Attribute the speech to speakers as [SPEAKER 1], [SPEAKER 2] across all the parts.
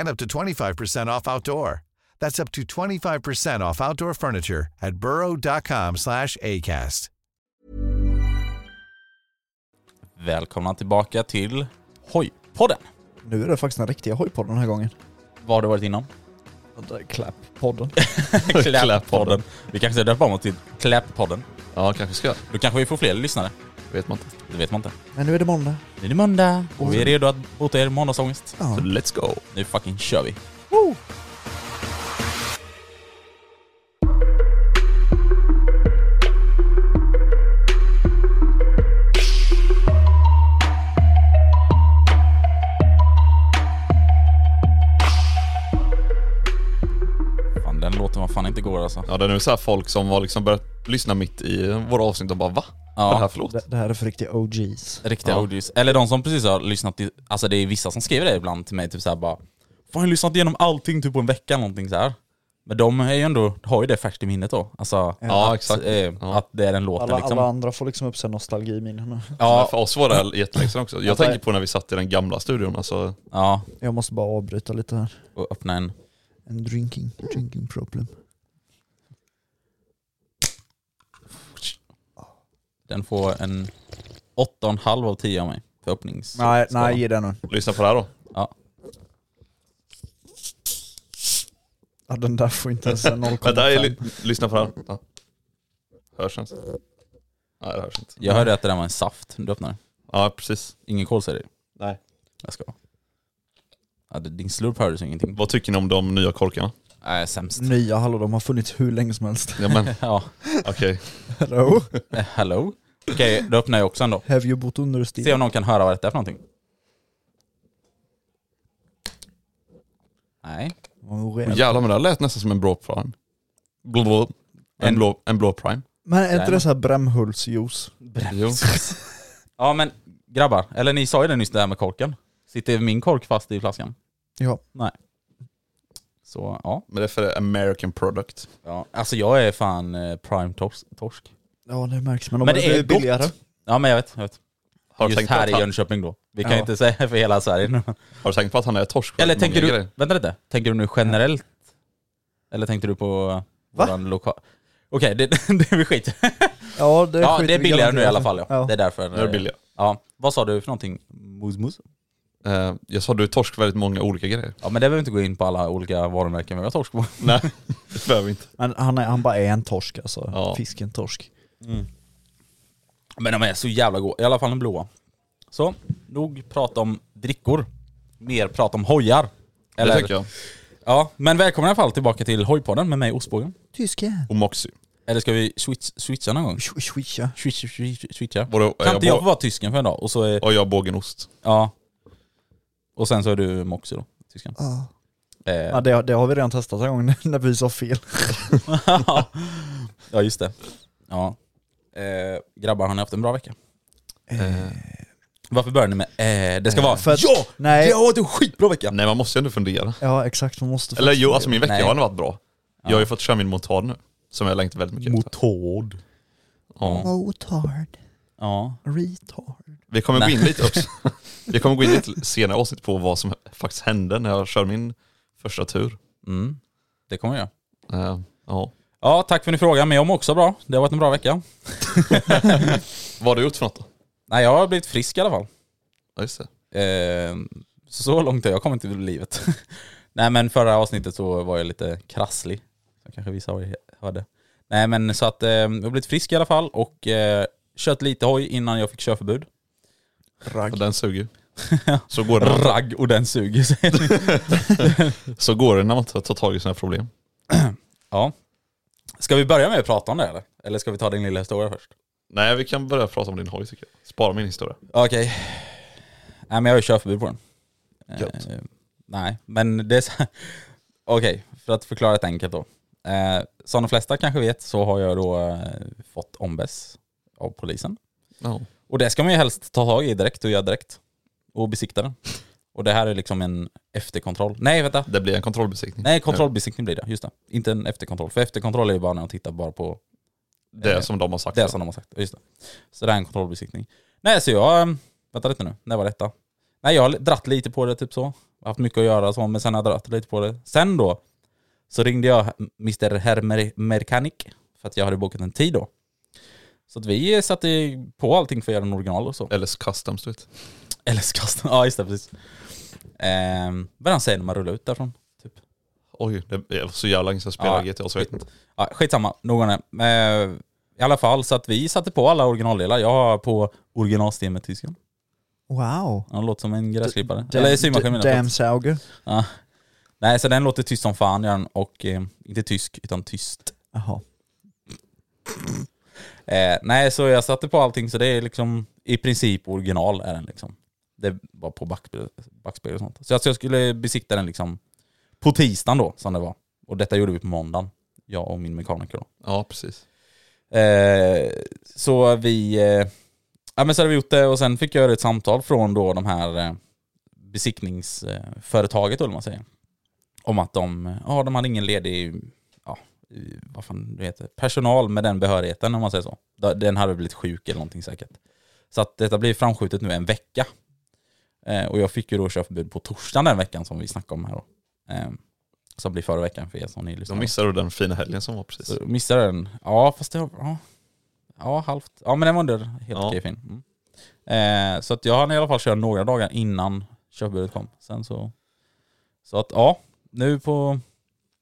[SPEAKER 1] and up to 25% off outdoor. That's up to 25% off outdoor furniture at burrow.com slash acast.
[SPEAKER 2] Välkomna tillbaka till Hojpodden.
[SPEAKER 3] Nu är det faktiskt den riktiga hojpodden den här gången.
[SPEAKER 2] Vad har du varit inom?
[SPEAKER 3] Klapp-podden.
[SPEAKER 2] Kläppodden. Vi kanske ska döpa om oss till Kläppodden.
[SPEAKER 4] Ja, kanske ska.
[SPEAKER 2] Då kanske vi får fler lyssnare.
[SPEAKER 4] Vet man inte.
[SPEAKER 2] Det vet man inte.
[SPEAKER 3] Men nu är det måndag.
[SPEAKER 2] Nu är det måndag och vi är redo att bota er måndagsångest.
[SPEAKER 3] Ja.
[SPEAKER 4] Så let's go.
[SPEAKER 2] Nu fucking kör vi. Fan, den låten var fan inte går alltså.
[SPEAKER 4] Ja, det är nu så här folk som har liksom börjat lyssna mitt i våra avsnitt och bara va? Vad är det här för låt?
[SPEAKER 3] Det, det här är för riktiga OGs.
[SPEAKER 2] Riktiga
[SPEAKER 4] Ja.
[SPEAKER 2] OGs. Eller de som precis har lyssnat, i, alltså det är vissa som skriver det ibland till mig, typ såhär bara Fan jag har lyssnat igenom allting typ på en vecka eller någonting så här. Men de är ju ändå, har ju det färskt i minnet då. Alltså
[SPEAKER 4] Ja,
[SPEAKER 2] att,
[SPEAKER 4] exakt.
[SPEAKER 2] eh,
[SPEAKER 4] Ja.
[SPEAKER 2] att det är den låten
[SPEAKER 3] Alla,
[SPEAKER 2] liksom.
[SPEAKER 3] alla andra får liksom upp sig nostalgiminnen.
[SPEAKER 4] Ja.
[SPEAKER 2] Ja,
[SPEAKER 4] För oss var det här jättelänge sedan också. Jag
[SPEAKER 3] Alltså-
[SPEAKER 4] tänker på när vi satt i den gamla studion alltså.
[SPEAKER 2] ja,
[SPEAKER 3] Jag måste bara avbryta lite här.
[SPEAKER 2] och öppna en.
[SPEAKER 3] En drinking, drinking problem.
[SPEAKER 2] Den får en 8,5 av 10 av mig för öppnings...
[SPEAKER 3] Nej,
[SPEAKER 2] skalan.
[SPEAKER 3] nej ge den nu.
[SPEAKER 4] Lyssna på det här då.
[SPEAKER 2] Ja.
[SPEAKER 3] Ja, den där får inte ens en
[SPEAKER 4] Vänta,
[SPEAKER 3] 0,5.
[SPEAKER 4] jag ly- lyssna på det här. Ja. Hörs ens? Nej, det hörs inte.
[SPEAKER 2] Jag hörde att det där var en saft du öppnade.
[SPEAKER 4] Ja, precis.
[SPEAKER 2] Ingen kolsyra i.
[SPEAKER 4] Nej.
[SPEAKER 2] Jag ska. Ja, det- din slurp hördes ju ingenting.
[SPEAKER 4] Vad tycker ni om de nya korkarna?
[SPEAKER 2] Nej, sämst.
[SPEAKER 3] Nya, hallå de har funnits hur länge som helst.
[SPEAKER 4] Ja men
[SPEAKER 2] Ja,
[SPEAKER 4] okej.
[SPEAKER 3] Hello?
[SPEAKER 2] eh, hello? Okej, då öppnar jag också en då.
[SPEAKER 3] Have you bott under sten?
[SPEAKER 2] Se om någon kan höra vad detta är för någonting. Nej.
[SPEAKER 3] Oh,
[SPEAKER 4] Men
[SPEAKER 3] rejält.
[SPEAKER 4] Jävlar men det här lät nästan som en blå prime. Blå, blå. En,
[SPEAKER 2] En-
[SPEAKER 4] blå, en blå prime.
[SPEAKER 3] Men är
[SPEAKER 2] Nej,
[SPEAKER 3] inte det så här Brämhultsjuice?
[SPEAKER 4] Jo.
[SPEAKER 2] Ja men grabbar, eller ni sa ju det nyss det här med korken. Sitter min kork fast i flaskan?
[SPEAKER 3] Ja.
[SPEAKER 2] Nej. Så ja.
[SPEAKER 4] Men det är för American product.
[SPEAKER 2] ja. Alltså jag är fan eh, prime tors- torsk.
[SPEAKER 3] Ja det märks, men,
[SPEAKER 2] Men
[SPEAKER 3] de
[SPEAKER 2] det
[SPEAKER 3] det
[SPEAKER 2] är
[SPEAKER 3] är billigare.
[SPEAKER 2] gott. Ja men jag vet, jag vet.
[SPEAKER 4] Har du,
[SPEAKER 2] Just
[SPEAKER 4] tänkt på
[SPEAKER 2] här
[SPEAKER 4] att
[SPEAKER 2] i
[SPEAKER 4] han,
[SPEAKER 2] Jönköping då. Vi kan
[SPEAKER 3] Ja.
[SPEAKER 2] ju inte säga för hela Sverige nu.
[SPEAKER 4] har du tänkt på att han är torsk? för
[SPEAKER 2] Eller
[SPEAKER 4] många
[SPEAKER 2] tänker
[SPEAKER 4] grejer?
[SPEAKER 2] du, vänta lite, tänker du nu generellt? Eller tänkte du på
[SPEAKER 3] Va?
[SPEAKER 2] våran lokal... Okej, det, det är vi skit.
[SPEAKER 3] Ja det,
[SPEAKER 2] Ja,
[SPEAKER 3] skiter alltså.
[SPEAKER 2] det är
[SPEAKER 3] vi
[SPEAKER 2] billigare nu i
[SPEAKER 3] garanterat
[SPEAKER 2] alla fall ja. Det är därför.
[SPEAKER 4] Nu är det
[SPEAKER 2] eh,
[SPEAKER 4] billigare.
[SPEAKER 2] Ja, vad sa du för någonting? Mos mos?
[SPEAKER 4] Eh, jag sa du är torsk för väldigt många olika grejer.
[SPEAKER 2] Ja men det behöver vi inte gå in på alla olika varumärken vi har torsk på.
[SPEAKER 4] Nej, det behöver vi inte.
[SPEAKER 3] Men han, är, han bara är en torsk alltså.
[SPEAKER 4] Ja.
[SPEAKER 3] Fisken torsk.
[SPEAKER 2] Men de är så jävla goda, i alla fall den blåa. Så, nog prat om drickor. Mer prat om hojar.
[SPEAKER 4] Eller? Det tycker jag.
[SPEAKER 2] Ja, men välkomna i alla fall tillbaka till Hojpodden med mig Ostbågen.
[SPEAKER 3] Tysken.
[SPEAKER 4] Och Moxie.
[SPEAKER 2] Eller ska vi switch, switcha någon gång?
[SPEAKER 3] Swisha.
[SPEAKER 2] Switch, switch, switcha.
[SPEAKER 4] Både, eh,
[SPEAKER 2] Kan inte jag
[SPEAKER 4] bo-
[SPEAKER 2] få vara tysken för en dag? Och så är,
[SPEAKER 4] och jag bågenost.
[SPEAKER 2] ja. Och sen så är du Moxie då, tysken.
[SPEAKER 3] Ja. Ja,
[SPEAKER 2] Eh,
[SPEAKER 3] det, det har vi redan testat en gång när vi sa fel.
[SPEAKER 2] ja just det. Ja. Eh, grabbar, har ni haft en bra vecka? Eh,
[SPEAKER 4] Eh,
[SPEAKER 2] Varför börjar ni med eh, Det ska vara
[SPEAKER 3] För att-
[SPEAKER 2] ja!
[SPEAKER 3] Nej.
[SPEAKER 2] Jag har haft en skitbra vecka!
[SPEAKER 4] Nej man måste ju ändå fundera.
[SPEAKER 3] Ja exakt, man måste
[SPEAKER 4] Eller jo, alltså min vecka
[SPEAKER 2] Nej.
[SPEAKER 4] har ändå varit bra. Jag har ju fått köra min motard nu. Som jag längtat väldigt mycket efter.
[SPEAKER 2] Motard.
[SPEAKER 4] Ja.
[SPEAKER 3] Motard.
[SPEAKER 2] Ja.
[SPEAKER 3] Retard.
[SPEAKER 4] Vi kommer gå in
[SPEAKER 2] Nej.
[SPEAKER 4] lite också. Vi kommer gå in lite senare avsnitt på vad som faktiskt hände när jag körde min första tur.
[SPEAKER 2] Mm. Det kommer jag göra.
[SPEAKER 4] Eh, Ja.
[SPEAKER 2] Ja, tack för din fråga. Men jag mår också bra. Det har varit en bra vecka.
[SPEAKER 4] Vad har du gjort för något då?
[SPEAKER 2] Nej, jag har blivit frisk i alla fall.
[SPEAKER 4] Ja, just det.
[SPEAKER 2] Eh, så långt har jag kommit i livet. Nej men förra avsnittet så var jag lite krasslig. Så kanske vissa har- hörde. Nej men så att eh, jag har blivit frisk i alla fall och eh, kört lite hoj innan jag fick körförbud.
[SPEAKER 4] Ja, Den suger ju. Så går, det,
[SPEAKER 2] Ragg och den suger säger ni.
[SPEAKER 4] så går det när man tar tar tag i sina problem.
[SPEAKER 2] Ja. Ska vi börja med att prata om det eller? Eller ska vi ta din lilla historia först?
[SPEAKER 4] Nej, vi kan börja prata om din hoj tycker jag. Spara min historia.
[SPEAKER 2] Okej. Nej men jag har ju körförbud på den.
[SPEAKER 3] Gött.
[SPEAKER 2] Eh, nej, men det är så här- Okej, för att förklara det enkelt då. Eh, som de flesta kanske vet så har jag då eh, fått ombes av polisen.
[SPEAKER 4] Ja.
[SPEAKER 2] Och det ska man ju helst ta tag i direkt och göra direkt. Och besikta den. Och det här är liksom en efterkontroll. Nej vänta,
[SPEAKER 4] Det blir en kontrollbesiktning.
[SPEAKER 2] nej kontrollbesiktning blir det, just det. Inte en efterkontroll. För efterkontroll är ju bara när de tittar bara på
[SPEAKER 4] Det som de har sagt.
[SPEAKER 2] det som de har sagt, just det. Så det här är en kontrollbesiktning. Nej så jag, ehm, vänta lite nu, när var detta? Nej jag har dratt lite på det typ så. Jag har haft mycket att göra och så, men sen har jag dratt lite på det. Sen då, så ringde jag Mr. Herr Mechanic, för att jag hade bokat en tid då. Så att vi satte på allting för att göra en original och så.
[SPEAKER 4] Eller customs du vet.
[SPEAKER 2] LS-kasten, ja just det precis. Ehm, vad han säger när man rullar ut därifrån. Typ.
[SPEAKER 4] Oj, det var så jävla länge sedan jag spelade
[SPEAKER 2] Ja.
[SPEAKER 4] GTA så jag vet inte.
[SPEAKER 2] Ja, skitsamma, någon är. Eh, I alla fall, så att vi satte på alla originaldelar. Jag har på originalsten med tysken.
[SPEAKER 3] Wow.
[SPEAKER 2] Han låter som en gräsklippare.
[SPEAKER 3] Dam-
[SPEAKER 2] Eller symaskin
[SPEAKER 3] d-
[SPEAKER 2] menar jag.
[SPEAKER 3] Damn sauger.
[SPEAKER 2] Ja. Nej, så den låter tyst som fan gör den. Och eh, inte tysk, utan tyst.
[SPEAKER 3] Jaha.
[SPEAKER 2] Eh, nej, så jag satte på allting så det är liksom i princip original är den liksom. Det var på backspegel, backspegel och sånt. Så jag, så jag skulle besikta den liksom på tisdagen då, som det var. Och detta gjorde vi på måndagen, jag och min mekaniker då.
[SPEAKER 4] Ja, precis.
[SPEAKER 2] Eh, så vi, eh, ja men så hade vi gjort det och sen fick jag ett samtal från då de här eh, besiktningsföretaget eller vad man säger. Om att de, ja de hade ingen ledig, ja eh, vad fan det heter, personal med den behörigheten om man säger så. Da- Den hade blivit sjuk eller någonting säkert. Så att detta blir framskjutet nu en vecka. Eh, och jag fick ju då körförbud på torsdagen den veckan som vi snackade om här då. Eh, som blir förra veckan för er som ni lyssnar.
[SPEAKER 4] De
[SPEAKER 2] på.
[SPEAKER 4] missade den fina helgen som var precis.
[SPEAKER 2] Så missade den. Ja, fast det var... Ja, ja halvt. Ja, men den var ändå helt
[SPEAKER 4] Ja.
[SPEAKER 2] okej fin. Mm. Eh, så att jag hann i alla fall köra några dagar innan körbudet kom. Sen så... Så att ja, nu på...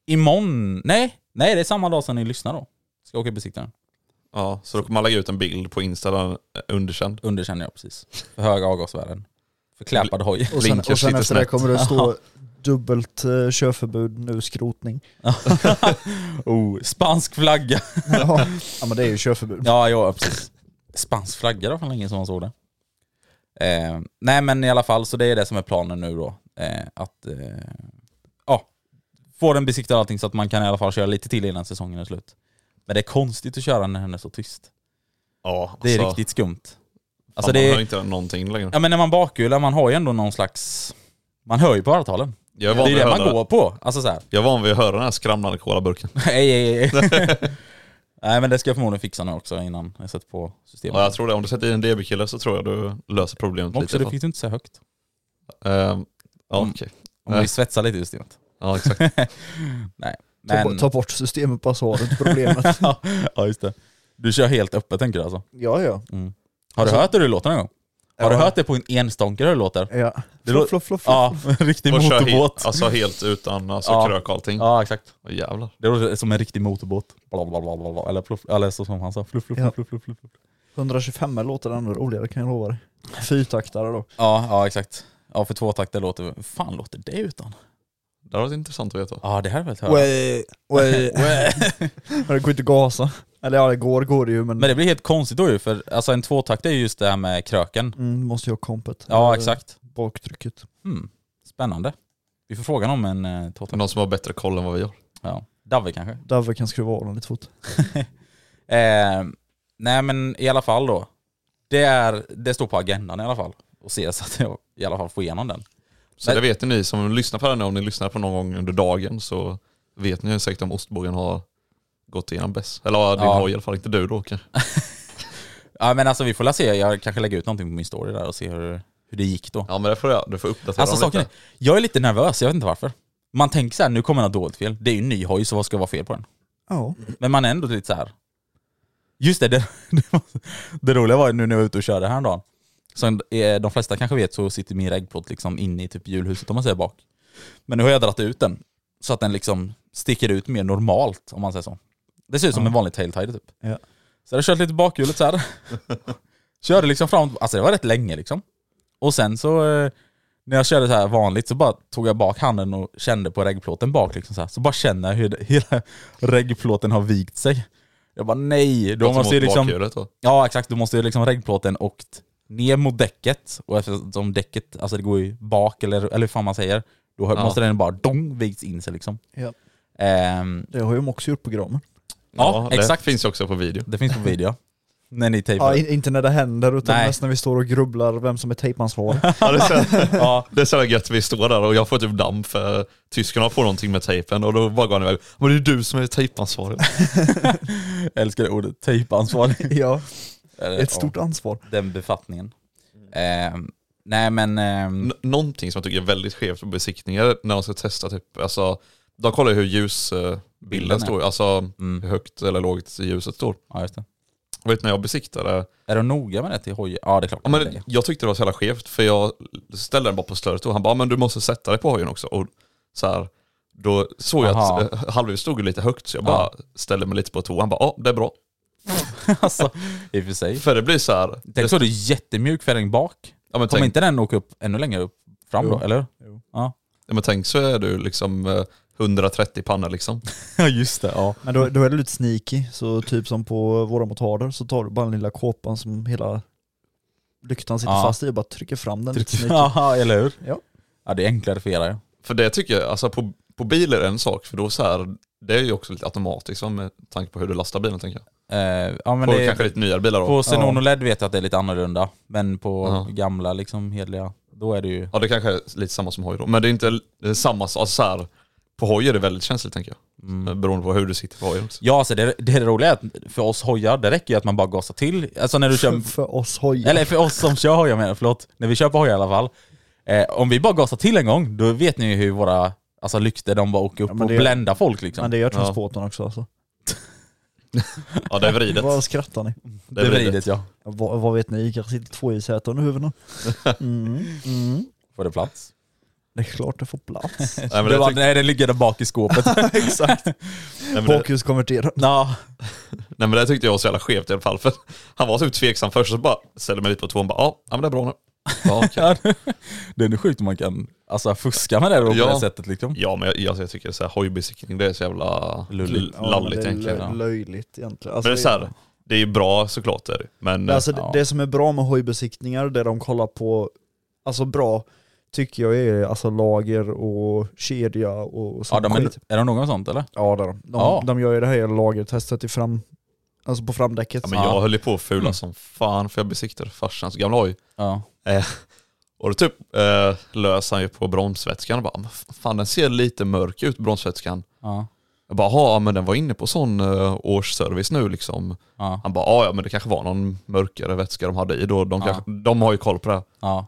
[SPEAKER 2] Imorgon... Nej, nej det är samma dag som ni lyssnar då. Ska jag åka och besikta den.
[SPEAKER 4] Ja, så då kommer man lägga ut en bild på Insta där den är underkänd.
[SPEAKER 2] Underkänner jag precis. För höga avgasvärden. För kläpad hoj.
[SPEAKER 3] Och sen,
[SPEAKER 4] Blinkers
[SPEAKER 3] och sen
[SPEAKER 4] sitter
[SPEAKER 3] efter det
[SPEAKER 4] snett.
[SPEAKER 3] kommer det stå dubbelt uh, körförbud, nu skrotning.
[SPEAKER 2] oh, spansk flagga.
[SPEAKER 3] ja. ja men det är ju körförbud.
[SPEAKER 2] Ja, ja precis. Spansk flagga då, för länge som man såg det. Eh, nej men i alla fall, så det är det som är planen nu då. Eh, att eh, ja, få den besiktad och allting så att man kan i alla fall köra lite till innan säsongen är slut. Men det är konstigt att köra när den är så tyst.
[SPEAKER 4] Ja,
[SPEAKER 2] Det är
[SPEAKER 4] alltså,
[SPEAKER 2] riktigt skumt. Alltså
[SPEAKER 4] Alltså
[SPEAKER 2] det
[SPEAKER 4] man
[SPEAKER 2] är,
[SPEAKER 4] hör inte någonting längre.
[SPEAKER 2] ja men när man bakhjular, man har ju ändå någon slags... Man hör ju på örontalen.
[SPEAKER 4] Jag är
[SPEAKER 2] Det
[SPEAKER 4] van
[SPEAKER 2] är
[SPEAKER 4] vid
[SPEAKER 2] det
[SPEAKER 4] att
[SPEAKER 2] man
[SPEAKER 4] höra-
[SPEAKER 2] går på. Alltså så här.
[SPEAKER 4] jag är van vid att höra den här skramlande colaburken.
[SPEAKER 2] Nej, nej, nej. nej men det ska jag förmodligen fixa nu också innan jag sätter på systemet.
[SPEAKER 4] Ja, jag tror det. Om du sätter i en DB-kille så tror jag du löser problemet
[SPEAKER 2] Men
[SPEAKER 4] lite.
[SPEAKER 2] också,
[SPEAKER 4] i
[SPEAKER 2] det
[SPEAKER 4] alla
[SPEAKER 2] fick du inte säga högt.
[SPEAKER 4] fall. Ehm, ja,
[SPEAKER 2] Mm.
[SPEAKER 4] okej.
[SPEAKER 2] Om
[SPEAKER 4] Nej.
[SPEAKER 2] vi svetsar lite i systemet.
[SPEAKER 4] Ja, exakt.
[SPEAKER 2] Nej.
[SPEAKER 3] Ta, bo-
[SPEAKER 2] Men...
[SPEAKER 3] ta bort systemet på hasardet, problemet.
[SPEAKER 2] ja just det. Du kör helt öppet tänker du alltså?
[SPEAKER 3] ja ja.
[SPEAKER 2] Har du hört hur det låter någon gång? Har du
[SPEAKER 3] Alltså- Ja.
[SPEAKER 2] hört det på en enstånkare hur det låter?
[SPEAKER 3] Ja.
[SPEAKER 2] Det lå-
[SPEAKER 3] Floff, floff, floff.
[SPEAKER 2] Ja, en riktig
[SPEAKER 4] Och kör
[SPEAKER 2] motorbåt.
[SPEAKER 4] helt, alltså helt utan alltså,
[SPEAKER 2] Ja.
[SPEAKER 4] krök och allting.
[SPEAKER 2] Ja exakt.
[SPEAKER 4] Åh, jävlar.
[SPEAKER 2] Det låter som en riktig motorbåt. Bla, bla, bla, bla, bla. Eller, fluff, eller så som han sa, fluff, fluff,
[SPEAKER 3] Ja.
[SPEAKER 2] fluff, fluff, fluff. fluff.
[SPEAKER 3] 125 låter ändå roligare kan jag lova dig. Fyrtaktare då.
[SPEAKER 2] Ja, ja exakt. Ja för tvåtakter låter, hur fan låter det utan?
[SPEAKER 4] Det hade varit intressant att veta.
[SPEAKER 2] Ja det här är väl höra.
[SPEAKER 3] Way, way. Men det går inte att gasa. Eller ja, det går, går det ju men,
[SPEAKER 2] Men det blir helt konstigt då ju för alltså en tvåtakt är ju just det här med kröken.
[SPEAKER 3] mm, måste ju ha kompet.
[SPEAKER 2] Ja
[SPEAKER 3] Eller
[SPEAKER 2] exakt.
[SPEAKER 3] Baktrycket.
[SPEAKER 2] Mm. Spännande. Vi får fråga någon om en eh, tvåtakt.
[SPEAKER 4] Någon som har bättre koll än vad vi har.
[SPEAKER 2] Ja. Davve kanske?
[SPEAKER 3] Dave kan skruva av den lite fort.
[SPEAKER 2] Eh, nej men i alla fall då. Det, är, det står på agendan i alla fall. Och se så att jag i alla fall får igenom den.
[SPEAKER 4] Så
[SPEAKER 2] Nej.
[SPEAKER 4] det vet ju ni som lyssnar på det här nu, om ni lyssnar på någon gång under dagen så vet ni ju säkert om ostbågen har gått igenom bäst. Eller ja, din
[SPEAKER 2] Ja.
[SPEAKER 4] hoj i alla fall, inte du då kanske.
[SPEAKER 2] Ja men alltså vi får la se, jag kanske lägger ut någonting på min story där och se hur, hur det gick då.
[SPEAKER 4] Ja men det får jag, du får uppdatera
[SPEAKER 2] alltså
[SPEAKER 4] dem
[SPEAKER 2] saken är,
[SPEAKER 4] lite.
[SPEAKER 2] jag är lite nervös, jag vet inte varför. Man tänker så här, nu kommer något dåligt fel. Det är ju en ny hoj så vad ska vara fel på den?
[SPEAKER 3] Ja.
[SPEAKER 2] Men man är ändå lite så här. Just det, det, det, var, det roliga var ju nu när jag var ute och körde häromdagen. Som eh, de flesta kanske vet så sitter min regplåt liksom inne i typ julhuset om man säger bak. Men nu har jag dragit ut den. Så att den liksom sticker ut mer normalt om man säger så. Det ser ut som en vanlig tailtide typ.
[SPEAKER 3] Ja.
[SPEAKER 2] Så jag körde lite bakhjulet så här. körde liksom fram, alltså det var rätt länge liksom. Och sen så eh, när jag körde så här vanligt så bara tog jag bak handen och kände på reggplåten bak liksom så här. Så bara känner jag hur det- hela reggplåten har vikt sig. Jag bara nej, då
[SPEAKER 4] Prata
[SPEAKER 2] måste
[SPEAKER 4] mot
[SPEAKER 2] ju liksom...
[SPEAKER 4] bakhjulet då.
[SPEAKER 2] Ja exakt, då måste ju liksom reggplåten åkt ner mot däcket och eftersom däcket, alltså det går ju bak eller, eller hur fan man säger, då har-
[SPEAKER 4] Ja.
[SPEAKER 2] måste den bara dong vikts in sig liksom.
[SPEAKER 3] Ja.
[SPEAKER 2] Ehm,
[SPEAKER 3] Det har ju de också gjort på graven.
[SPEAKER 2] Ja,
[SPEAKER 4] det
[SPEAKER 2] exakt.
[SPEAKER 4] finns ju också på video.
[SPEAKER 2] det finns på video. när ni tejpar.
[SPEAKER 3] Ja, in, inte när det händer utan
[SPEAKER 2] Nej.
[SPEAKER 3] mest när vi står och grubblar vem som är tejpansvarig.
[SPEAKER 4] Ja, det, är så,
[SPEAKER 2] Ja.
[SPEAKER 4] det är så jävla gött, vi står där och jag får typ damm för tyskarna får någonting med tejpen och då bara går han iväg. Men det är du som är tejpansvarig.
[SPEAKER 2] Jag älskar det ordet, tejpansvarig.
[SPEAKER 3] ja,
[SPEAKER 2] Eller,
[SPEAKER 3] ett stort ansvar.
[SPEAKER 2] ja, den befattningen. Ehm, nej men, ehm,
[SPEAKER 4] N- någonting som jag tycker är väldigt skevt på besiktningar när de ska testa typ, alltså de kollar ju hur
[SPEAKER 2] Bilden är.
[SPEAKER 4] ljusbilden står, alltså
[SPEAKER 2] Mm.
[SPEAKER 4] hur högt eller lågt ljuset står.
[SPEAKER 2] ja just det.
[SPEAKER 4] Jag vet när jag besiktade,
[SPEAKER 2] Är de noga med det till hojen? Ja det är klart.
[SPEAKER 4] ja,
[SPEAKER 2] de är
[SPEAKER 4] men
[SPEAKER 2] det.
[SPEAKER 4] jag tyckte det var så jävla skevt för jag ställde den bara på slöret och han bara men du måste sätta dig på hojen också. Och så här, då såg jag
[SPEAKER 2] Aha.
[SPEAKER 4] att eh, halvljuset stod ju lite högt så jag
[SPEAKER 2] Ja.
[SPEAKER 4] bara ställde mig lite på tå. Han bara ja det är bra.
[SPEAKER 2] alltså, i och för sig.
[SPEAKER 4] För det blir så här,
[SPEAKER 2] Tänk så du jättemjuk färg bak.
[SPEAKER 4] ja, men
[SPEAKER 2] Kommer
[SPEAKER 4] tänk,
[SPEAKER 2] inte den åka upp ännu längre upp fram
[SPEAKER 3] Jo.
[SPEAKER 2] då, eller?
[SPEAKER 3] Jo.
[SPEAKER 2] Ja.
[SPEAKER 4] ja, men tänk så är du liksom eh, 130 pannor liksom.
[SPEAKER 2] ja just det, ja.
[SPEAKER 3] Men då, då är det lite sneaky, så typ som på våra motarder så tar du bara den lilla kåpan som hela lyktan sitter
[SPEAKER 2] Ja.
[SPEAKER 3] fast i och bara trycker fram den lite sneaky.
[SPEAKER 2] Typ. Ja, eller hur?
[SPEAKER 3] Ja.
[SPEAKER 2] ja, det är enklare för er. ja.
[SPEAKER 4] För det tycker jag, alltså på, på bil är det en sak, för då så här, det är ju också lite automatiskt va, med tanke på hur du lastar bilen tänker jag.
[SPEAKER 2] Eh, ja, men
[SPEAKER 4] på
[SPEAKER 2] det,
[SPEAKER 4] kanske lite nyare bilar då.
[SPEAKER 2] på xenon och LED vet jag att det är lite annorlunda, men på
[SPEAKER 4] Ja.
[SPEAKER 2] gamla liksom hederliga, då är det ju...
[SPEAKER 4] Ja det kanske är lite samma som hoj då, men det är inte eh, samma, alltså så här, på hoj är det väldigt känsligt tänker jag. Eh, Beroende på hur du sitter på hojen också.
[SPEAKER 2] Ja, alltså det, det roliga är att för oss hojar, det räcker ju att man bara gasar till. Alltså när du kör...
[SPEAKER 3] För oss hojar.
[SPEAKER 2] Eller för oss som kör hojar menar jag, förlåt. När vi kör på hojar i alla fall. Eh, om vi bara gasar till en gång, då vet ni ju hur våra alltså, lyktor de bara åker upp
[SPEAKER 3] Ja, men
[SPEAKER 2] och
[SPEAKER 3] det-
[SPEAKER 2] bländar folk liksom.
[SPEAKER 3] Men det gör transporten också alltså.
[SPEAKER 4] Ja det är vridet.
[SPEAKER 3] Vad skrattar ni?
[SPEAKER 4] Det är vridet.
[SPEAKER 2] ja.
[SPEAKER 3] Vad, vad vet ni? Kanske sitter två i sätet under huvudena. Mm. Mm.
[SPEAKER 2] Får det plats?
[SPEAKER 3] Det är klart det får plats.
[SPEAKER 4] Nej, men
[SPEAKER 2] det
[SPEAKER 4] det
[SPEAKER 2] var,
[SPEAKER 4] tyck-
[SPEAKER 2] nej, det ligger där bak i skåpet.
[SPEAKER 3] Exakt.
[SPEAKER 4] nej, men det-
[SPEAKER 3] Bakhjulskonverterad.
[SPEAKER 2] ja.
[SPEAKER 4] nej men det tyckte jag var så jävla skevt i alla fall, för han var typ tveksam först och så bara ställde mig lite på tån och bara ja, ja men det är bra nu. Ja, okej.
[SPEAKER 2] Det är nog sjukt om man kan alltså, fuska med det då på
[SPEAKER 4] Ja.
[SPEAKER 2] det sättet liksom.
[SPEAKER 4] ja men jag, alltså, jag, jag tycker så här, hojbesiktning det är så jävla
[SPEAKER 2] Lulligt.
[SPEAKER 4] l- lalligt
[SPEAKER 3] ja, men det är
[SPEAKER 4] egentligen.
[SPEAKER 3] lö- löjligt egentligen.
[SPEAKER 4] Men det är så här, det är ju bra såklart det är det. men
[SPEAKER 3] Alltså, Men Alltså
[SPEAKER 2] Ja.
[SPEAKER 3] det, det som är bra med hojbesiktningar, det de kollar på, alltså bra, tycker jag är alltså lager och kedja och
[SPEAKER 2] Ja,
[SPEAKER 3] sånt
[SPEAKER 2] de är,
[SPEAKER 3] skit.
[SPEAKER 2] är de någon sånt eller?
[SPEAKER 3] Ja, det är de. De,
[SPEAKER 2] Ja.
[SPEAKER 3] de gör ju det här lagertestet i fram, alltså på framdäcket.
[SPEAKER 4] Ja, men jag höll ju på att fula
[SPEAKER 3] Mm.
[SPEAKER 4] som fan för jag besiktade farsans gamla hoj.
[SPEAKER 2] Ja.
[SPEAKER 4] Eh, och då typ eh, lös han ju på bromsvätskan och bara, "Men fan den ser lite mörk ut bromsvätskan.
[SPEAKER 2] Ja.
[SPEAKER 4] Jag bara, ja men den var inne på sån eh, årsservice nu liksom.
[SPEAKER 2] Ja.
[SPEAKER 4] Han bara, "Ja, ja men det kanske var någon mörkare vätska de hade i då. De,
[SPEAKER 2] Ja.
[SPEAKER 4] kanske, de har ju koll på det. här."
[SPEAKER 2] ja.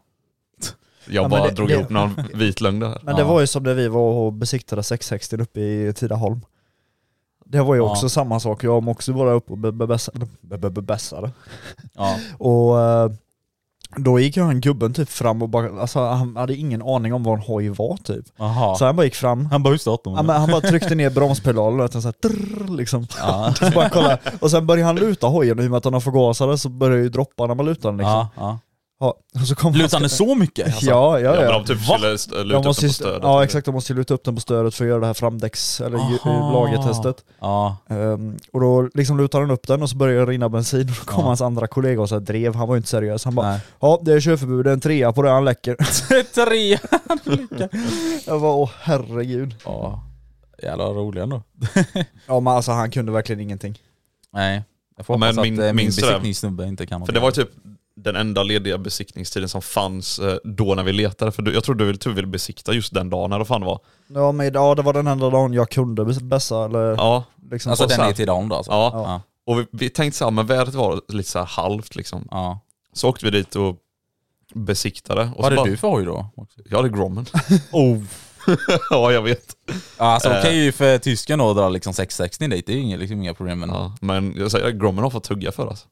[SPEAKER 4] Jag
[SPEAKER 3] Ja, men
[SPEAKER 4] bara
[SPEAKER 3] det-
[SPEAKER 4] drog
[SPEAKER 3] det-
[SPEAKER 4] ihop någon vit lögn där.
[SPEAKER 3] Men det
[SPEAKER 2] Ja.
[SPEAKER 3] var ju som när vi var och besiktade 660 uppe i Tidaholm. Det var ju
[SPEAKER 2] Ja.
[SPEAKER 3] också samma sak, jag var också bara uppe och be- be- bässade- be- be- be- bässade.
[SPEAKER 2] ja.
[SPEAKER 3] Och eh, då gick ju han gubben typ fram och bara, alltså han hade ingen aning om vad en hoj var typ.
[SPEAKER 2] Aha.
[SPEAKER 3] Så han bara gick fram,
[SPEAKER 2] han bara, hur startar
[SPEAKER 3] Ja,
[SPEAKER 2] man?
[SPEAKER 3] men han bara tryckte ner bromspedalen och så här, drrr, liksom. Så bara kolla. Och sen började han luta hojen och i och med att han har förgasare så börjar ju droppa när man lutar den liksom.
[SPEAKER 2] Ja, ja.
[SPEAKER 3] Ja. Och så kom
[SPEAKER 2] Lutar den så mycket? Alltså.
[SPEAKER 3] Ja, ja,
[SPEAKER 4] Ja, men
[SPEAKER 3] ja.
[SPEAKER 4] de typ
[SPEAKER 2] Va?
[SPEAKER 4] skulle st-
[SPEAKER 3] De
[SPEAKER 4] luta upp
[SPEAKER 3] måste
[SPEAKER 4] den
[SPEAKER 3] ju,
[SPEAKER 4] på stödet.
[SPEAKER 3] ja exakt, de måste ju luta upp den på stödet för att göra det här framdäcks, eller ju-
[SPEAKER 2] Aha.
[SPEAKER 3] lagertestet.
[SPEAKER 2] Ja.
[SPEAKER 3] Ehm, och då liksom lutar han upp den och så börjar det rinna bensin och då kom
[SPEAKER 2] Ja.
[SPEAKER 3] hans andra kollega och så här drev, han var ju inte seriös. Han bara
[SPEAKER 2] Nej.
[SPEAKER 3] ja det är körförbud, det är en trea på det, han läcker.
[SPEAKER 2] Tre!
[SPEAKER 3] Jag bara åh herregud.
[SPEAKER 2] Ja. Jävlar vad rolig ändå.
[SPEAKER 3] Ja men alltså han kunde verkligen ingenting.
[SPEAKER 2] Nej. Jag får
[SPEAKER 4] Ja, men
[SPEAKER 2] hoppas att eh,
[SPEAKER 4] min-
[SPEAKER 2] min, min
[SPEAKER 4] minns du det?
[SPEAKER 2] besiktningssnubbe inte kan
[SPEAKER 4] För det var ju typ den enda lediga besiktningstiden som fanns eh, då när vi letade. För du, jag tror du vill, typ ville besikta just den dagen eller vad fan det var.
[SPEAKER 3] Ja men ja, det var den enda dagen jag kunde bässa eller
[SPEAKER 4] Ja,
[SPEAKER 3] liksom
[SPEAKER 2] Alltså
[SPEAKER 3] så
[SPEAKER 2] den
[SPEAKER 3] här.
[SPEAKER 2] är till dagen då alltså?
[SPEAKER 4] ja.
[SPEAKER 2] Ja.
[SPEAKER 4] Och vi, vi tänkte så här, men vädret var lite så här halvt liksom.
[SPEAKER 2] Ja.
[SPEAKER 4] Så åkte vi dit och besiktade. Och så
[SPEAKER 2] Vad hade
[SPEAKER 4] bara,
[SPEAKER 2] du för hoj då? Också?
[SPEAKER 4] Jag hade Grommen. oh. ja, jag vet.
[SPEAKER 2] Ja, alltså
[SPEAKER 4] Eh.
[SPEAKER 2] okej ju för tysken då att dra liksom 660 dit, det är ju inga, liksom, inga problem. Men,
[SPEAKER 4] Ja, men jag säger, Grommen har fått tugga för oss.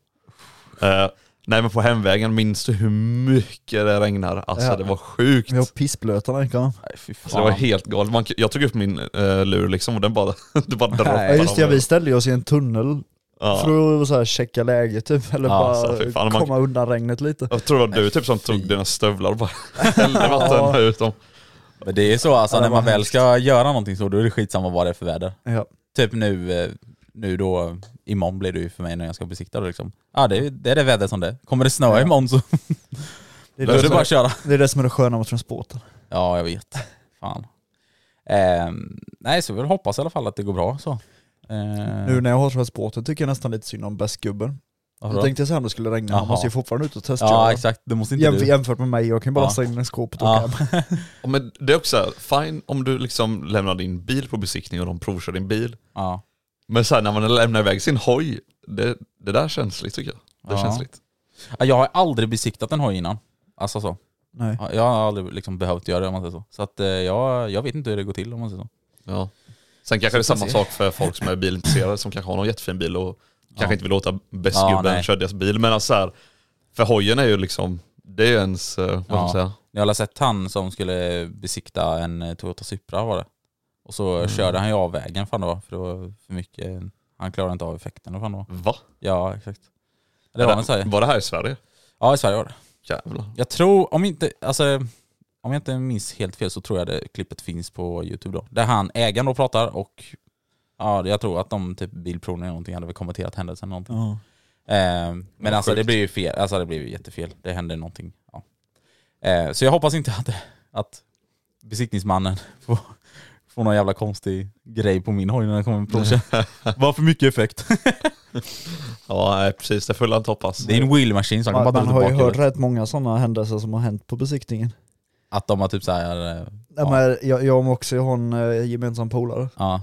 [SPEAKER 4] Eh, nej men på hemvägen, minns du hur mycket det regnar? Alltså
[SPEAKER 3] Ja.
[SPEAKER 4] det var sjukt.
[SPEAKER 3] Vi var pissblöta den veckan.
[SPEAKER 2] nej, fy fan.
[SPEAKER 4] Alltså, det var helt galet. Man, jag tog upp min eh, lur liksom och den bara, det bara droppade.
[SPEAKER 3] Ja just det, ja, vi ställde oss i en tunnel
[SPEAKER 4] Ja.
[SPEAKER 3] för att så här, checka läget typ, eller
[SPEAKER 4] Ja,
[SPEAKER 3] bara
[SPEAKER 4] så fy fan, man-
[SPEAKER 3] komma undan regnet lite.
[SPEAKER 4] Jag tror det var du typ som tog dina stövlar och bara hällde vatten ut dem.
[SPEAKER 2] Men det är så alltså,
[SPEAKER 3] Ja, det
[SPEAKER 2] när
[SPEAKER 3] var
[SPEAKER 2] man väl
[SPEAKER 3] hemskt.
[SPEAKER 2] ska göra någonting så, då är det skitsamma vad det är för väder.
[SPEAKER 3] Ja.
[SPEAKER 2] Typ nu, eh, nu då, imorgon blir det ju för mig när jag ska besikta det liksom. Ja det, är- det är det vädret som det är. Kommer det snöa imorgon så
[SPEAKER 3] Det,
[SPEAKER 2] då är
[SPEAKER 3] är det,
[SPEAKER 2] det
[SPEAKER 3] som
[SPEAKER 2] bara att
[SPEAKER 3] är,
[SPEAKER 2] köra.
[SPEAKER 3] det är det som är det sköna med transporten.
[SPEAKER 2] Ja jag vet. Fan. Ehm, nej så vi hoppas i alla fall att det går bra så. Ehm,
[SPEAKER 3] Nu när jag har transporten tycker jag nästan lite synd om bästgubben.
[SPEAKER 2] varför
[SPEAKER 3] Då
[SPEAKER 2] då?
[SPEAKER 3] tänkte jag så här om det skulle regna,
[SPEAKER 2] Jaha.
[SPEAKER 3] han måste ju fortfarande ut och testköra.
[SPEAKER 2] Ja exakt, det måste inte
[SPEAKER 3] Jämf-
[SPEAKER 2] du.
[SPEAKER 3] jämfört med mig, jag kan ju bara
[SPEAKER 2] Ja.
[SPEAKER 3] lasta in i skåpet och åka
[SPEAKER 2] Ja.
[SPEAKER 3] hem.
[SPEAKER 4] Ja, Men det är också så här, fine om du liksom lämnar din bil på besiktning och de provkör din bil.
[SPEAKER 2] ja.
[SPEAKER 4] Men sen när man lämnar iväg sin hoj, det, det där är känsligt tycker jag. Det är
[SPEAKER 2] Ja.
[SPEAKER 4] känsligt.
[SPEAKER 2] Ja, Jag har aldrig besiktat en hoj innan. Alltså så.
[SPEAKER 3] Nej.
[SPEAKER 2] Ja, Jag har aldrig liksom behövt göra det om man säger så. Så att eh, jag, jag vet inte hur det går till om man säger så.
[SPEAKER 4] Ja. Sen kanske det är samma sak för folk som är bilintresserade som kanske har någon jättefin bil och kanske inte vill låta
[SPEAKER 2] Ja,
[SPEAKER 4] bästgubben
[SPEAKER 2] nej.
[SPEAKER 4] köra deras bil. Men alltså så här, för hojen är ju liksom, det är ju ens, eh, vad ska man
[SPEAKER 2] Ja.
[SPEAKER 4] säga?
[SPEAKER 2] Jag har sett han som skulle besikta en eh, Toyota Supra var det. Och så körde han ju av vägen fan det var, för det var för mycket. Han klarade inte av effekten eller fan det var.
[SPEAKER 4] Va?
[SPEAKER 2] Ja exakt. Det var en så här.
[SPEAKER 4] var det här i Sverige?
[SPEAKER 2] Ja i Sverige var det.
[SPEAKER 4] Jävlar.
[SPEAKER 2] Jag tror, om inte, alltså om jag inte minns helt fel så tror jag det klippet finns på youtube då. Där han, ägaren då pratar och ja, jag tror att de typ bilprovningen eller någonting hade väl kommenterat händelsen eller någonting.
[SPEAKER 3] Ja.
[SPEAKER 2] Eh, men
[SPEAKER 4] Vad
[SPEAKER 2] alltså det
[SPEAKER 4] sjukt.
[SPEAKER 2] blev ju fel, alltså det blev ju jättefel. Det hände någonting. Ja. Eh, så jag hoppas inte att, att besiktningsmannen får, får någon jävla konstig grej på min hoj när den kommer med provkör. Vad för mycket effekt.
[SPEAKER 4] Ja nej, precis, det får han hoppas.
[SPEAKER 2] Det är en wheelmaskin så han kan
[SPEAKER 3] Man,
[SPEAKER 2] bara
[SPEAKER 3] man
[SPEAKER 2] dra
[SPEAKER 3] har ju hört
[SPEAKER 2] tillbaka.
[SPEAKER 3] rätt många sådana händelser som har hänt på besiktningen.
[SPEAKER 2] Att de har typ såhär,
[SPEAKER 3] Nej,
[SPEAKER 2] Ja.
[SPEAKER 3] men jag, jag och Moxie har en eh, gemensam polare,
[SPEAKER 2] ja,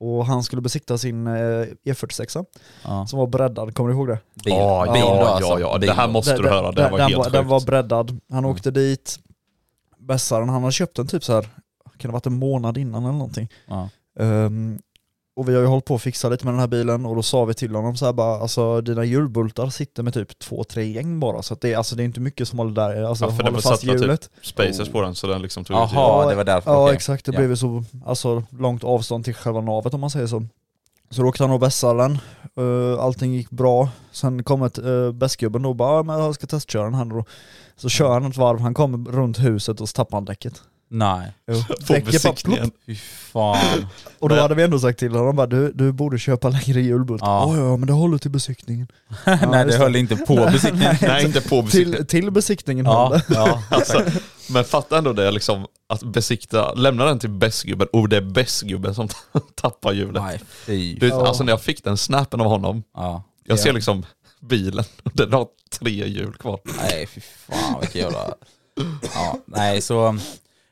[SPEAKER 3] och han skulle besikta sin eh, E46
[SPEAKER 2] ja.
[SPEAKER 3] som var breddad, kommer du ihåg det?
[SPEAKER 2] Bil.
[SPEAKER 4] Ja,
[SPEAKER 2] bil då
[SPEAKER 4] ja,
[SPEAKER 2] alltså.
[SPEAKER 4] ja, ja.
[SPEAKER 2] Bil
[SPEAKER 4] Det här
[SPEAKER 2] då.
[SPEAKER 4] måste du
[SPEAKER 3] Den-
[SPEAKER 4] höra, det här
[SPEAKER 3] den,
[SPEAKER 4] var
[SPEAKER 3] den,
[SPEAKER 4] helt
[SPEAKER 3] var,
[SPEAKER 4] sjukt.
[SPEAKER 3] den var breddad, han
[SPEAKER 2] Mm.
[SPEAKER 3] åkte dit, bässaren, han hade köpt den typ så här. kan det ha varit en månad innan eller någonting?
[SPEAKER 2] Ja.
[SPEAKER 3] Ehm, och vi har ju hållit på och fixat lite med den här bilen och då sa vi till honom så här bara, alltså dina hjulbultar sitter med typ två, tre gäng bara så att det, alltså, det är inte mycket som håller där, alltså
[SPEAKER 4] Ja, för
[SPEAKER 3] håller
[SPEAKER 4] den
[SPEAKER 3] fast
[SPEAKER 4] besatta typ.
[SPEAKER 3] hjulet.
[SPEAKER 4] Spacers på den så den liksom tog ut
[SPEAKER 2] Jaha. Ja, det var därför,
[SPEAKER 3] Ja
[SPEAKER 2] okej.
[SPEAKER 3] exakt, det
[SPEAKER 2] Ja.
[SPEAKER 3] blev ju så alltså, långt avstånd till själva navet om man säger så. Så då åkte han och vässade den, Eh, allting gick bra. Sen kom ett uh, bästgubben då och bara, "Ja, men jag ska testköra den här då. Så kör han ett varv, han kommer runt huset och så tappar han däcket.
[SPEAKER 2] Nej,
[SPEAKER 4] på
[SPEAKER 3] Däcket bara
[SPEAKER 4] besiktningen.
[SPEAKER 2] fy fan.
[SPEAKER 3] plopp. Och då hade vi ändå sagt till honom bara, du, du borde köpa längre hjulbult.
[SPEAKER 2] Ja.
[SPEAKER 3] Ja. ja, men det håller till besiktningen.
[SPEAKER 2] Nej det
[SPEAKER 3] just
[SPEAKER 2] höll inte på besiktningen.
[SPEAKER 4] Nej inte på besiktningen.
[SPEAKER 3] Till, till besiktningen höll
[SPEAKER 2] Ja,
[SPEAKER 3] det.
[SPEAKER 2] ja.
[SPEAKER 4] Alltså, men fatta ändå det liksom, att besikta, lämna den till bästgubben och det är bästgubben som tappar hjulet.
[SPEAKER 2] Nej fy.
[SPEAKER 4] Du, vet,
[SPEAKER 3] Ja.
[SPEAKER 4] Alltså när jag fick den snappen av honom,
[SPEAKER 2] Ja.
[SPEAKER 4] jag ser liksom bilen, den har tre hjul kvar.
[SPEAKER 2] Nej fy fan vilken jävla... Ja, nej så... um,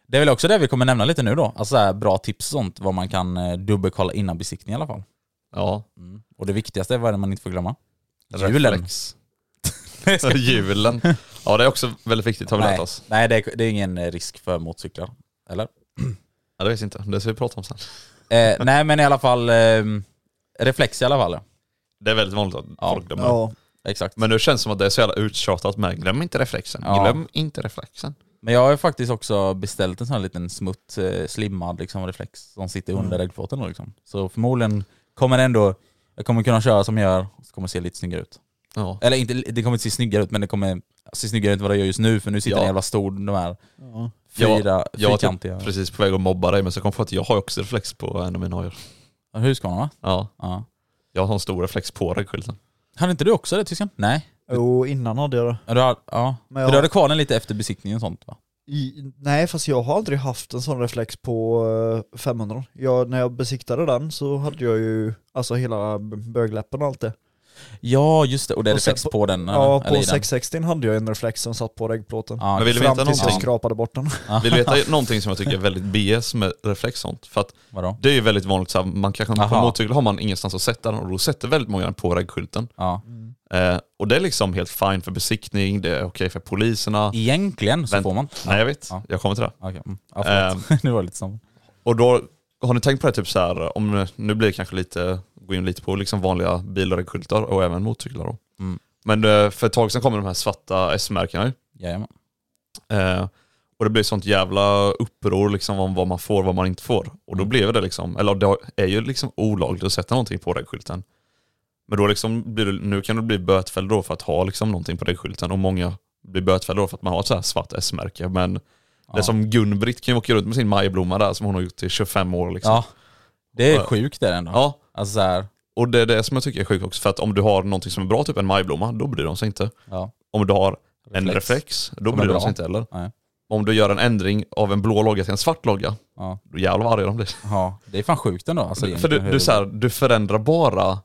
[SPEAKER 2] Det är väl också det vi kommer nämna lite nu då. Alltså så här, bra tips och sånt vad man kan eh, dubbelkolla innan besiktning i alla fall.
[SPEAKER 4] Ja,
[SPEAKER 2] Och det viktigaste är vad är det man inte får glömma? Hjulen.
[SPEAKER 4] reflex. Hjulen. Ja det är också väldigt viktigt har vi lärt
[SPEAKER 2] Nej,
[SPEAKER 4] oss.
[SPEAKER 2] nej det, är, det är ingen eh, risk för motorcyklar. Eller?
[SPEAKER 4] Ja, det vet jag inte, det ska vi prata om sen.
[SPEAKER 2] Eh, nej men i alla fall, eh, reflex i alla fall. ja.
[SPEAKER 4] Det är väldigt vanligt att
[SPEAKER 2] Ja.
[SPEAKER 4] folk glömmer.
[SPEAKER 3] Ja.
[SPEAKER 2] Exakt.
[SPEAKER 4] Men nu känns det som att det är så jävla uttjatat med glöm inte reflexen,
[SPEAKER 2] Ja.
[SPEAKER 4] glöm inte reflexen.
[SPEAKER 2] Men jag har ju faktiskt också beställt en sån här liten smutt, eh, slimmad liksom, reflex som sitter
[SPEAKER 3] Mm.
[SPEAKER 2] under regplåten. då, Liksom. Så förmodligen kommer det ändå, jag kommer kunna köra som jag gör, och så kommer det se lite snyggare ut.
[SPEAKER 4] Ja.
[SPEAKER 2] Eller inte, det kommer inte se snyggare ut, men det kommer se snyggare ut än vad det gör just nu, för nu sitter
[SPEAKER 4] Ja.
[SPEAKER 2] den jävla stor, de här
[SPEAKER 3] Ja.
[SPEAKER 2] fyra,
[SPEAKER 4] jag var typ
[SPEAKER 2] fyrkantiga...
[SPEAKER 4] precis på väg att mobba dig men så kom jag på att jag har ju också reflex på en av mina hojar.
[SPEAKER 2] Ja, Husqvarna va?
[SPEAKER 4] Ja,
[SPEAKER 2] Ja.
[SPEAKER 4] jag har en stor reflex på regskylten.
[SPEAKER 2] Hade inte du också det tysken? Nej?
[SPEAKER 3] Och innan hade jag det.
[SPEAKER 2] Ja, Du, har, ja.
[SPEAKER 3] Men
[SPEAKER 2] För
[SPEAKER 3] jag,
[SPEAKER 2] du hade kvar den lite efter besiktningen och sånt va?
[SPEAKER 3] i, nej fast jag har aldrig haft en sån reflex på eh, 500. Jag, när jag besiktade den så hade jag ju alltså hela b- bögläppen och allt det.
[SPEAKER 2] Ja just det, och det är
[SPEAKER 3] Och sen
[SPEAKER 2] reflex på, den.
[SPEAKER 3] Ja,
[SPEAKER 2] eller i
[SPEAKER 3] på
[SPEAKER 2] den.
[SPEAKER 3] 660 hade jag en reflex som satt på regplåten.
[SPEAKER 2] Ja,
[SPEAKER 4] Men vill du
[SPEAKER 3] Fram
[SPEAKER 4] veta
[SPEAKER 3] tills jag
[SPEAKER 4] någonting?
[SPEAKER 3] skrapade bort den.
[SPEAKER 4] Vill du veta någonting som jag tycker är väldigt BS med reflex sånt? För att
[SPEAKER 2] vadå?
[SPEAKER 4] det är ju väldigt vanligt så här, man kanske på
[SPEAKER 2] Aha.
[SPEAKER 4] en motorcykel har man ingenstans att sätta den och då sätter väldigt många den på regskylten.
[SPEAKER 2] Ja.
[SPEAKER 4] Eh, och det är liksom helt fine för besiktning, det är okej för poliserna.
[SPEAKER 2] Egentligen så
[SPEAKER 4] Vänt-
[SPEAKER 2] får man.
[SPEAKER 4] Nej jag vet,
[SPEAKER 2] Ja.
[SPEAKER 4] jag kommer till det.
[SPEAKER 2] Okej, mm. ja, förlåt.
[SPEAKER 4] Ehm.
[SPEAKER 2] nu var det lite snabbt.
[SPEAKER 4] Och då, har ni tänkt på det typ så här, om, nu blir det kanske lite, gå in lite på liksom vanliga bilar och skyltar och även motorcyklar då.
[SPEAKER 2] Mm.
[SPEAKER 4] Men eh, för ett tag sedan kom de här svarta S-märkena ju.
[SPEAKER 2] Jajamän.
[SPEAKER 4] Eh, och det blev sånt jävla uppror liksom om vad man får och vad man inte får. Och då
[SPEAKER 2] Mm.
[SPEAKER 4] blev det liksom, eller det är ju liksom olagligt att sätta någonting på regskylten. Men då liksom blir det, nu kan du bli bötfälld då för att ha liksom någonting på regskylten och många blir bötfällda då för att man har ett så här svart S-märke. Men det
[SPEAKER 2] Ja.
[SPEAKER 4] är som Gun-Britt kan ju åka runt med sin majblomma där som hon har gjort i 25 år liksom.
[SPEAKER 2] Ja. Det är sjukt det ändå.
[SPEAKER 4] Ja,
[SPEAKER 2] Alltså så här,
[SPEAKER 4] och det är det som jag tycker är sjukt också. För att om du har någonting som är bra, typ en majblomma, då bryr de sig inte.
[SPEAKER 2] ja.
[SPEAKER 4] Om du har en
[SPEAKER 2] Reflex.
[SPEAKER 4] reflex, då
[SPEAKER 2] Som är
[SPEAKER 4] bryr de
[SPEAKER 2] bra.
[SPEAKER 4] sig inte heller.
[SPEAKER 2] Nej.
[SPEAKER 4] Om du gör en ändring av en blå logga till en svart logga,
[SPEAKER 2] Ja.
[SPEAKER 4] då jävlar vad arga de blir.
[SPEAKER 2] ja, det är fan sjukt ändå. Alltså,
[SPEAKER 4] för du,
[SPEAKER 2] egentligen
[SPEAKER 4] du,
[SPEAKER 2] hur-
[SPEAKER 4] så här, du förändrar bara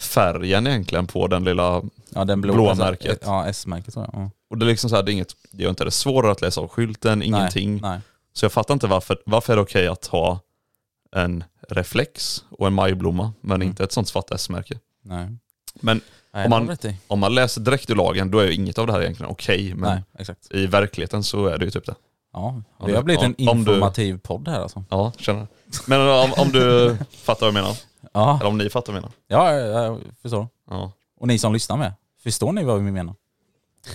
[SPEAKER 4] färgen egentligen på den lilla...
[SPEAKER 2] ja, den blå,
[SPEAKER 4] blåmärket.
[SPEAKER 2] alltså, Ja, S-märket tror jag. Ja.
[SPEAKER 4] Och det är liksom så här, det är inget, det gör inte det svårare att läsa av skylten, ingenting.
[SPEAKER 2] Nej, nej.
[SPEAKER 4] Så jag fattar inte varför, varför är det okej att ha en reflex och en majblomma, men
[SPEAKER 2] Mm.
[SPEAKER 4] inte ett sånt svart S-märke.
[SPEAKER 2] nej.
[SPEAKER 4] Men
[SPEAKER 2] nej
[SPEAKER 4] om
[SPEAKER 2] det har
[SPEAKER 4] man-
[SPEAKER 2] du rätt i.
[SPEAKER 4] om man läser direkt ur lagen, då är ju inget av det här egentligen okej, men
[SPEAKER 2] Nej, exakt.
[SPEAKER 4] i verkligheten så är det ju typ det.
[SPEAKER 2] Ja,
[SPEAKER 4] Om
[SPEAKER 2] det
[SPEAKER 4] du-
[SPEAKER 2] har blivit en
[SPEAKER 4] om- om du-
[SPEAKER 2] informativ podd här alltså.
[SPEAKER 4] Ja, känner Men om, om du fattar vad jag menar,
[SPEAKER 2] Ja,
[SPEAKER 4] eller om ni fattar vad jag menar.
[SPEAKER 2] ja, ja, jag förstår.
[SPEAKER 4] Ja,
[SPEAKER 2] Och ni som lyssnar med, förstår ni vad vi menar?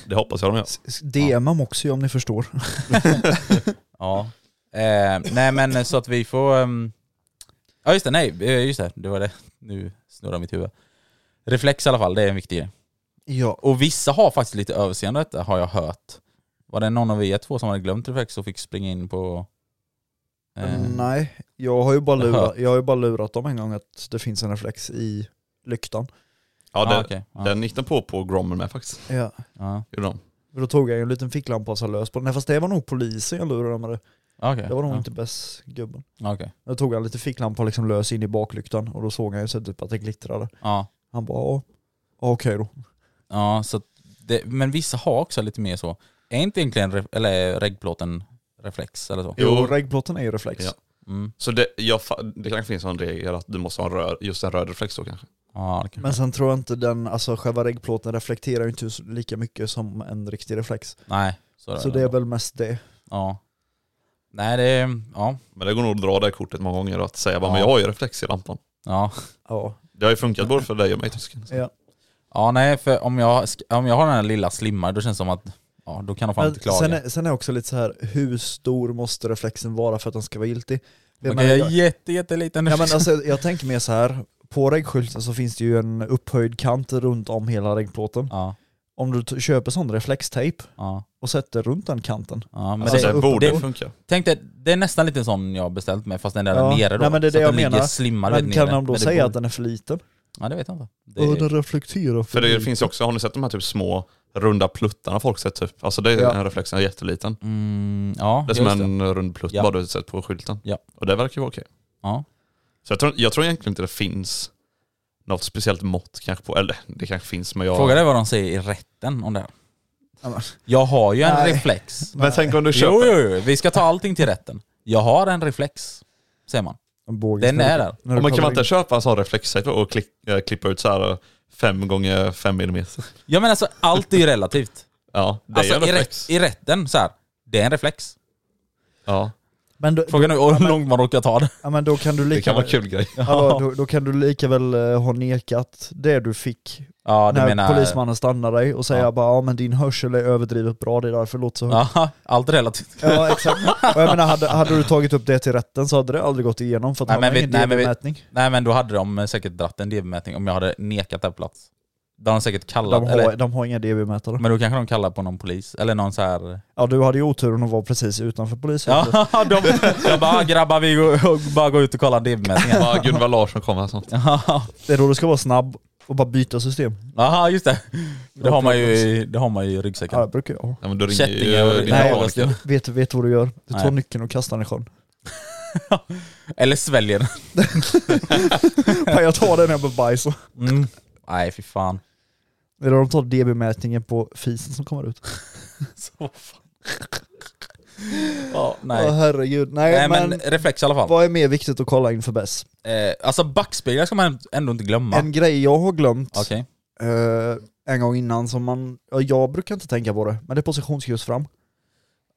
[SPEAKER 4] det hoppas jag de gör.
[SPEAKER 3] DM ja. också om ni förstår.
[SPEAKER 2] Ja. Eh, nej men så att vi får... ehm, Ja just det, nej eh, just det, det var det. Nu snurrar mitt huvud. Reflex i alla fall, det är en viktig grej.
[SPEAKER 3] Ja.
[SPEAKER 2] Och vissa har faktiskt lite överseende detta har jag hört. Var det någon av er två som hade glömt reflex och fick springa in på... eh,
[SPEAKER 3] Mm, Nej, jag har, ju bara
[SPEAKER 2] Jaha.
[SPEAKER 3] lurat, jag har ju bara lurat dem en gång att det finns en reflex i lyktan.
[SPEAKER 4] Ja, det,
[SPEAKER 2] ah, okej. ja,
[SPEAKER 4] den gick de på på Grommen med faktiskt.
[SPEAKER 3] Ja.
[SPEAKER 2] ja.
[SPEAKER 4] Gjorde de.
[SPEAKER 3] För då tog jag ju en liten ficklampa och så lös på den. Nej fast det var nog polisen jag lurade med det.
[SPEAKER 2] Ah, okej.
[SPEAKER 3] Det var nog
[SPEAKER 2] ja.
[SPEAKER 3] inte bäst gubben.
[SPEAKER 2] Ah, okej.
[SPEAKER 3] Då tog han lite ficklampa och liksom lös in i baklyktan och då såg han ju så typ att det glittrade.
[SPEAKER 2] Ja.
[SPEAKER 3] Han bara ja, ja, okej då.
[SPEAKER 2] Ja, så att det, men vissa har också lite mer så. Är inte egentligen ref, eller regplåten reflex eller så?
[SPEAKER 4] Jo.
[SPEAKER 3] Jo, regplåten är ju reflex.
[SPEAKER 4] Ja.
[SPEAKER 2] Mm.
[SPEAKER 4] Så det, jag, fa- det kanske finns en regel att du måste ha en röd, just en röd reflex då kanske.
[SPEAKER 2] Ja, det kan.
[SPEAKER 3] Men sen tror jag inte den, alltså själva regplåten reflekterar ju inte så- lika mycket som en riktig reflex.
[SPEAKER 2] Nej, så är
[SPEAKER 3] Så det är väl mest det.
[SPEAKER 2] Ja. Nej, det... Ja.
[SPEAKER 4] Men det går nog att dra det här kortet många gånger och att säga bara,
[SPEAKER 2] Ja.
[SPEAKER 4] men jag har ju reflex i lampan.
[SPEAKER 2] Ja.
[SPEAKER 3] Ja.
[SPEAKER 4] Det har ju funkat både för dig och mig tysken.
[SPEAKER 3] ja.
[SPEAKER 2] Ja, nej, för om jag, sk- om jag har den här lilla slimmar då känns det som att... Ja, då kan de fan
[SPEAKER 3] Men
[SPEAKER 2] inte klaga.
[SPEAKER 3] sen, är, sen är också lite så här, hur stor måste reflexen vara för att den ska vara giltig? Jag
[SPEAKER 2] Okej,
[SPEAKER 3] menar,
[SPEAKER 2] jag
[SPEAKER 3] jag-
[SPEAKER 2] är jätte, jätteliten.
[SPEAKER 3] Ja, men alltså, jag tänker mer så här. på regskylten så finns det ju en upphöjd kant runt om hela regplåten.
[SPEAKER 2] ja,
[SPEAKER 3] Om du t- köper sån reflextejp
[SPEAKER 2] ja,
[SPEAKER 3] och sätter runt den kanten.
[SPEAKER 2] ja, men
[SPEAKER 4] Alltså
[SPEAKER 2] det,
[SPEAKER 4] det,
[SPEAKER 3] upp-
[SPEAKER 4] borde
[SPEAKER 2] det-
[SPEAKER 4] funka.
[SPEAKER 2] tänk dig, det är nästan lite sån jag har beställt med fast den där
[SPEAKER 3] Ja,
[SPEAKER 2] nere då.
[SPEAKER 3] nej, men det är
[SPEAKER 2] så
[SPEAKER 3] det
[SPEAKER 2] att den
[SPEAKER 3] jag
[SPEAKER 2] ligger
[SPEAKER 3] menar.
[SPEAKER 2] slimmar
[SPEAKER 3] Men
[SPEAKER 2] vet,
[SPEAKER 3] kan
[SPEAKER 2] nere.
[SPEAKER 3] de då
[SPEAKER 2] Men det
[SPEAKER 3] säga
[SPEAKER 2] borde-
[SPEAKER 3] att den är för liten?
[SPEAKER 2] Ja, det vet jag inte. Det,
[SPEAKER 3] Ja, den reflekterar
[SPEAKER 4] För det
[SPEAKER 3] lite.
[SPEAKER 4] finns ju också, har ni sett de här typ små runda pluttarna folk sett typ? Alltså det är
[SPEAKER 3] Ja.
[SPEAKER 4] en reflex, den är jätteliten.
[SPEAKER 2] mm, ja,
[SPEAKER 4] Det är som
[SPEAKER 2] just det.
[SPEAKER 4] en rund plutt
[SPEAKER 2] Ja.
[SPEAKER 4] bara du sett på skylten.
[SPEAKER 2] Ja.
[SPEAKER 4] Och det verkar ju vara okej.
[SPEAKER 2] Ja.
[SPEAKER 4] Så jag tror, jag tror egentligen inte det finns något speciellt mått kanske på, eller det kanske finns men jag...
[SPEAKER 2] Fråga dig vad de säger i rätten om det här.
[SPEAKER 3] Ja, men-
[SPEAKER 2] Jag har ju en
[SPEAKER 3] Nej.
[SPEAKER 2] reflex.
[SPEAKER 4] Men tänk om du köper...
[SPEAKER 2] Jo, jo, jo, vi ska ta allting till rätten. Jag har en reflex, säger man.
[SPEAKER 3] En båge
[SPEAKER 2] Den
[SPEAKER 3] som-
[SPEAKER 2] är där.
[SPEAKER 3] när du
[SPEAKER 4] Och man kan
[SPEAKER 3] kollar
[SPEAKER 4] man inte
[SPEAKER 3] in.
[SPEAKER 4] köpa en sån reflexsajt och klick, eh, klippa ut så här 5 gånger 5 millimeter?
[SPEAKER 2] Ja men alltså allt är ju relativt.
[SPEAKER 4] Ja, det
[SPEAKER 2] Alltså
[SPEAKER 4] är en
[SPEAKER 2] i, rätt,
[SPEAKER 4] reflex.
[SPEAKER 2] i rätten så här. det är en reflex.
[SPEAKER 4] ja.
[SPEAKER 3] Men, då,
[SPEAKER 2] Frågan är hur långt man råkar ta det.
[SPEAKER 3] ja, men då kan du
[SPEAKER 4] Det
[SPEAKER 3] lika
[SPEAKER 4] kan vara
[SPEAKER 3] väl,
[SPEAKER 4] en kul grej.
[SPEAKER 3] hallå, då, då kan du lika väl eh, ha nekat det du fick
[SPEAKER 2] Ja du
[SPEAKER 3] när
[SPEAKER 2] menar...
[SPEAKER 3] polismannen stannar dig och säger
[SPEAKER 2] Ja.
[SPEAKER 3] bara ja men din hörsel är överdrivet bra, det är därför det låter så högt.
[SPEAKER 2] Ja, allt relativt.
[SPEAKER 3] Ja exakt. Och jag menar, hade, hade du tagit upp det till rätten så hade det aldrig gått igenom för att
[SPEAKER 2] Nej,
[SPEAKER 3] nej,
[SPEAKER 2] men
[SPEAKER 3] man
[SPEAKER 2] vi-
[SPEAKER 3] har ingen
[SPEAKER 2] nej, men vi-
[SPEAKER 3] DB-mätning.
[SPEAKER 2] Nej men då hade de säkert dratt en DB-mätning om jag hade nekat det på plats. Då hade de säkert kallat,
[SPEAKER 3] De, har-
[SPEAKER 2] eller,
[SPEAKER 3] de har inga DB-mätare.
[SPEAKER 2] men då kanske de kallar på någon polis, eller någon så här...
[SPEAKER 3] Ja du hade ju oturen att vara precis utanför polishuset.
[SPEAKER 2] Ja, de, de bara "Ah, grabbar vi går, och bara går ut och kollar DB-mätningen.
[SPEAKER 4] Bara Gunvor Larsson kommer här sånt.
[SPEAKER 3] Det är då du ska vara snabb och bara byta system.
[SPEAKER 2] Jaha, just det. Det har man ju, i- det har man ju i ryggsäcken.
[SPEAKER 3] Ja det brukar jag ha.
[SPEAKER 4] Ja, men då ringer ju
[SPEAKER 2] Kättingar och-
[SPEAKER 4] din
[SPEAKER 2] Nej,
[SPEAKER 4] Veronica.
[SPEAKER 2] jag-
[SPEAKER 3] Vet du vet du vad du gör? Du tar
[SPEAKER 2] Nej.
[SPEAKER 3] nyckeln och kastar den i sjön.
[SPEAKER 2] Eller sväljer den.
[SPEAKER 3] Fan, Jag tar den när jag blir bajs.
[SPEAKER 2] Mm. Nej fy fan.
[SPEAKER 3] Eller de tar DB-mätningen på fisen som kommer ut.
[SPEAKER 2] Så fan. ja, nej.
[SPEAKER 3] Åh herregud. Nej,
[SPEAKER 2] nej men,
[SPEAKER 3] men,
[SPEAKER 2] reflex i alla fall.
[SPEAKER 3] vad är mer viktigt att kolla inför bäst?
[SPEAKER 2] Eh, alltså backspeglar ska man ändå inte glömma.
[SPEAKER 3] En grej jag har glömt
[SPEAKER 2] Okej.
[SPEAKER 3] eh, en gång innan som man, ja, jag brukar inte tänka på det, men det är positionsljus fram.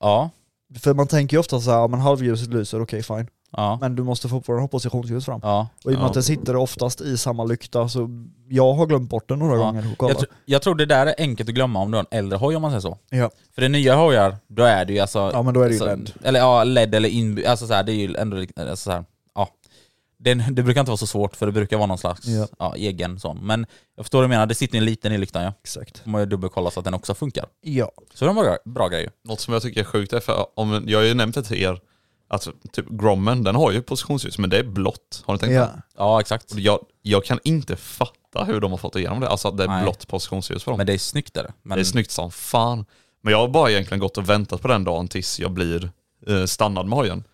[SPEAKER 2] Ja.
[SPEAKER 3] För man tänker ju ofta så här, ja men halvljuset lyser, okej fine.
[SPEAKER 2] Ja.
[SPEAKER 3] Men du måste fortfarande ha positionsljus fram.
[SPEAKER 2] ja.
[SPEAKER 3] Och i och med
[SPEAKER 4] Ja.
[SPEAKER 3] att det sitter oftast i samma lykta så jag har glömt bort det några
[SPEAKER 2] Ja.
[SPEAKER 3] gånger och
[SPEAKER 2] Jag,
[SPEAKER 3] kollat.
[SPEAKER 2] tr- jag tror det där är enkelt att glömma om du har en äldre hoj om man säger så.
[SPEAKER 3] Ja.
[SPEAKER 2] För det nya hojar, då är det ju alltså...
[SPEAKER 3] ja men då är det ju
[SPEAKER 2] alltså,
[SPEAKER 3] LED.
[SPEAKER 2] Eller ja, LED eller inbyggd, alltså så här, det är ju ändå lik- alltså så här, ja. Det, det brukar inte vara så svårt för det brukar vara någon slags
[SPEAKER 3] Ja.
[SPEAKER 2] ja. egen sån. Men jag förstår vad du menar, det sitter ju en liten i lyktan ja.
[SPEAKER 3] Exakt.
[SPEAKER 2] Får man ju dubbelkolla så att den också funkar.
[SPEAKER 3] Ja.
[SPEAKER 2] Så det var bra, bra grejer.
[SPEAKER 4] Något som jag tycker är sjukt är, för om, jag har ju nämnt det till er, att typ Grommen, den har ju positionsljus, men det är blått. Har ni tänkt på
[SPEAKER 3] ja.
[SPEAKER 4] det?
[SPEAKER 2] Ja exakt.
[SPEAKER 4] Och Jag, jag kan inte fatta hur de har fått igenom det, alltså att det är
[SPEAKER 2] Nej.
[SPEAKER 4] blått positionsljus på dem.
[SPEAKER 2] Men det är snyggt är det. Men,
[SPEAKER 4] Det är snyggt som fan. Men jag har bara egentligen gått och väntat på den dagen tills jag blir eh, stannad med hojen.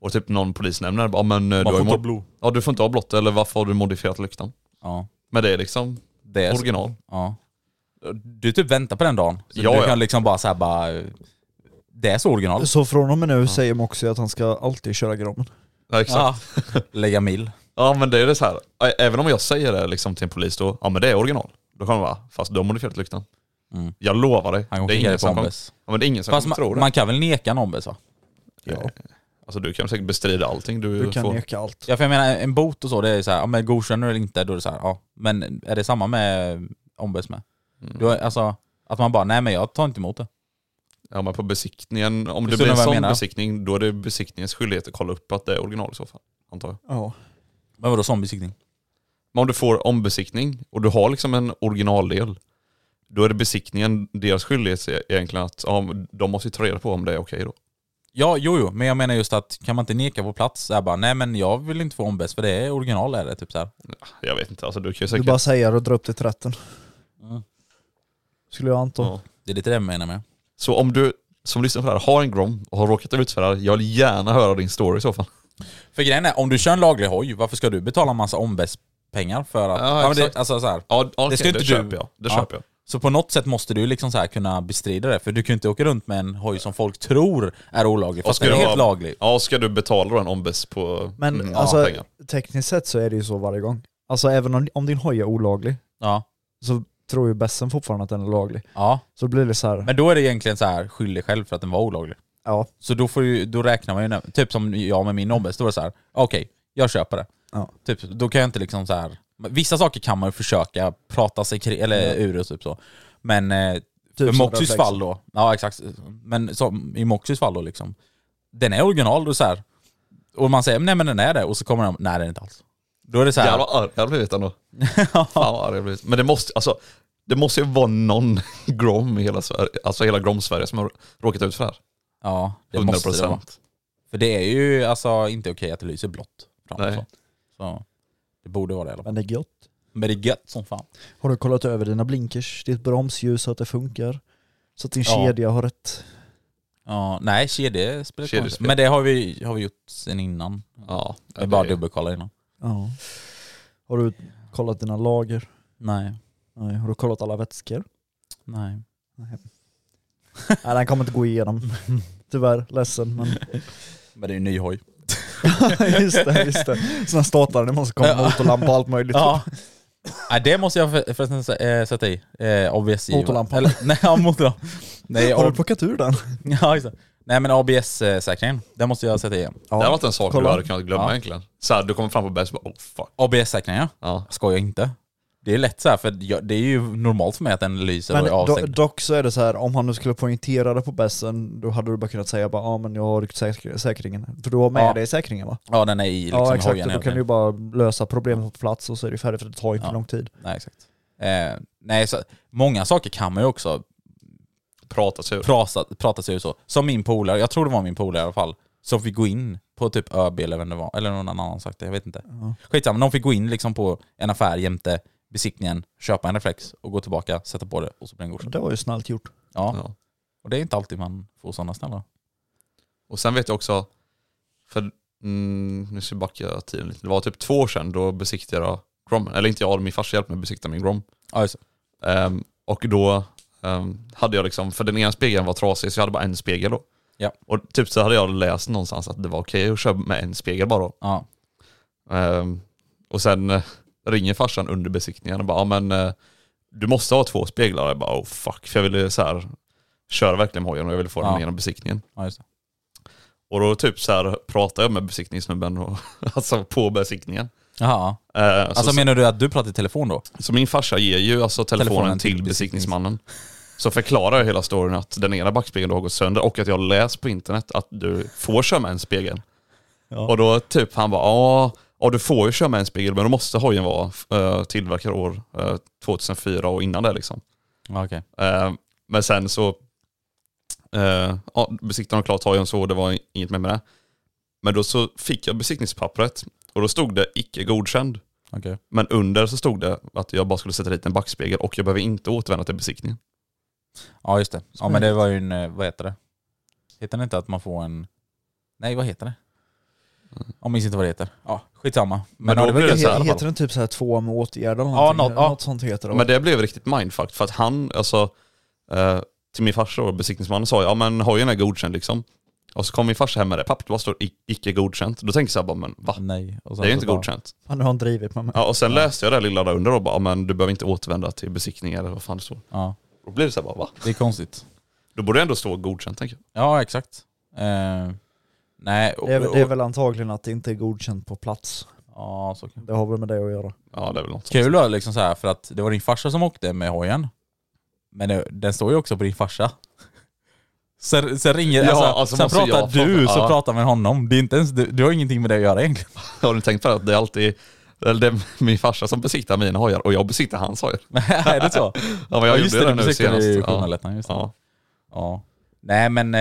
[SPEAKER 4] Och typ någon polis nämner det, ja men eh, du,
[SPEAKER 2] Man får
[SPEAKER 4] har ju
[SPEAKER 2] inte ha
[SPEAKER 4] mod-
[SPEAKER 2] blå.
[SPEAKER 4] ja, du får inte ha blått, eller varför har du modifierat lyktan?
[SPEAKER 2] Ja.
[SPEAKER 4] Men det är liksom
[SPEAKER 2] Det är,
[SPEAKER 4] original.
[SPEAKER 2] ja. Du typ väntar på den dagen. Så
[SPEAKER 4] Ja,
[SPEAKER 2] du
[SPEAKER 4] ja.
[SPEAKER 2] kan liksom bara såhär bara... Det är så original.
[SPEAKER 3] Så från och med nu säger Moxie att han ska alltid köra Grommen.
[SPEAKER 4] Ja, exakt. Ja.
[SPEAKER 2] Ja. Lägga mil.
[SPEAKER 4] men det är det så här. Ä- även om jag säger det liksom till en polis då, ja men det är original. Då kommer de bara, fast du har modifierat lyktan.
[SPEAKER 2] Mm.
[SPEAKER 4] Jag lovar dig,
[SPEAKER 2] Han kommer
[SPEAKER 4] det är
[SPEAKER 2] skicka
[SPEAKER 4] ingen
[SPEAKER 2] det på
[SPEAKER 4] som kommer,
[SPEAKER 2] Ombes.
[SPEAKER 4] ja, men det är ingen som
[SPEAKER 2] Fast
[SPEAKER 4] kommer tro
[SPEAKER 2] man,
[SPEAKER 4] det.
[SPEAKER 2] man kan väl neka en Ombes va?
[SPEAKER 4] ja. Alltså du kan säkert bestrida allting du,
[SPEAKER 3] Du kan
[SPEAKER 4] får.
[SPEAKER 3] neka allt.
[SPEAKER 2] Ja för jag menar en bot och så, det är ju såhär, ja men godkänner du eller inte, då är det såhär, ja. Men är det samma med ombes med?
[SPEAKER 4] Mm.
[SPEAKER 2] Du, har- alltså, att man bara, nej men jag tar inte emot det.
[SPEAKER 4] Ja men på besiktningen, om det
[SPEAKER 2] Förstår
[SPEAKER 4] blir
[SPEAKER 2] ni
[SPEAKER 4] en
[SPEAKER 2] vad jag
[SPEAKER 4] sån
[SPEAKER 2] menar?
[SPEAKER 4] besiktning, då är det besiktningens skyldighet att kolla upp att det är original i så fall. Antar jag.
[SPEAKER 3] Ja.
[SPEAKER 2] Men vadå sån besiktning?
[SPEAKER 4] Men om du får ombesiktning och du har liksom en originaldel, då är det besiktningen, deras skyldighet är egentligen att ja, men de måste ju ta reda på om det är okej då.
[SPEAKER 2] Ja, jo, jo, men jag menar just att kan man inte neka på plats så här bara, nej men jag vill inte få ombes för det är original är det typ så här.
[SPEAKER 4] Jag vet inte, alltså du kan ju
[SPEAKER 3] Du
[SPEAKER 4] säkert...
[SPEAKER 3] bara säger och drar upp det till rätten.
[SPEAKER 2] Mm.
[SPEAKER 3] Skulle jag anta.
[SPEAKER 4] Ja.
[SPEAKER 2] Det är lite det jag menar med.
[SPEAKER 4] Så om du som lyssnar på det här har en Grom och har råkat ut för det här, jag vill gärna höra din story i så fall.
[SPEAKER 2] För grejen är, om du kör en laglig hoj, varför ska du betala en massa ombes pengar för att...
[SPEAKER 4] Ja,
[SPEAKER 2] men det,
[SPEAKER 4] exakt.
[SPEAKER 2] alltså så här.
[SPEAKER 4] Ja, okay,
[SPEAKER 2] ska inte
[SPEAKER 4] det
[SPEAKER 2] du-
[SPEAKER 4] köper jag. Det
[SPEAKER 2] Ja.
[SPEAKER 4] köper jag.
[SPEAKER 2] Så på något sätt måste du ju liksom så här kunna bestrida det, för du kan ju inte åka runt med en hoj som folk tror är olaglig, fast
[SPEAKER 4] ska
[SPEAKER 2] den är
[SPEAKER 4] du
[SPEAKER 2] helt
[SPEAKER 4] ha-
[SPEAKER 2] laglig.
[SPEAKER 4] Ja, ska du betala då en ombes på
[SPEAKER 3] Men
[SPEAKER 4] mm,
[SPEAKER 3] alltså,
[SPEAKER 4] pengar?
[SPEAKER 3] tekniskt sett så är det ju så varje gång. Alltså även om, om din hoj är olaglig
[SPEAKER 2] Ja.
[SPEAKER 3] så tror ju bässen fortfarande att den är laglig.
[SPEAKER 2] Ja,
[SPEAKER 3] Så blir det så här,
[SPEAKER 2] men då är det egentligen så här skyll dig själv för att den var olaglig.
[SPEAKER 3] ja,
[SPEAKER 2] Så då, får ju, då räknar man ju, när- typ som jag med min Ombes, då var det så här, okej, jag köper det.
[SPEAKER 3] Ja.
[SPEAKER 2] Typ, då kan jag inte liksom så här. men vissa saker kan man ju försöka prata sig kri- eller ur och typ så. Men eh, för
[SPEAKER 3] typ som
[SPEAKER 2] Moxys
[SPEAKER 3] reflex.
[SPEAKER 2] fall då, ja exakt, men som, i Moxys fall då liksom, den är original och så här. och man säger nej men den är det, och så kommer den, nej den är inte alls. Då är det så här,
[SPEAKER 4] Jävlar vad arg jag har blivit ändå. Fan vad arg jag har blivit. Men det måste, alltså, det måste ju vara någon Grom i hela Sverige, alltså hela Grom-Sverige som har råkat ut för det här.
[SPEAKER 2] ja det
[SPEAKER 4] 100%.
[SPEAKER 2] måste det vara. För det är ju alltså inte okej att det lyser blått. fram och
[SPEAKER 4] Nej.
[SPEAKER 2] Så. så det borde vara det i alla fall.
[SPEAKER 3] men det är gött.
[SPEAKER 2] Men det är gött som fan.
[SPEAKER 3] Har du kollat över dina blinkers, ditt bromsljus så att det funkar? Så att din
[SPEAKER 2] Ja.
[SPEAKER 3] kedja har rätt.
[SPEAKER 2] Ja, nej, kedjespel.
[SPEAKER 4] Kedjespel.
[SPEAKER 2] Men det har vi, har vi gjort sen innan.
[SPEAKER 4] Ja,
[SPEAKER 2] Vi bara dubbelkollar innan.
[SPEAKER 3] Ja. Har du kollat dina lager?
[SPEAKER 2] Nej,
[SPEAKER 3] Nej. Har du kollat alla vätskor?
[SPEAKER 2] nej.
[SPEAKER 3] Nej den kommer inte gå igenom. Tyvärr, ledsen men
[SPEAKER 2] Men det är ju ny hoj.
[SPEAKER 3] just det, just det. Sådana startare, det måste komma motorlampa och allt möjligt.
[SPEAKER 2] Ja. nej, det måste jag för- förresten sä- eh, sätta i. Eh, ABS i-
[SPEAKER 3] Motorlampan.
[SPEAKER 2] Eller, nej, ja, motorlampan. Nej,
[SPEAKER 3] Har du
[SPEAKER 2] A-
[SPEAKER 3] plockat ur den?
[SPEAKER 2] ja, just det. nej, men ABS-säkringen. Den måste jag sätta i.
[SPEAKER 4] Det hade varit en sak
[SPEAKER 3] Kolla.
[SPEAKER 4] du hade kunnat glömma
[SPEAKER 2] Ja.
[SPEAKER 4] egentligen. Så här, du kommer fram på bäst och bara oh fuck.
[SPEAKER 2] ABS-säkringen, ja.
[SPEAKER 4] Ja.
[SPEAKER 2] Jag skojar inte. Det är lätt så här, för jag, det är ju normalt för mig att den lyser
[SPEAKER 3] Men
[SPEAKER 2] och är
[SPEAKER 3] do,
[SPEAKER 2] avstängd.
[SPEAKER 3] dock så är det så här, om han nu skulle poängtera det på bässen, då hade du bara kunnat säga bara ja ah, men jag har ryckt säk- säkringen. För du har med
[SPEAKER 2] Ja.
[SPEAKER 3] dig säkringen va?
[SPEAKER 2] Ja, den är i liksom
[SPEAKER 3] ja exakt,
[SPEAKER 2] hojen.
[SPEAKER 3] och då
[SPEAKER 2] hela
[SPEAKER 3] kan
[SPEAKER 2] tiden.
[SPEAKER 3] du ju bara lösa problemet på plats och så är det färdigt för det tar inte
[SPEAKER 2] Ja.
[SPEAKER 3] lång tid.
[SPEAKER 2] Nej, exakt. Eh, nej, så, många saker kan man ju också
[SPEAKER 4] Prata sig ur.
[SPEAKER 2] prata, prata sig ur så. Som min polare, jag tror det var min polare i alla fall, som fick gå in på typ ÖB eller vem det var, eller någon annan sagt det, jag vet inte. Skitsamma, de fick gå in liksom på en affär jämte besiktningen, köpa en reflex och gå tillbaka, sätta på det och så blir den godkänd.
[SPEAKER 3] Det var ju snällt gjort.
[SPEAKER 2] Ja.
[SPEAKER 4] Ja.
[SPEAKER 2] och det är inte alltid man får sådana snälla.
[SPEAKER 4] Och sen vet jag också, för mm, nu ska jag backa tiden lite. Det var typ två år sedan, då besiktigade jag Grom. Eller inte jag, min farsa hjälpte mig besikta min Grom.
[SPEAKER 2] Ja, just det.
[SPEAKER 4] Ehm, och då ehm, hade jag liksom, för den ena spegeln var trasig så jag hade bara en spegel då.
[SPEAKER 2] Ja.
[SPEAKER 4] Och typ så hade jag läst någonstans att det var okej att köra med en spegel bara då.
[SPEAKER 2] Ja.
[SPEAKER 4] Ehm, och sen eh, ringer farsan under besiktningen och bara, ja men eh, du måste ha två speglar. Jag bara, oh fuck, för jag ville så här köra verkligen med hojen och jag ville få
[SPEAKER 2] Ja.
[SPEAKER 4] den genom besiktningen.
[SPEAKER 2] ja, just det.
[SPEAKER 4] Och då typ så här pratade jag med besiktningssnubben, och, alltså på besiktningen.
[SPEAKER 2] Jaha.
[SPEAKER 4] Eh,
[SPEAKER 2] Alltså
[SPEAKER 4] så,
[SPEAKER 2] menar du att du pratar i telefon då?
[SPEAKER 4] så min farsa ger ju alltså telefonen,
[SPEAKER 2] Telefonen till
[SPEAKER 4] till, besiktningsmannen. Så förklarar jag hela storyn att den ena backspegeln då har gått sönder och att jag har läst på internet att du får köra med en spegel. Och då typ han bara ja, ja du får ju köra med en spegel men då måste hojen vara eh, tillverkad år eh, 2004 och innan det liksom.
[SPEAKER 2] Ja, okej.
[SPEAKER 4] Eh, men sen så eh, ja, besiktade de klart hojen så och det var inget mer med det. Men då så fick jag besiktningspappret och då stod det icke godkänd.
[SPEAKER 2] Okej.
[SPEAKER 4] Men under så stod det att jag bara skulle sätta dit en backspegel och jag behöver inte återvända till besiktningen.
[SPEAKER 2] Ja, just det. Ja, men det var ju en, eh, vad heter det? Heter det inte att man får en... Nej, vad heter det? Jag minns inte vad det heter. Ja, skitsamma. Mm. Men,
[SPEAKER 4] då
[SPEAKER 2] ja, det var
[SPEAKER 4] blir
[SPEAKER 2] gött
[SPEAKER 4] det så här-
[SPEAKER 2] i alla fall.
[SPEAKER 3] Heter den typ så här två med åtgärd eller
[SPEAKER 2] Ja,
[SPEAKER 3] någonting?
[SPEAKER 2] något- ja.
[SPEAKER 3] något sånt heter det. va?
[SPEAKER 4] Men det blev riktigt mindfuck för att han, alltså eh, till min farsa och besiktningsmannen sa ja men hojen är godkänd liksom. Och så kom min farsa hem med det pappret, vad står ic- icke godkänt? Då tänkte jag så här, bara, men va?
[SPEAKER 2] Nej. och sen
[SPEAKER 4] Det är
[SPEAKER 2] så
[SPEAKER 4] ju inte
[SPEAKER 2] bara-
[SPEAKER 4] godkänt.
[SPEAKER 3] Fan, nu har han drivit med mig.
[SPEAKER 4] Ja, och sen läste jag det här lilla där under och bara, "Ja, men du behöver inte återvända till besiktning eller vad fan det står.
[SPEAKER 2] Ja,
[SPEAKER 4] Då blir det så här bara, va?
[SPEAKER 2] det är konstigt.
[SPEAKER 4] Då borde det ändå stå godkänt tänker jag.
[SPEAKER 2] Ja, exakt. Eh, nej, och,
[SPEAKER 3] Det är, det är väl antagligen att det inte är godkänt på plats.
[SPEAKER 2] Ja, så kan
[SPEAKER 3] Det har väl med det att göra.
[SPEAKER 4] Ja det är väl något.
[SPEAKER 2] Kul då, liksom så här, för att det var din farsa som åkte med hojen. Men det, den står ju också på din farsa. Sen, sen ringer,
[SPEAKER 4] Ja,
[SPEAKER 2] alltså,
[SPEAKER 4] alltså
[SPEAKER 2] sen
[SPEAKER 4] måste jag
[SPEAKER 2] pratar
[SPEAKER 4] prata-
[SPEAKER 2] du, så
[SPEAKER 4] ja.
[SPEAKER 2] pratar med honom. Det är inte ens, du, du har ingenting med det att göra egentligen.
[SPEAKER 4] Har ni tänkt på det? att Det är alltid eller det är min farsa som besiktar mina hojar och jag besiktar hans hojar.
[SPEAKER 2] är det så?
[SPEAKER 4] Ja men jag
[SPEAKER 2] just
[SPEAKER 4] gjorde det,
[SPEAKER 2] du
[SPEAKER 4] nu
[SPEAKER 2] besiktade
[SPEAKER 4] senast.
[SPEAKER 2] ju
[SPEAKER 4] Ja.
[SPEAKER 2] journalettan, just det.
[SPEAKER 4] Ja.
[SPEAKER 2] Ja. Nej men, eh,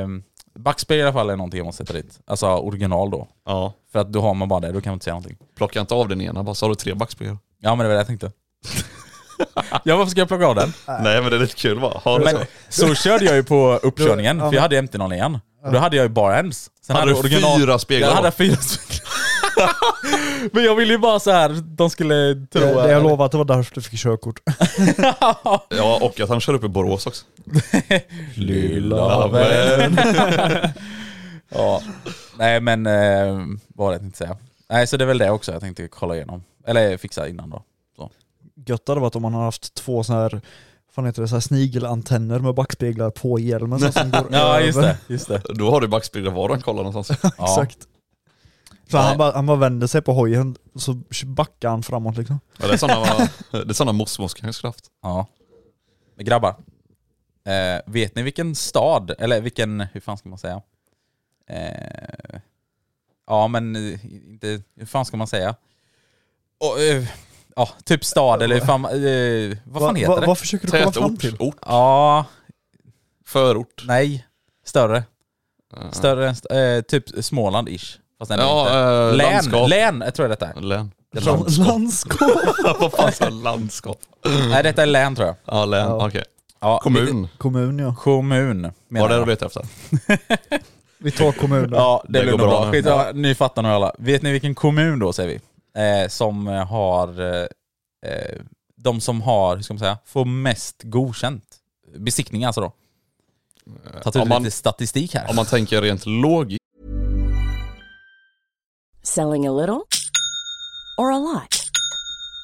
[SPEAKER 2] ehm, backspegel i alla fall är någonting jag måste sätta dit. Alltså original då.
[SPEAKER 4] ja.
[SPEAKER 2] För att då har man bara det, då kan man inte säga någonting.
[SPEAKER 4] Plocka inte av den ena bara, så har du tre backspeglar.
[SPEAKER 2] Ja men det var det jag tänkte. ja varför ska jag plocka av den?
[SPEAKER 4] Nej men det är lite kul bara. Har du
[SPEAKER 3] Alltså,
[SPEAKER 2] Men
[SPEAKER 4] så?
[SPEAKER 2] så körde jag ju på uppkörningen,
[SPEAKER 3] Ja,
[SPEAKER 2] för
[SPEAKER 3] men-
[SPEAKER 2] jag hade mt någon igen. Och då hade jag ju bara ens. Sen
[SPEAKER 4] Hade du fyra speglar
[SPEAKER 2] Jag hade
[SPEAKER 4] då?
[SPEAKER 2] fyra speglar. Men jag ville ju bara så här, de skulle tro...
[SPEAKER 3] Det, det jag
[SPEAKER 2] att-
[SPEAKER 3] lovar att det var därför du fick körkort.
[SPEAKER 4] Ja och att han kör upp i Borås också.
[SPEAKER 2] Lilla vän. ja. Nej men, eh, vad var det jag tänkte säga? Nej så det är väl det också jag tänkte kolla igenom. Eller fixa innan då.
[SPEAKER 3] Gött hade varit om man hade haft två sådana här, fan heter det, så här snigelantenner med backspeglar på hjälmen så som går
[SPEAKER 2] Ja
[SPEAKER 3] över.
[SPEAKER 2] just det. Just det.
[SPEAKER 4] Då har du backspeglar var du än kollar någonstans.
[SPEAKER 2] Ja.
[SPEAKER 3] Exakt. Så
[SPEAKER 2] Nej.
[SPEAKER 3] han bara, han bara vänder sig på hojen så backar han framåt liksom.
[SPEAKER 4] Ja, det är sådana, det är sådana mosmos kanske skulle haft.
[SPEAKER 2] Ja. Men grabbar. Eh, vet ni vilken stad, eller vilken, hur fan ska man säga? Eh, ja men, eh, inte, hur fan ska man säga? Och, eh, ja, typ stad eller hur fan, eh, vad fan
[SPEAKER 3] Va-
[SPEAKER 2] heter
[SPEAKER 3] va-
[SPEAKER 2] det?
[SPEAKER 3] Vad försöker du komma fram
[SPEAKER 4] Tätort,
[SPEAKER 3] till?
[SPEAKER 4] ort,
[SPEAKER 2] Ja,
[SPEAKER 4] förort.
[SPEAKER 2] nej. Större. Större än, st- eh, typ Småland-ish. Fast ändå
[SPEAKER 4] Ja,
[SPEAKER 2] inte.
[SPEAKER 4] eh,
[SPEAKER 2] län,
[SPEAKER 4] landskap.
[SPEAKER 2] län jag tror jag detta är.
[SPEAKER 4] Län.
[SPEAKER 3] Landskap?
[SPEAKER 4] Vad fan sa jag? landskap?
[SPEAKER 2] Nej detta är län tror jag.
[SPEAKER 4] Ja län,
[SPEAKER 3] Ja.
[SPEAKER 4] okej.
[SPEAKER 2] Ja,
[SPEAKER 4] Kommun.
[SPEAKER 3] Kommun ja.
[SPEAKER 2] Kommun. menar
[SPEAKER 4] Var det
[SPEAKER 2] jag.
[SPEAKER 4] det du letade efter?
[SPEAKER 3] Vi tar kommunen.
[SPEAKER 2] Ja, det,
[SPEAKER 4] Det
[SPEAKER 2] blir nog
[SPEAKER 4] går bra
[SPEAKER 2] bra.
[SPEAKER 4] nu.
[SPEAKER 2] Skit, ja, ni fattar nog alla. Vet ni vilken kommun då, säger vi, eh, som eh, har, eh, eh, de som har, hur ska man säga, får mest godkänt? Besiktning alltså då. Tagit ut
[SPEAKER 4] Om man,
[SPEAKER 2] lite statistik här.
[SPEAKER 4] om man tänker rent logiskt
[SPEAKER 5] Selling a little or a lot?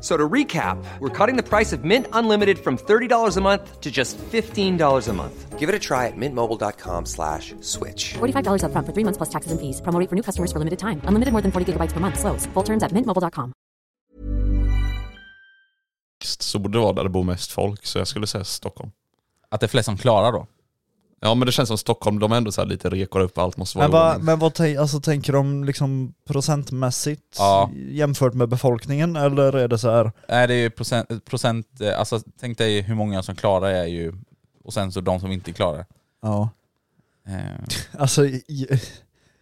[SPEAKER 6] So to recap, we're cutting the price of Mint Unlimited from $30 a month to just $15 a month. Give it a try at mintmobile.com slash switch.
[SPEAKER 7] $45 upfront for three months plus taxes and fees. Promo rate for new customers for limited time. Unlimited more than 40 gigabytes per month. Slows. Full terms at mintmobile.com.
[SPEAKER 4] så borde det vara där det bor mest folk, så jag skulle säga Stockholm.
[SPEAKER 2] Att det är flest som klarar då.
[SPEAKER 4] Ja men det känns som Stockholm, de är ändå så här lite rekor upp, allt måste vara
[SPEAKER 3] Men, vad-
[SPEAKER 4] ordning.
[SPEAKER 3] men vad tänk, alltså, tänker de liksom procentmässigt
[SPEAKER 2] Ja.
[SPEAKER 3] jämfört med befolkningen eller är det så här?
[SPEAKER 2] Nej det är ju procent, procent eh, alltså tänk dig hur många som klarar är ju, och sen så de som inte klarar.
[SPEAKER 3] Ja.
[SPEAKER 2] Eh,
[SPEAKER 3] Alltså i-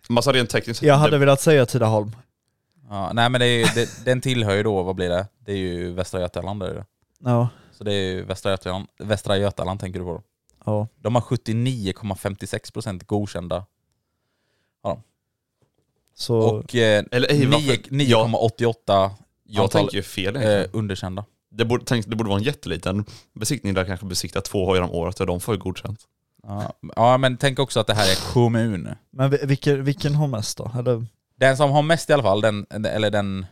[SPEAKER 4] Men alltså rent tekniskt,
[SPEAKER 3] jag hade
[SPEAKER 4] det,
[SPEAKER 3] velat säga Tidaholm.
[SPEAKER 2] ja, nej men det är ju, det, den tillhör ju då, vad blir det? Det är ju Västra Götaland är det. ju.
[SPEAKER 3] Ja.
[SPEAKER 2] Så det är ju Västra Götaland, Västra Götaland tänker du på då.
[SPEAKER 3] ja.
[SPEAKER 2] De har 79,56% godkända.
[SPEAKER 3] Så,
[SPEAKER 2] Och eh,
[SPEAKER 4] Eller ej, varför-
[SPEAKER 2] 9,88
[SPEAKER 4] jag
[SPEAKER 2] antal,
[SPEAKER 4] tänker ju fel
[SPEAKER 2] eh,
[SPEAKER 4] egentligen.
[SPEAKER 2] underkända.
[SPEAKER 4] det, borde, tänk, det borde vara en jätteliten besiktning där kanske besiktar två hojar om året och de får ju godkänt.
[SPEAKER 2] Ja, ja men tänk också att det här är kommun.
[SPEAKER 3] men vi- vilken, vilken har mest då? Eller,
[SPEAKER 2] Den som har mest i alla fall, den, eller den,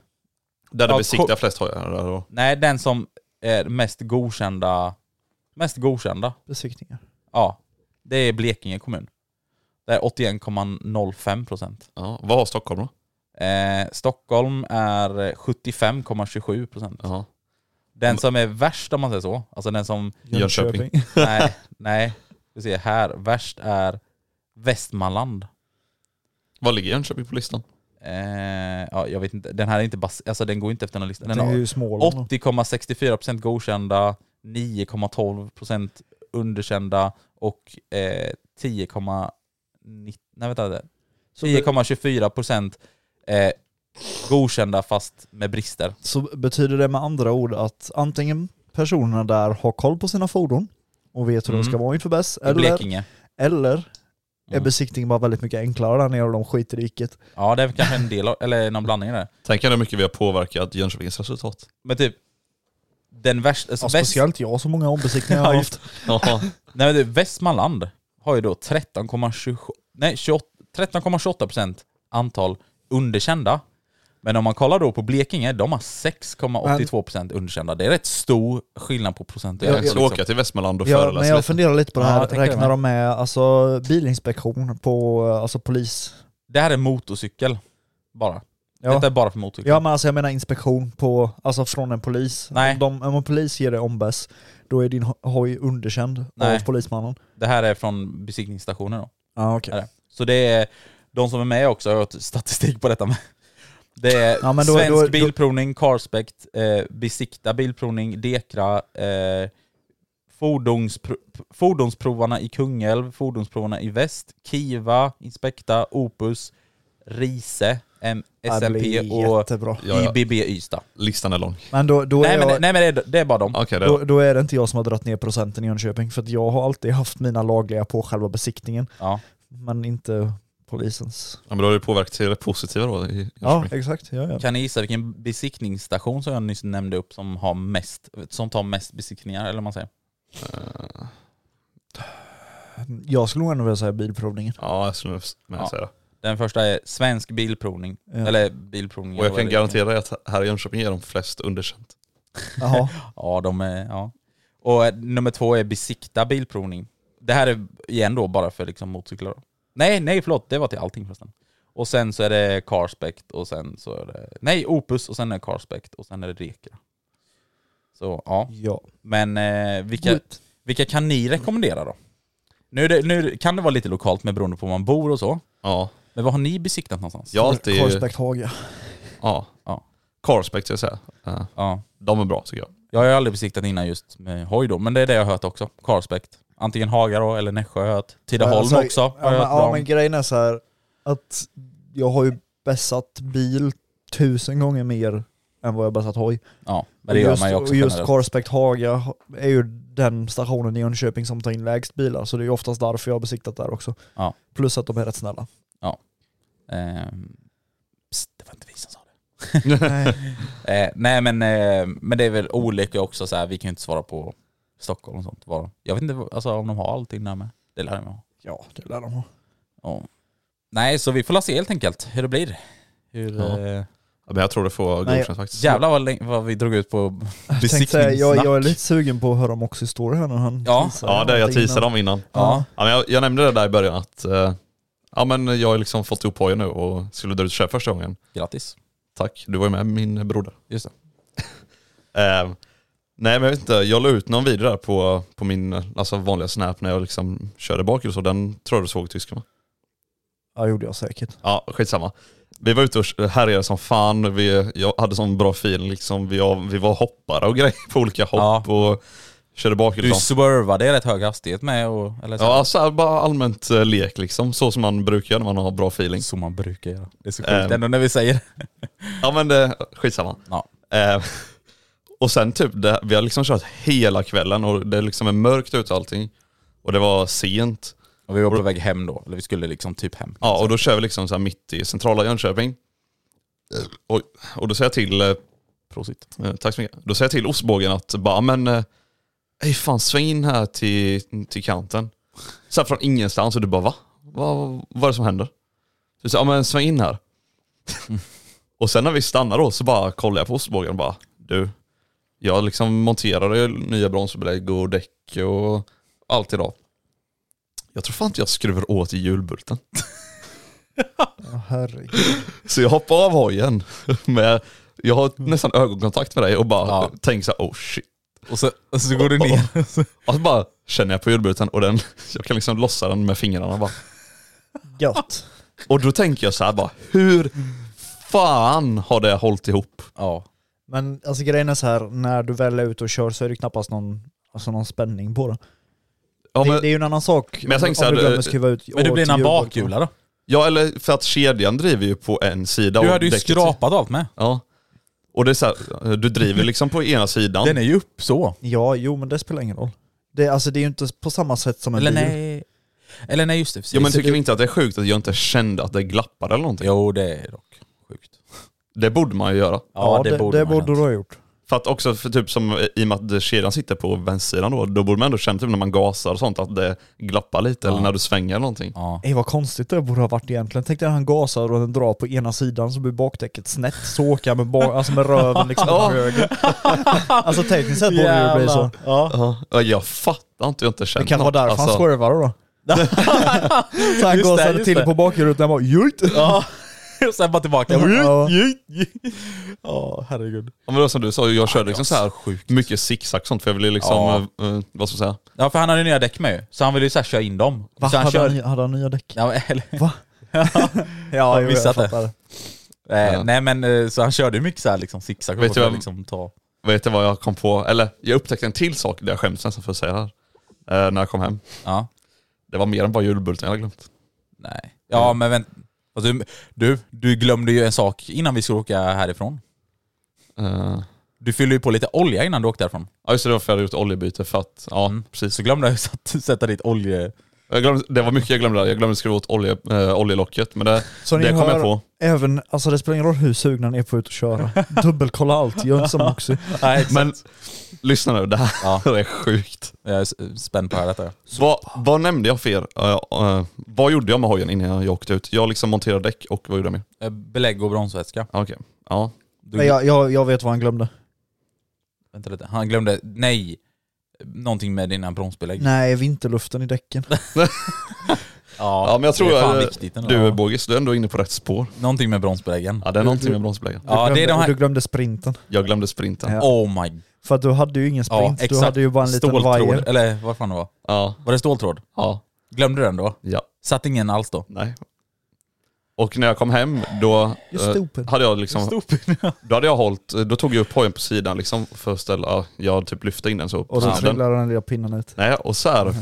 [SPEAKER 4] Där det
[SPEAKER 2] Ja,
[SPEAKER 4] besiktar
[SPEAKER 2] ko-
[SPEAKER 4] flest hojar. där då.
[SPEAKER 2] nej den som är mest godkända, mest godkända,
[SPEAKER 3] besiktningar.
[SPEAKER 2] ja, det är Blekinge kommun. Det är 81,05 procent.
[SPEAKER 4] Ja, vad har Stockholm då?
[SPEAKER 2] Eh, Stockholm är 75,27 procent.
[SPEAKER 4] Ja.
[SPEAKER 2] Den som är värst om man säger så, alltså den som,
[SPEAKER 4] Jönköping.
[SPEAKER 2] nej, nej, vi ser här, värst är Västmanland.
[SPEAKER 4] Vad ligger Jönköping på listan?
[SPEAKER 2] Eh, ja, jag vet inte, den här är inte bas- alltså den går inte efter någon lista. Den
[SPEAKER 3] Det är
[SPEAKER 2] har-
[SPEAKER 3] ju Småland. då.
[SPEAKER 2] 80,64% godkända, 9,12% underkända och eh, 10,9 nej, vänta, det-
[SPEAKER 3] Så, be,
[SPEAKER 2] 10,24% eh, godkända fast med brister.
[SPEAKER 3] så betyder det med andra ord att antingen personerna där har koll på sina fordon och vet hur de ska
[SPEAKER 2] Mm.
[SPEAKER 3] vara inför bäst,
[SPEAKER 2] I
[SPEAKER 3] eller,
[SPEAKER 2] Blekinge.
[SPEAKER 3] eller är
[SPEAKER 2] Mm.
[SPEAKER 3] besiktningen bara väldigt mycket enklare där nere och de skiter i vilket.
[SPEAKER 2] Ja det är väl kanske en del av, eller någon blandning där.
[SPEAKER 4] Tänk hur mycket vi har påverkat Jönköpings resultat.
[SPEAKER 2] Men typ, den värsta, alltså
[SPEAKER 3] Ja,
[SPEAKER 2] väst,
[SPEAKER 3] speciellt jag så många ombesiktningar jag har
[SPEAKER 2] Ja,
[SPEAKER 3] haft.
[SPEAKER 4] Ja,
[SPEAKER 2] nej, men du, Västmanland har ju då 13,27, nej 28 13,28% antal underkända. Men om man kollar då på Blekinge, de har 6,82% underkända. Det är rätt stor skillnad på procentuellt.
[SPEAKER 4] jag ska
[SPEAKER 2] liksom.
[SPEAKER 4] åka till Västmanland och
[SPEAKER 3] Ja, men
[SPEAKER 4] föreläsa
[SPEAKER 3] jag
[SPEAKER 4] lite.
[SPEAKER 3] funderar lite på det
[SPEAKER 2] Ja,
[SPEAKER 3] här,
[SPEAKER 2] jag tänker
[SPEAKER 3] räknar
[SPEAKER 2] det.
[SPEAKER 3] de med alltså, bilinspektion på eh, alltså, polis?
[SPEAKER 2] Det här är motorcykel, bara.
[SPEAKER 3] Ja.
[SPEAKER 2] Detta är bara för motorcykel.
[SPEAKER 3] Ja men alltså jag menar inspektion på, alltså från en polis.
[SPEAKER 2] Nej.
[SPEAKER 3] Om, de, om en polis ger dig ombes, då är din ho- hoj underkänd
[SPEAKER 2] Nej.
[SPEAKER 3] av polismannen.
[SPEAKER 2] Det här är från besiktningsstationen då.
[SPEAKER 3] Ja okej.
[SPEAKER 2] Är det. Så det är, de som är med också har gjort statistik på detta med. Det är
[SPEAKER 3] Ja, men då-
[SPEAKER 2] Svensk
[SPEAKER 3] då- då-
[SPEAKER 2] Bilprovning, Carspect, eh, Besikta Bilprovning, Dekra, eh, fordonspro, Fordonsprovarna i Kungälv, Fordonsprovarna i Väst, Kiva, Inspekta, Opus, Rise, M,
[SPEAKER 3] Det
[SPEAKER 2] SMP
[SPEAKER 3] blir
[SPEAKER 2] och
[SPEAKER 3] jättebra.
[SPEAKER 4] Ja, ja.
[SPEAKER 2] IBB Ystad.
[SPEAKER 4] Listan är lång.
[SPEAKER 3] Men då, då,
[SPEAKER 2] Nej
[SPEAKER 3] är
[SPEAKER 2] men,
[SPEAKER 3] jag,
[SPEAKER 2] nej, men det, är, det är bara dem.
[SPEAKER 4] Okej, det är
[SPEAKER 3] Mm. då, då är det inte jag som har dragit ner procenten i Jönköping, för att jag har alltid haft mina lagliga på själva besiktningen,
[SPEAKER 2] Ja.
[SPEAKER 3] men inte polisens.
[SPEAKER 4] Ja, men då har det påverkat till det positiva då i
[SPEAKER 3] Ja
[SPEAKER 4] Jönköping.
[SPEAKER 3] exakt, ja, ja.
[SPEAKER 2] Kan ni gissa vilken besiktningsstation som jag nyss nämnde upp som, har mest, som tar mest besiktningar? Eller vad man säger.
[SPEAKER 4] Eh,
[SPEAKER 3] Jag skulle nog ändå vilja säga bilprovningen.
[SPEAKER 4] Ja, jag skulle med
[SPEAKER 2] Ja.
[SPEAKER 4] säga det.
[SPEAKER 2] Den första är Svensk Bilprovning.
[SPEAKER 3] Ja.
[SPEAKER 2] Eller Bilprovning.
[SPEAKER 4] Och jag kan
[SPEAKER 2] eller vad det
[SPEAKER 4] garantera dig att här i Jönköping är de flest underkänt.
[SPEAKER 3] Jaha.
[SPEAKER 2] är. Ja, de är... Ja. Och eh, nummer två är Besikta Bilprovning. Det här är igen då bara för liksom motorcyklar. Nej, nej förlåt. Det var till allting förresten. Och sen så är det Carspect och sen så är det... Nej, Opus och sen är det Carspect och sen är det Rekra. Så ja.
[SPEAKER 3] Ja.
[SPEAKER 2] Men eh, vilka,
[SPEAKER 3] Gud.
[SPEAKER 2] vilka kan ni rekommendera då? Nu, är det, nu kan det vara lite lokalt med beroende på var man bor och så.
[SPEAKER 4] Ja,
[SPEAKER 2] Men vad har ni besiktat någonstans?
[SPEAKER 4] jag har alltid...
[SPEAKER 3] Carlsberg Haga.
[SPEAKER 4] Ja.
[SPEAKER 2] Ja.
[SPEAKER 4] Carspect ska jag säga. Ja.
[SPEAKER 2] Ja.
[SPEAKER 4] De är bra tycker jag.
[SPEAKER 2] Jag har ju aldrig besiktat innan just med hoj då, men det är det jag har hört också. Carspect. Antingen Haga då, eller Nässjö har jag hört. Tidaholm
[SPEAKER 3] Alltså,
[SPEAKER 2] också
[SPEAKER 3] Ja,
[SPEAKER 2] har
[SPEAKER 3] men,
[SPEAKER 2] jag hört bra
[SPEAKER 3] ja
[SPEAKER 2] om.
[SPEAKER 3] men grejen är så här att jag har ju bäsat bil tusen gånger mer än vad jag bäsat hoj.
[SPEAKER 2] Ja, men det gör
[SPEAKER 3] just,
[SPEAKER 2] man ju också
[SPEAKER 3] och just
[SPEAKER 2] generellt.
[SPEAKER 3] Carspect Haga är ju den stationen i Jönköping som tar in lägst bilar, så det är ju oftast därför jag har besiktat där också.
[SPEAKER 2] Ja.
[SPEAKER 3] Plus att de är rätt snälla.
[SPEAKER 2] Ehm, psst, det var inte vi som sa det. eh, nej men, eh, men det är väl olika också så här. vi kan ju inte svara på Stockholm och sånt. Var, jag vet inte vad- alltså, om de har allting där med. Det lär de ju ha.
[SPEAKER 3] Ja, det lär de ha.
[SPEAKER 2] Ja. Nej, så vi får la se helt enkelt hur det blir. Hur,
[SPEAKER 4] Ja.
[SPEAKER 2] eh,
[SPEAKER 4] Ja, Men jag tror det får
[SPEAKER 3] Nej.
[SPEAKER 4] godkänt faktiskt.
[SPEAKER 2] Jävlar vad, länge, vad vi drog ut på
[SPEAKER 3] Jag tänkte säga,
[SPEAKER 2] besiktningssnack.
[SPEAKER 3] jag, jag är lite sugen på att höra om Oxys story här när han
[SPEAKER 2] Ja.
[SPEAKER 3] teasar
[SPEAKER 4] Ja, det, jag
[SPEAKER 3] någonting
[SPEAKER 4] teasade
[SPEAKER 3] innan.
[SPEAKER 4] om innan.
[SPEAKER 2] Ja.
[SPEAKER 4] Ja, men jag, jag nämnde det där i början att eh, ja, men jag har liksom fått ihop hojen nu och skulle dra ut och köra första gången.
[SPEAKER 2] Grattis.
[SPEAKER 4] Tack, du var ju med min broder.
[SPEAKER 2] Just det.
[SPEAKER 4] Eh, nej men jag vet inte, jag la ut någon video där på, på min alltså, vanliga snap när jag liksom körde bak och så, den tror jag du såg tyska med.
[SPEAKER 3] Ja, gjorde jag säkert.
[SPEAKER 4] Ja, skitsamma. Vi var ute och härjade som fan, vi, jag hade sån bra feeling liksom, vi, av- vi var hoppare och grejer på olika hopp och körde bakhjul.
[SPEAKER 2] Du
[SPEAKER 4] som-
[SPEAKER 2] swervade i rätt hög hastighet med och... Eller så,
[SPEAKER 4] Ja, alltså här, bara allmänt eh, lek liksom, så som man brukar när man har bra feeling.
[SPEAKER 2] som man brukar göra. Det är så sjukt
[SPEAKER 4] Ehm.
[SPEAKER 2] ändå när vi säger det.
[SPEAKER 4] Ja men det, skitsamma.
[SPEAKER 2] Ja.
[SPEAKER 4] Eh, och sen typ, det, vi har liksom kört hela kvällen och det liksom är mörkt ute och allting. Och det var sent.
[SPEAKER 2] Och vi var på väg hem då, eller vi skulle liksom typ hem.
[SPEAKER 4] Ja, och då kör vi liksom så här mitt i centrala Jönköping. Och, och då säger jag till, eh,
[SPEAKER 2] Prosit.
[SPEAKER 4] eh, tack så mycket, då säger jag till ostbågen att bara men, eh, ej fan sväng in här till, till kanten. Så här från ingenstans och du bara va? Vad vad är det som händer? Så jag säger, ja men sväng in här. och sen när vi stannar då så bara kollar jag på ostbågen och bara du, jag liksom monterade ju nya bromsbelägg och däck och allt idag. Jag tror fan inte jag skruvar åt i hjulbulten.
[SPEAKER 3] Ja, herregud.
[SPEAKER 4] Så jag hoppar av hojen med, jag har nästan ögonkontakt med dig och bara
[SPEAKER 2] Mm. Ja.
[SPEAKER 4] tänker så här, oh shit.
[SPEAKER 2] Och så, och så går du ner.
[SPEAKER 4] Och så bara känner jag på hjulbulten och den, jag kan liksom lossa den med fingrarna bara.
[SPEAKER 3] Gött.
[SPEAKER 4] Och då tänker jag så här bara, hur fan har det hållit ihop?
[SPEAKER 2] Ja.
[SPEAKER 3] Men alltså grejen är så här, när du väl är ute och kör så är det knappast någon, alltså någon spänning på det.
[SPEAKER 4] Ja,
[SPEAKER 3] det. Det är
[SPEAKER 4] men,
[SPEAKER 3] ju en annan sak
[SPEAKER 4] Men jag
[SPEAKER 3] om-
[SPEAKER 4] tänker
[SPEAKER 3] om
[SPEAKER 4] så här,
[SPEAKER 3] du
[SPEAKER 4] du-
[SPEAKER 3] glömmer skruva ut
[SPEAKER 2] Men det
[SPEAKER 3] åt
[SPEAKER 2] blir en
[SPEAKER 3] hjulbulten.
[SPEAKER 2] bakhjula då.
[SPEAKER 4] ja eller för att kedjan driver ju på en sida.
[SPEAKER 2] Du
[SPEAKER 4] och
[SPEAKER 2] hade ju
[SPEAKER 4] däcket-
[SPEAKER 2] skrapat allt med.
[SPEAKER 4] Ja. Och det är så här, du driver liksom på ena sidan.
[SPEAKER 2] Den är ju upp så.
[SPEAKER 3] Ja, jo men det spelar ingen roll. Det, alltså det är ju inte på samma sätt som en
[SPEAKER 2] Eller
[SPEAKER 3] bil.
[SPEAKER 2] nej. Eller nej, just det. Precis.
[SPEAKER 4] ja men tycker
[SPEAKER 2] det,
[SPEAKER 4] ni inte att det är sjukt att jag inte kände att det glappade eller någonting?
[SPEAKER 2] Jo, det är dock sjukt.
[SPEAKER 4] Det borde man ju göra.
[SPEAKER 3] Ja, det, det borde,
[SPEAKER 2] man ha
[SPEAKER 3] du
[SPEAKER 2] gjort.
[SPEAKER 3] ha gjort.
[SPEAKER 4] För att också, för typ som i och med att kedjan sitter på vänstersidan då, då borde man ändå känna typ när man gasar och sånt att det glappar lite eller när du svänger eller någonting.
[SPEAKER 2] Ja.
[SPEAKER 3] Ey vad konstigt det borde ha varit egentligen. Tänk dig när han gasar och den drar på ena sidan så blir bakdäcket snett, så åker han med, ba- alltså med röven liksom åt höger. Alltså tekniskt sett borde det ju bli så.
[SPEAKER 4] Ja. Jag fattar inte hur jag inte känner
[SPEAKER 3] Det kan vara
[SPEAKER 4] något, Alltså,
[SPEAKER 3] därför han swervade då. så han
[SPEAKER 2] Alltså. Just det,
[SPEAKER 3] gasade
[SPEAKER 2] just
[SPEAKER 3] till
[SPEAKER 2] det.
[SPEAKER 3] på bakrutan och bara "Jojt!"
[SPEAKER 2] Ja. Och sen bara tillbaka.
[SPEAKER 3] Ja.
[SPEAKER 2] Ja, herregud.
[SPEAKER 4] Ja, men det var som du sa, jag körde liksom så här
[SPEAKER 2] sjukt.
[SPEAKER 4] mycket zigzag sånt för jag ville liksom,
[SPEAKER 2] Ja.
[SPEAKER 4] eh, eh, vad ska man säga?
[SPEAKER 2] Ja, för han hade ju nya däck med ju. Så han ville ju såhär köra in dem.
[SPEAKER 3] Va?
[SPEAKER 2] Så han
[SPEAKER 3] Hade,
[SPEAKER 2] kör...
[SPEAKER 3] han, hade han nya däck?
[SPEAKER 2] Ja, men- eller...
[SPEAKER 3] Va? Ja, jo, jag
[SPEAKER 2] missat det.
[SPEAKER 3] fattar.
[SPEAKER 2] Eh,
[SPEAKER 4] Ja.
[SPEAKER 2] Nej men eh, så han körde ju mycket såhär liksom zigzag.
[SPEAKER 4] Vet
[SPEAKER 2] och
[SPEAKER 4] du
[SPEAKER 2] så
[SPEAKER 4] vad-
[SPEAKER 2] liksom ta...
[SPEAKER 4] Vet du vad jag kom på? Eller jag upptäckte en till sak där jag skäms nästan för att säga det här. Eh, när jag kom hem.
[SPEAKER 2] Ja.
[SPEAKER 4] Det var mer än bara julbulten jag hade glömt.
[SPEAKER 2] Nej. Ja men vänt. Alltså, du, du glömde ju en sak innan vi skulle åka härifrån.
[SPEAKER 4] Eh,
[SPEAKER 2] Du fyllde ju på lite olja innan du åkte därifrån.
[SPEAKER 4] ja just det, det var för att jag hade gjort oljebyte för att, ja
[SPEAKER 2] Mm.
[SPEAKER 4] precis.
[SPEAKER 2] Så glömde jag ju att sätta dit olje...
[SPEAKER 4] Jag glömde, det var mycket jag glömde där, jag glömde skriva åt olje, eh, oljelocket men det,
[SPEAKER 3] Så ni
[SPEAKER 4] det kom
[SPEAKER 3] hör,
[SPEAKER 4] jag på.
[SPEAKER 3] Även, alltså det spelar ingen roll hur sugna ni är på att ut och köra. Dubbelkolla allt, gör inte som Oxy.
[SPEAKER 2] Nej, exakt.
[SPEAKER 4] Men lyssna nu, det här
[SPEAKER 2] Ja.
[SPEAKER 4] är sjukt.
[SPEAKER 2] Jag är s- spänd på att höra detta.
[SPEAKER 4] Vad, vad nämnde jag för er? Eh, eh, vad gjorde jag med hojen innan jag åkte ut? Jag liksom monterade däck och vad gjorde jag mer?
[SPEAKER 2] Eh, Belägg och bromsvätska.
[SPEAKER 4] Ja, Okej, ja.
[SPEAKER 2] Du,
[SPEAKER 3] Men jag, jag, jag vet vad han glömde.
[SPEAKER 2] vänta lite. Han glömde, nej, någonting med dina bromsbelägg.
[SPEAKER 3] Nej, vinterluften i däcken.
[SPEAKER 2] Ja,
[SPEAKER 4] Ja men jag tror
[SPEAKER 2] det är fan
[SPEAKER 4] jag,
[SPEAKER 2] viktigt ändå.
[SPEAKER 4] du är Bogis, du är ändå inne på rätt spår.
[SPEAKER 2] Någonting med bromsbeläggen.
[SPEAKER 4] Ja det är någonting med bromsbeläggen.
[SPEAKER 2] Ja,
[SPEAKER 3] du, glömde,
[SPEAKER 2] det är de här-
[SPEAKER 3] du glömde sprinten.
[SPEAKER 4] Jag glömde sprinten.
[SPEAKER 3] Ja.
[SPEAKER 2] Oh my...
[SPEAKER 3] För att du hade ju ingen
[SPEAKER 2] Ja,
[SPEAKER 3] sprint,
[SPEAKER 2] exakt.
[SPEAKER 3] du hade ju bara en liten vajer.
[SPEAKER 2] Eller vad fan det var.
[SPEAKER 4] Ja.
[SPEAKER 2] Var det ståltråd?
[SPEAKER 4] Ja.
[SPEAKER 2] Glömde du den då?
[SPEAKER 4] ja.
[SPEAKER 2] Satt ingen alls då?
[SPEAKER 4] Nej. Och när jag kom hem då
[SPEAKER 3] You're
[SPEAKER 4] eh,
[SPEAKER 3] stupid.
[SPEAKER 4] hade jag liksom, då hade jag hållit, då tog jag upp hojen på sidan liksom för att ställa, jag typ lyfte in den så. på
[SPEAKER 3] Och så
[SPEAKER 4] sidan.
[SPEAKER 3] trillade den lilla pinnen ut.
[SPEAKER 4] Nej, och så här.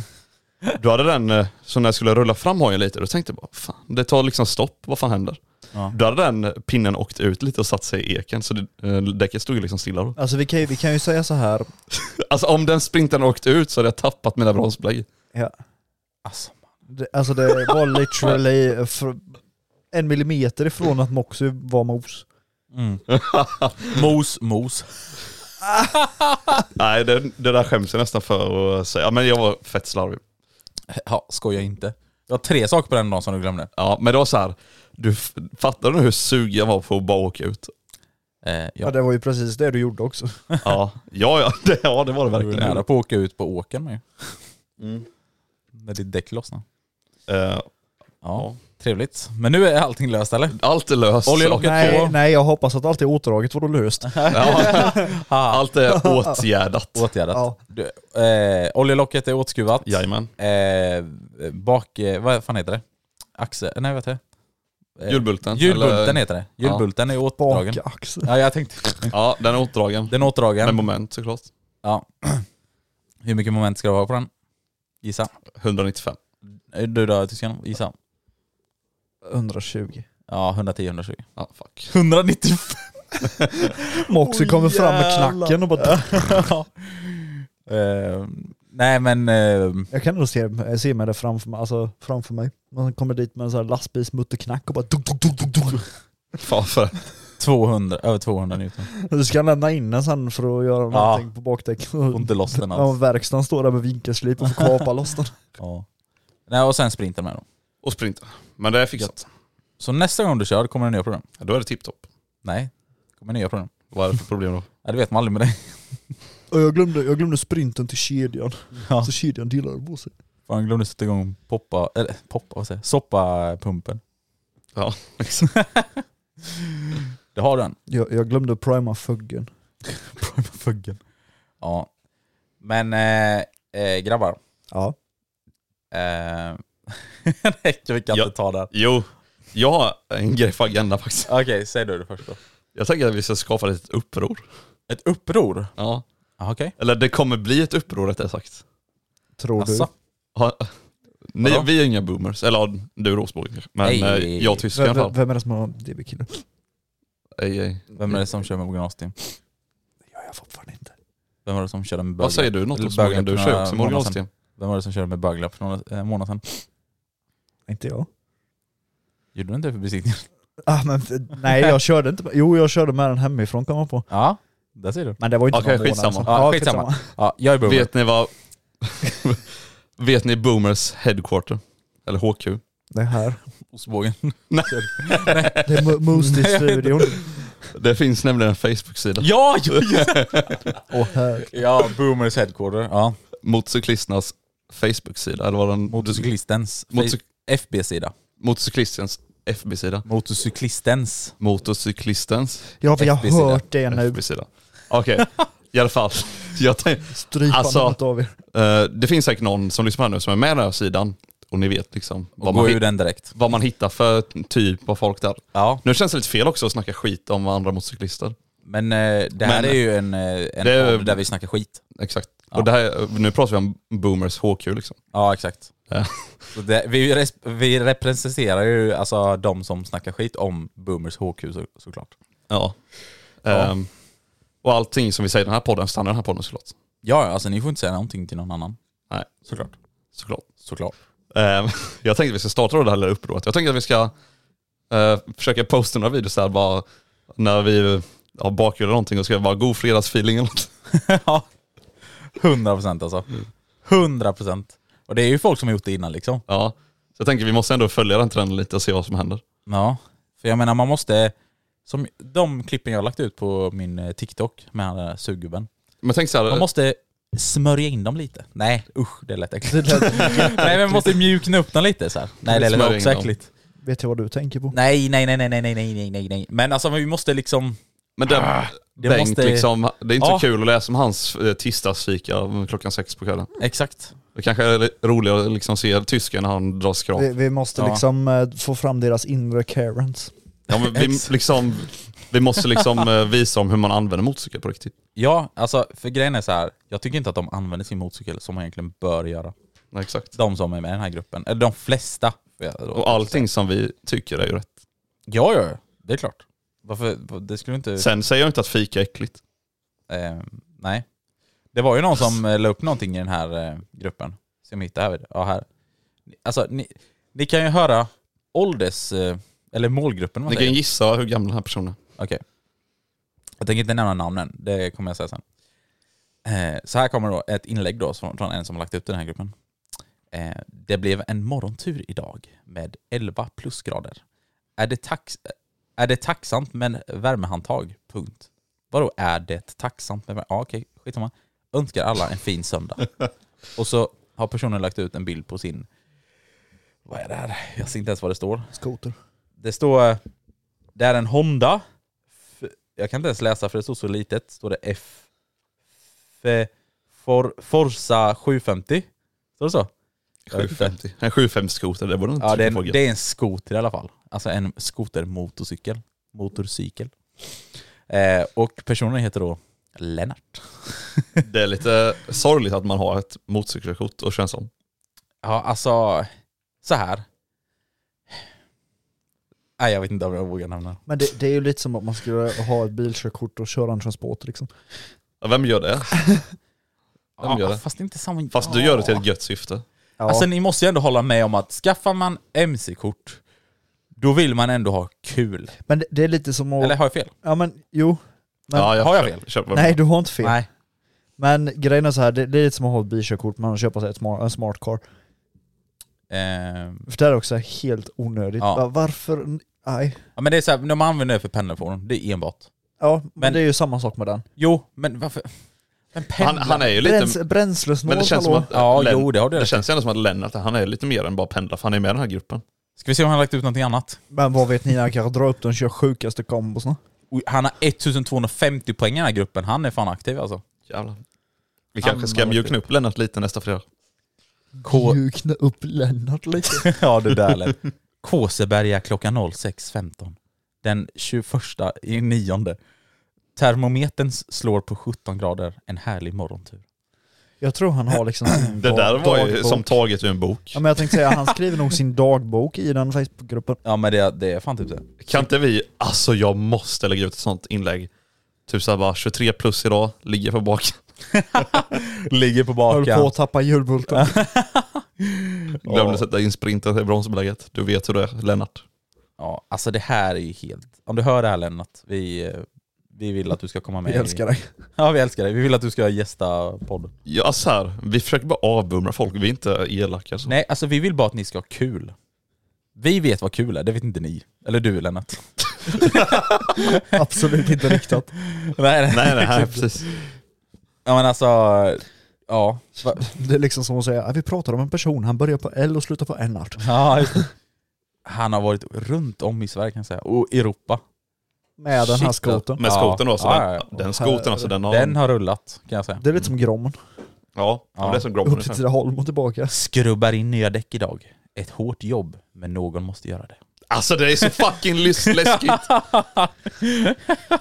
[SPEAKER 4] Då hade den, eh, så när jag skulle rulla fram hojen lite, då tänkte jag bara fan, det tar liksom stopp, vad fan händer?
[SPEAKER 2] Ja.
[SPEAKER 4] Då hade den eh, pinnen åkt ut lite och satt sig i eken, så det, eh, däcket stod ju liksom stilla då.
[SPEAKER 3] Alltså vi kan, ju- vi kan ju säga så här.
[SPEAKER 4] Alltså om den sprinten åkt ut så hade jag tappat mina bromsbelägg.
[SPEAKER 3] Ja.
[SPEAKER 2] Alltså,
[SPEAKER 3] Det, alltså det var literally fr- en millimeter ifrån att Moxy var mos.
[SPEAKER 2] Mm. mos, mos.
[SPEAKER 4] Nej, det, det där skäms jag nästan för att säga. Ja, men jag var fett slarvig.
[SPEAKER 2] Ja, skoja inte. Det var tre saker på den dagen som du glömde.
[SPEAKER 4] Ja, men det var så här. Du f- fattar du hur sugen jag var på att bara åka ut?
[SPEAKER 2] Eh, ja,
[SPEAKER 3] Ja. det var ju precis det du gjorde också.
[SPEAKER 4] Ja, ja, ja, det, ja det var det
[SPEAKER 2] Du var ju
[SPEAKER 4] verkligen.
[SPEAKER 2] nära på att åka ut på åkern med. Mm. När ditt däck lossnade.
[SPEAKER 4] Eh,
[SPEAKER 2] Ja,
[SPEAKER 4] Ja.
[SPEAKER 2] trevligt. Men nu är allting löst eller?
[SPEAKER 4] allt är löst.
[SPEAKER 2] Oljelocket
[SPEAKER 3] Nej,
[SPEAKER 2] på.
[SPEAKER 3] nej jag hoppas att allt är återdraget var då löst.
[SPEAKER 4] Ja,
[SPEAKER 2] Ah.
[SPEAKER 4] allt är åtgärdat.
[SPEAKER 2] Åtgärdat.
[SPEAKER 3] Ja.
[SPEAKER 2] Du, eh, oljelocket är åtskruvat.
[SPEAKER 4] Jajamän.
[SPEAKER 2] Eh, bak... Eh, vad fan heter det? Axel... Nej vad heter det? Eh,
[SPEAKER 4] Hjulbulten.
[SPEAKER 2] Hjulbulten
[SPEAKER 4] eller-
[SPEAKER 2] heter det. Hjulbulten är åtdragen.
[SPEAKER 3] Bakaxel.
[SPEAKER 2] Ja, jag tänkte...
[SPEAKER 4] Ja, den är åtdragen.
[SPEAKER 2] Den är åtdragen.
[SPEAKER 4] Med moment såklart.
[SPEAKER 2] Ja. Hur mycket moment ska du ha på den? Gissa.
[SPEAKER 4] 195.
[SPEAKER 2] Eh, Du då tysken? Gissa.
[SPEAKER 3] 120.
[SPEAKER 2] Ja, 110-120.
[SPEAKER 4] Ja, fuck.
[SPEAKER 2] 195!
[SPEAKER 3] Moxie kommer fram med knacken och bara...
[SPEAKER 2] Eh, nej men... eh,
[SPEAKER 3] Jag kan ändå se, se mig det framför mig. Alltså, framför mig. Man kommer dit med en sån här lastbilsmutterknack och bara... Dunk, dunk, dunk, dunk, dunk.
[SPEAKER 4] Fan för
[SPEAKER 2] 200, över 200 newton.
[SPEAKER 3] Du ska lämna in den sen för att göra någonting på bakdäck.
[SPEAKER 2] Får inte loss den
[SPEAKER 3] Ja,
[SPEAKER 2] alls.
[SPEAKER 3] verkstaden står där med vinkelslip och får kapa loss den.
[SPEAKER 2] Ja. Nej, och sen sprinten med då.
[SPEAKER 4] Och sprinta. Men det är fixat.
[SPEAKER 2] Så nästa gång du kör kommer det nya problem.
[SPEAKER 4] Ja, då är det tipptopp.
[SPEAKER 2] Nej, kommer nya problem.
[SPEAKER 4] Vad är det för problem då?
[SPEAKER 2] Ja, det vet man aldrig med dig.
[SPEAKER 3] Och jag glömde, jag glömde sprinten till kedjan.
[SPEAKER 2] Ja.
[SPEAKER 3] Så kedjan delade på sig.
[SPEAKER 2] Fan, glömde sätta igång poppa, eller poppa, vad säger jag? Soppapumpen.
[SPEAKER 4] Ja,
[SPEAKER 2] Det har den.
[SPEAKER 3] Jag, jag glömde prima fuggen.
[SPEAKER 2] Fuggen. Ja. Men eh, eh, grabbar.
[SPEAKER 3] Ja.
[SPEAKER 2] Eh, nej, vi kan
[SPEAKER 4] Ja.
[SPEAKER 2] inte ta det här.
[SPEAKER 4] Jo, jag har en grej för agenda faktiskt.
[SPEAKER 2] Okej, säg du det först då.
[SPEAKER 4] Jag tänker att vi ska skapa ett litet uppror.
[SPEAKER 2] Ett uppror?
[SPEAKER 4] Ja.
[SPEAKER 2] Ja, Okej.
[SPEAKER 4] Eller det kommer bli ett uppror rättare sagt.
[SPEAKER 3] Tror
[SPEAKER 2] Asså?
[SPEAKER 4] Ha, ni,
[SPEAKER 2] Vadå?
[SPEAKER 4] vi är inga boomers, eller ja, du är Rosborg kanske. Men
[SPEAKER 2] Nej.
[SPEAKER 4] eh, jag och
[SPEAKER 3] du?
[SPEAKER 4] tyskar i
[SPEAKER 3] Vem,
[SPEAKER 4] alla
[SPEAKER 3] vem,
[SPEAKER 4] fall.
[SPEAKER 3] vem är det som har DB-killen?
[SPEAKER 4] Ej, ej.
[SPEAKER 2] Vem är det som kör med Morgan Austin?
[SPEAKER 3] Det gör jag fortfarande inte.
[SPEAKER 2] Vem var det som körde med böglapp?
[SPEAKER 4] Vad säger du? Något
[SPEAKER 2] eller
[SPEAKER 4] om Morgan?
[SPEAKER 2] böglapp
[SPEAKER 4] Du
[SPEAKER 2] för
[SPEAKER 4] kör ju
[SPEAKER 2] några
[SPEAKER 4] också
[SPEAKER 2] månader
[SPEAKER 4] Morgan
[SPEAKER 2] sedan.
[SPEAKER 4] Austin.
[SPEAKER 2] Vem var det som körde med böglapp för några eh, månader sedan?
[SPEAKER 3] Inte jag.
[SPEAKER 2] Gjorde du inte för besiktningen?
[SPEAKER 3] Ah, men, nej jag körde inte med- Jo jag körde med den hemifrån kom jag på.
[SPEAKER 2] Ja, där ser du.
[SPEAKER 3] Men det var ju inte
[SPEAKER 4] Okej,
[SPEAKER 3] någon månad
[SPEAKER 4] skitsamma.
[SPEAKER 3] sedan.
[SPEAKER 2] Ja, skitsamma. Ja, jag är boomer.
[SPEAKER 4] Vet ni vad... Vet ni boomers headquarter? Eller HQ?
[SPEAKER 3] Det här.
[SPEAKER 2] Ostbågen.
[SPEAKER 3] Det är Mo- Moostie-studion.
[SPEAKER 4] Det finns nämligen en Facebook-sida.
[SPEAKER 2] Ja, ja, ja.
[SPEAKER 3] Åh här.
[SPEAKER 2] ja, boomers headquarter. Ja.
[SPEAKER 4] Motorcyklisternas Facebook-sida, eller vad den...
[SPEAKER 2] Motorcyklistens
[SPEAKER 4] Motorcy-
[SPEAKER 2] FB-sida.
[SPEAKER 4] Motorcyklistens FB-sida.
[SPEAKER 2] Motorcyklistens.
[SPEAKER 4] Motorcyklistens
[SPEAKER 3] Ja för jag har
[SPEAKER 2] FB-sida.
[SPEAKER 3] hört det nu.
[SPEAKER 4] FB-sida. Okej, i alla fall. Jag tänk,
[SPEAKER 3] Strypa
[SPEAKER 4] Alltså.
[SPEAKER 3] något av er.
[SPEAKER 4] eh, det finns säkert någon som lyssnar här nu som är med i den här sidan och ni vet liksom
[SPEAKER 2] Och
[SPEAKER 4] vad man,
[SPEAKER 2] gå ur
[SPEAKER 4] hit,
[SPEAKER 2] den direkt.
[SPEAKER 4] vad man hittar för typ av folk där.
[SPEAKER 2] Ja,
[SPEAKER 4] Nu känns det lite fel också att snacka skit om andra motorcyklister.
[SPEAKER 2] men eh, det här
[SPEAKER 4] Men-
[SPEAKER 2] är ju en, eh, en
[SPEAKER 4] Det är-
[SPEAKER 2] podd där vi snackar skit.
[SPEAKER 4] Exakt.
[SPEAKER 2] Ja.
[SPEAKER 4] Och det här, nu pratar vi om boomers HQ liksom.
[SPEAKER 2] Ja, exakt.
[SPEAKER 4] Ja.
[SPEAKER 2] Så det, vi, res, vi representerar ju alltså de som snackar skit om boomers HQ så, såklart.
[SPEAKER 4] Ja.
[SPEAKER 2] Ja.
[SPEAKER 4] Ehm, och allting som vi säger i den här podden stannar i den här podden såklart.
[SPEAKER 2] Ja, alltså ni får inte säga någonting till någon annan.
[SPEAKER 4] Nej.
[SPEAKER 2] Såklart.
[SPEAKER 4] såklart.
[SPEAKER 2] Såklart.
[SPEAKER 4] Ehm, jag tänkte att vi ska starta då det här lilla upproret. Jag tänker att vi ska eh, försöka posta några videos där bara när vi ja, bakhjular någonting och ska vara god fredagsfeeling eller något.
[SPEAKER 2] Ja, 100 procent alltså.
[SPEAKER 4] Mm.
[SPEAKER 2] 100 procent. Och det är ju folk som har gjort det innan liksom.
[SPEAKER 4] Ja. Så jag tänker att vi måste ändå följa den trenden lite och se vad som händer.
[SPEAKER 2] Ja, för jag menar man måste, som de klippen jag har lagt ut på min eh, TikTok med den där suggubben,
[SPEAKER 4] Men tänk så här,
[SPEAKER 2] man måste smörja in dem lite. Nej usch, det lät äckligt. nej men man måste mjukna upp dem lite så här. Nej det lät
[SPEAKER 4] Smörja
[SPEAKER 2] också
[SPEAKER 4] in dem.
[SPEAKER 2] äckligt.
[SPEAKER 3] Vet jag vad du tänker på?
[SPEAKER 2] Nej nej nej nej nej nej nej nej nej nej. Men alltså vi måste liksom,
[SPEAKER 4] men den,
[SPEAKER 2] det
[SPEAKER 4] Bengt
[SPEAKER 2] måste-
[SPEAKER 4] liksom, det är inte
[SPEAKER 2] Ja.
[SPEAKER 4] så kul att läsa om hans eh, tisdagsfika om klockan sex på kvällen.
[SPEAKER 2] exakt.
[SPEAKER 4] Det kanske är li- roligare att liksom se tysken när han drar skrap.
[SPEAKER 3] Vi, vi måste
[SPEAKER 2] Ja.
[SPEAKER 3] liksom eh, få fram deras inre Karens.
[SPEAKER 4] Ja, men vi,
[SPEAKER 2] Ex-
[SPEAKER 4] liksom, vi måste liksom eh, visa om hur man använder motorcykel på riktigt.
[SPEAKER 2] Ja, alltså för grejen är så här. jag tycker inte att de använder sin motorcykel som man egentligen bör göra.
[SPEAKER 4] Ja, exakt.
[SPEAKER 2] De som är med i den här gruppen, eller de flesta. får jag då-
[SPEAKER 4] Och allting som vi tycker är ju rätt.
[SPEAKER 2] Ja, ja, ja. det är klart. Varför, det skulle inte...
[SPEAKER 4] Sen säger jag inte att fika är äckligt.
[SPEAKER 2] Eh, nej. Det var ju någon som eh, la upp någonting i den här eh, gruppen. Ska vi hitta här? Ja, här. Alltså, ni, ni kan ju höra ålders... Eh, eller målgruppen, man
[SPEAKER 4] Ni kan
[SPEAKER 2] säger.
[SPEAKER 4] gissa hur gammal den här personen är.
[SPEAKER 2] Okej. Jag tänker inte nämna namnen, det kommer jag säga sen. Eh, så här kommer då ett inlägg då från, från en som har lagt upp den här gruppen. Eh, det blev en morgontur idag med 11 plusgrader. Är det, tax- Är det tacksamt med värmehandtag? Punkt. Vadå är det tacksamt med värme? Ja, okej, skitsamma. Önskar alla en fin söndag. Och så har personen lagt ut en bild på sin... Vad är det här? Jag ser inte ens vad det står.
[SPEAKER 3] Skoter.
[SPEAKER 2] Det står... Det är en Honda. F- Jag kan inte ens läsa för det står så litet. Står det F... F For, Forza 750? Står det så? Jag vet inte.
[SPEAKER 4] 750. En 750 skoter, det borde de inte
[SPEAKER 2] Ja, det är,
[SPEAKER 4] få
[SPEAKER 2] en, det är en skoter i alla fall. Alltså en skotermotorcykel. Motorcykel. Eh, och personen heter då Lennart.
[SPEAKER 4] Det är lite sorgligt att man har ett motorcykelkort och känns som.
[SPEAKER 2] Ja, alltså så här. Nej, jag vet inte om jag vågar nämna.
[SPEAKER 3] Men det, det är ju lite som att man skulle ha ett bilkörkort och köra en transport liksom.
[SPEAKER 4] Ja, Vem gör det? Vem gör
[SPEAKER 2] Ja,
[SPEAKER 4] det?
[SPEAKER 2] fast det är inte samma...
[SPEAKER 4] Fast du gör det till ett gött syfte.
[SPEAKER 3] Ja.
[SPEAKER 2] Alltså ni måste ju ändå hålla med om att skaffar man mc-kort, då vill man ändå ha kul.
[SPEAKER 3] men det, det är lite som att...
[SPEAKER 2] Eller har jag fel?
[SPEAKER 3] Ja men jo. Men,
[SPEAKER 4] ja,
[SPEAKER 2] har jag
[SPEAKER 4] köp-
[SPEAKER 2] fel?
[SPEAKER 4] Köper
[SPEAKER 3] nej du har inte fel.
[SPEAKER 2] Nej.
[SPEAKER 3] Men grejen är så här, det, det är lite som att ha ett bilkörkort men köpa sig ett smart, en smart car.
[SPEAKER 2] Eh,
[SPEAKER 3] För det här är också helt onödigt.
[SPEAKER 2] Ja.
[SPEAKER 3] Va- Varför? Nej.
[SPEAKER 2] ja, men det är så här, när man använder det för pendelfordon, det är enbart.
[SPEAKER 3] Ja, men,
[SPEAKER 2] Men-
[SPEAKER 3] det är ju samma sak med den.
[SPEAKER 2] Jo, men varför? Men
[SPEAKER 4] Han,
[SPEAKER 2] pendlar?
[SPEAKER 4] han är ju lite...
[SPEAKER 3] Bräns, bränslesnål,
[SPEAKER 4] Men det känns som
[SPEAKER 3] hallå.
[SPEAKER 4] att...
[SPEAKER 2] Ja, jo, det har du
[SPEAKER 4] det
[SPEAKER 2] rätt i.
[SPEAKER 4] känns ju ändå som att Lennart, han är lite mer än bara pendlar, för han är med i den här gruppen.
[SPEAKER 2] Ska vi se om han har lagt ut någonting annat?
[SPEAKER 3] Men vad vet ni, han kanske drar upp den och kör sjukaste kombosna.
[SPEAKER 2] Oj, Han har 1250 poäng i den här gruppen, han är fan aktiv alltså.
[SPEAKER 4] Jävlar. Vi
[SPEAKER 2] Han
[SPEAKER 4] kanske ska
[SPEAKER 2] har-
[SPEAKER 4] mjukna upp Lennart lite nästa fredag.
[SPEAKER 2] K...
[SPEAKER 3] Mjukna upp Lennart lite.
[SPEAKER 2] ja, det där lät. Kåseberga klockan 06.15. Den 21 i nionde. Termometern slår på 17 grader, en härlig morgontur.
[SPEAKER 3] Jag tror han har liksom sin
[SPEAKER 4] Det
[SPEAKER 3] dag-
[SPEAKER 4] där var ju
[SPEAKER 3] dagbok.
[SPEAKER 4] som taget ur en bok.
[SPEAKER 3] Ja men jag tänkte säga, han skriver nog sin dagbok i den Facebookgruppen.
[SPEAKER 2] Ja men det, det är fan typ det.
[SPEAKER 4] Kan inte vi, alltså jag måste lägga ut ett sånt inlägg. Typ såhär bara 23 plus idag, ligger på bak.
[SPEAKER 2] Ligger på
[SPEAKER 3] Höll på
[SPEAKER 2] bakan.
[SPEAKER 3] att tappa julbulten.
[SPEAKER 4] Glömde sätta in sprinten i bromsbelägget. Du vet hur det är Lennart.
[SPEAKER 2] Ja, alltså det här är ju helt... Om du hör det här Lennart, vi, eh, vi vill att du ska komma med.
[SPEAKER 3] Vi älskar dig.
[SPEAKER 2] Ja, vi älskar dig. Vi vill att du ska gästa podden.
[SPEAKER 4] Ja alltså så här, vi försöker bara avbumra folk, vi är inte elaka. Så.
[SPEAKER 2] Nej, alltså vi vill bara att ni ska ha kul. Vi vet vad kul är, det vet inte ni. Eller du Lennart.
[SPEAKER 3] Absolut inte riktat.
[SPEAKER 2] nej,
[SPEAKER 4] Nej nej, nej precis.
[SPEAKER 2] Ja men alltså, ja. Va-
[SPEAKER 3] Det är liksom som att säga, "Ja, vi pratar om en person, han börjar på L och slutar på Ennart.
[SPEAKER 2] ja just det. Han har varit runt om i Sverige kan jag säga, och Europa.
[SPEAKER 3] Med den här
[SPEAKER 2] Shit,
[SPEAKER 3] skotern.
[SPEAKER 4] Med
[SPEAKER 2] Ja.
[SPEAKER 4] skotern då, så
[SPEAKER 2] Ja,
[SPEAKER 4] den,
[SPEAKER 2] ja, ja.
[SPEAKER 4] den skotern alltså den har...
[SPEAKER 2] Den har rullat kan jag säga.
[SPEAKER 3] Det är lite som Grommen.
[SPEAKER 4] Ja, ja.
[SPEAKER 2] Ja.
[SPEAKER 4] det är som Grommen.
[SPEAKER 3] Upp till Tidaholm och tillbaka.
[SPEAKER 2] Skrubbar in nya däck idag. Ett hårt jobb, men någon måste göra det.
[SPEAKER 4] Alltså det är så fucking lys- läskigt.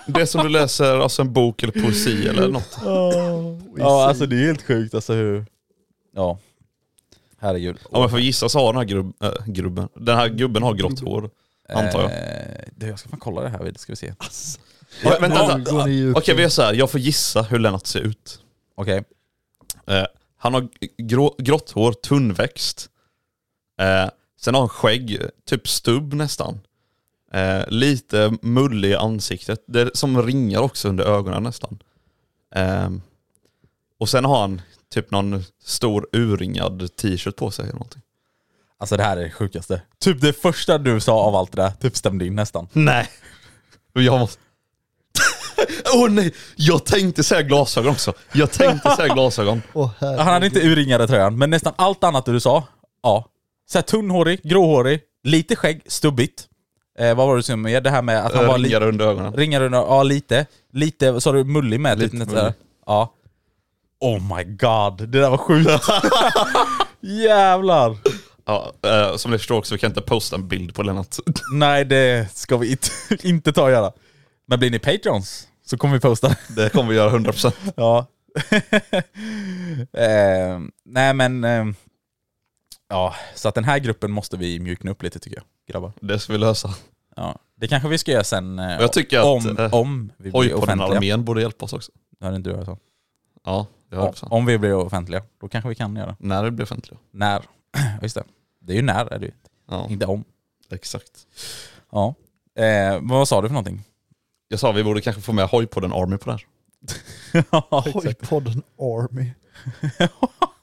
[SPEAKER 4] Det är som du läser alltså, en bok eller poesi eller något.
[SPEAKER 3] Oh,
[SPEAKER 2] ja alltså det är helt sjukt alltså hur... Ja. Herregud.
[SPEAKER 4] Ja men för gissa så har den här grubb, äh, grubben, den här gubben har grått hår. Antar jag.
[SPEAKER 2] Eh, du, jag ska fan kolla det här, vid- ska vi se.
[SPEAKER 4] Ja, vänta, vänta.
[SPEAKER 3] går ni djupt
[SPEAKER 4] Okej vi gör så här. jag får gissa hur Lennart ser ut.
[SPEAKER 2] Okej.
[SPEAKER 4] Eh, han har grå, grått hår, tunnväxt. Eh, sen har han skägg, typ stubb nästan. Eh, lite mullig i ansiktet, det är som ringar också under ögonen nästan. Eh, och sen har han typ någon stor urringad t-shirt på sig eller någonting.
[SPEAKER 2] Alltså det här är det sjukaste. Typ det första du sa av allt det där, typ stämde in nästan.
[SPEAKER 4] Nej. Jag måste... Åh oh, nej! Jag tänkte säga glasögon också. Jag tänkte säga glasögon.
[SPEAKER 3] Åh,
[SPEAKER 2] Han
[SPEAKER 3] herregud.
[SPEAKER 2] hade inte urringade tröjan, men nästan allt annat du sa, ja. Såhär tunnhårig, gråhårig, lite skägg, stubbigt. Eh, vad var det som mer? Det här med att han var
[SPEAKER 4] Eh, Ringar
[SPEAKER 2] lite...
[SPEAKER 4] under ögonen.
[SPEAKER 2] Ringar under, ja lite. Lite, sa du mullig med?
[SPEAKER 4] Lite
[SPEAKER 2] nästan.
[SPEAKER 4] mullig.
[SPEAKER 2] Ja. Oh my god, det där var sjukt. Jävlar.
[SPEAKER 4] Ja, eh, som ni förstår också, vi kan inte posta en bild på Lennart.
[SPEAKER 2] Nej, det ska vi inte, inte ta och göra. Men blir ni patrons så kommer vi posta.
[SPEAKER 4] Det kommer vi göra 100%.
[SPEAKER 2] Ja. eh, nej men, ehm, ja, så att den här gruppen måste vi mjukna upp lite tycker jag, grabbar.
[SPEAKER 4] Det ska vi lösa.
[SPEAKER 2] Ja. Det kanske vi ska göra sen, eh,
[SPEAKER 4] jag tycker att,
[SPEAKER 2] om,
[SPEAKER 4] eh,
[SPEAKER 2] om vi
[SPEAKER 4] Oj,
[SPEAKER 2] blir
[SPEAKER 4] på den
[SPEAKER 2] offentliga.
[SPEAKER 4] armén borde hjälpa oss också.
[SPEAKER 2] Hörde inte du vad jag sa?
[SPEAKER 4] Ja, det hörde
[SPEAKER 2] Om,
[SPEAKER 4] jag.
[SPEAKER 2] om vi blir offentliga, då kanske vi kan göra.
[SPEAKER 4] När det blir offentligt.
[SPEAKER 2] När? Just det. Det är ju när, är det ju.
[SPEAKER 4] Ja,
[SPEAKER 2] inte om.
[SPEAKER 4] exakt.
[SPEAKER 2] Ja. Eh, men vad sa du för någonting?
[SPEAKER 4] Jag sa vi borde kanske få med Hojpodden Army på det här.
[SPEAKER 3] Oj, podden Army.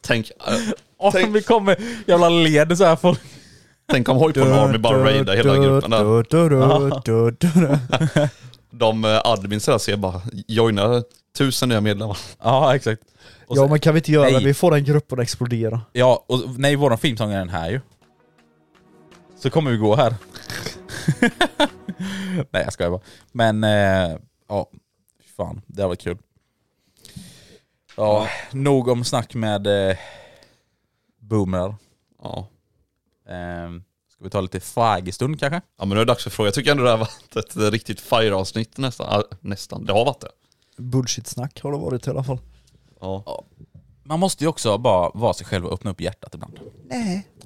[SPEAKER 4] Tänk, eh,
[SPEAKER 2] Om
[SPEAKER 4] Tänk- eh,
[SPEAKER 2] vi kommer, jävla led så här folk.
[SPEAKER 4] Tänk om Hoi Pon Army bara raidar hela gruppen där.
[SPEAKER 3] där.
[SPEAKER 4] De eh, admins där ser bara, joina tusen nya medlemmar.
[SPEAKER 2] Ja, exakt. Och
[SPEAKER 3] Ja
[SPEAKER 2] så-
[SPEAKER 3] men kan vi inte göra
[SPEAKER 2] Nej.
[SPEAKER 3] det? Vi får den gruppen att explodera.
[SPEAKER 2] Ja, och nej, våran filmsång är den här ju. Så kommer vi gå här. nej, jag skojar bara. Men, eh, ja. fy Fan, det här var kul. Ja, nog om snack med eh, boomrar.
[SPEAKER 4] Ja.
[SPEAKER 2] Ehm, ska vi ta lite frågestund kanske?
[SPEAKER 4] ja men nu är det dags för fråga. Jag tycker ändå det här var ett riktigt fire-avsnitt nästan. Ja, nästan, det har varit det.
[SPEAKER 3] Bullshit-snack har det varit i alla fall.
[SPEAKER 4] Ja.
[SPEAKER 2] Man måste ju också bara vara sig själv och öppna upp hjärtat ibland.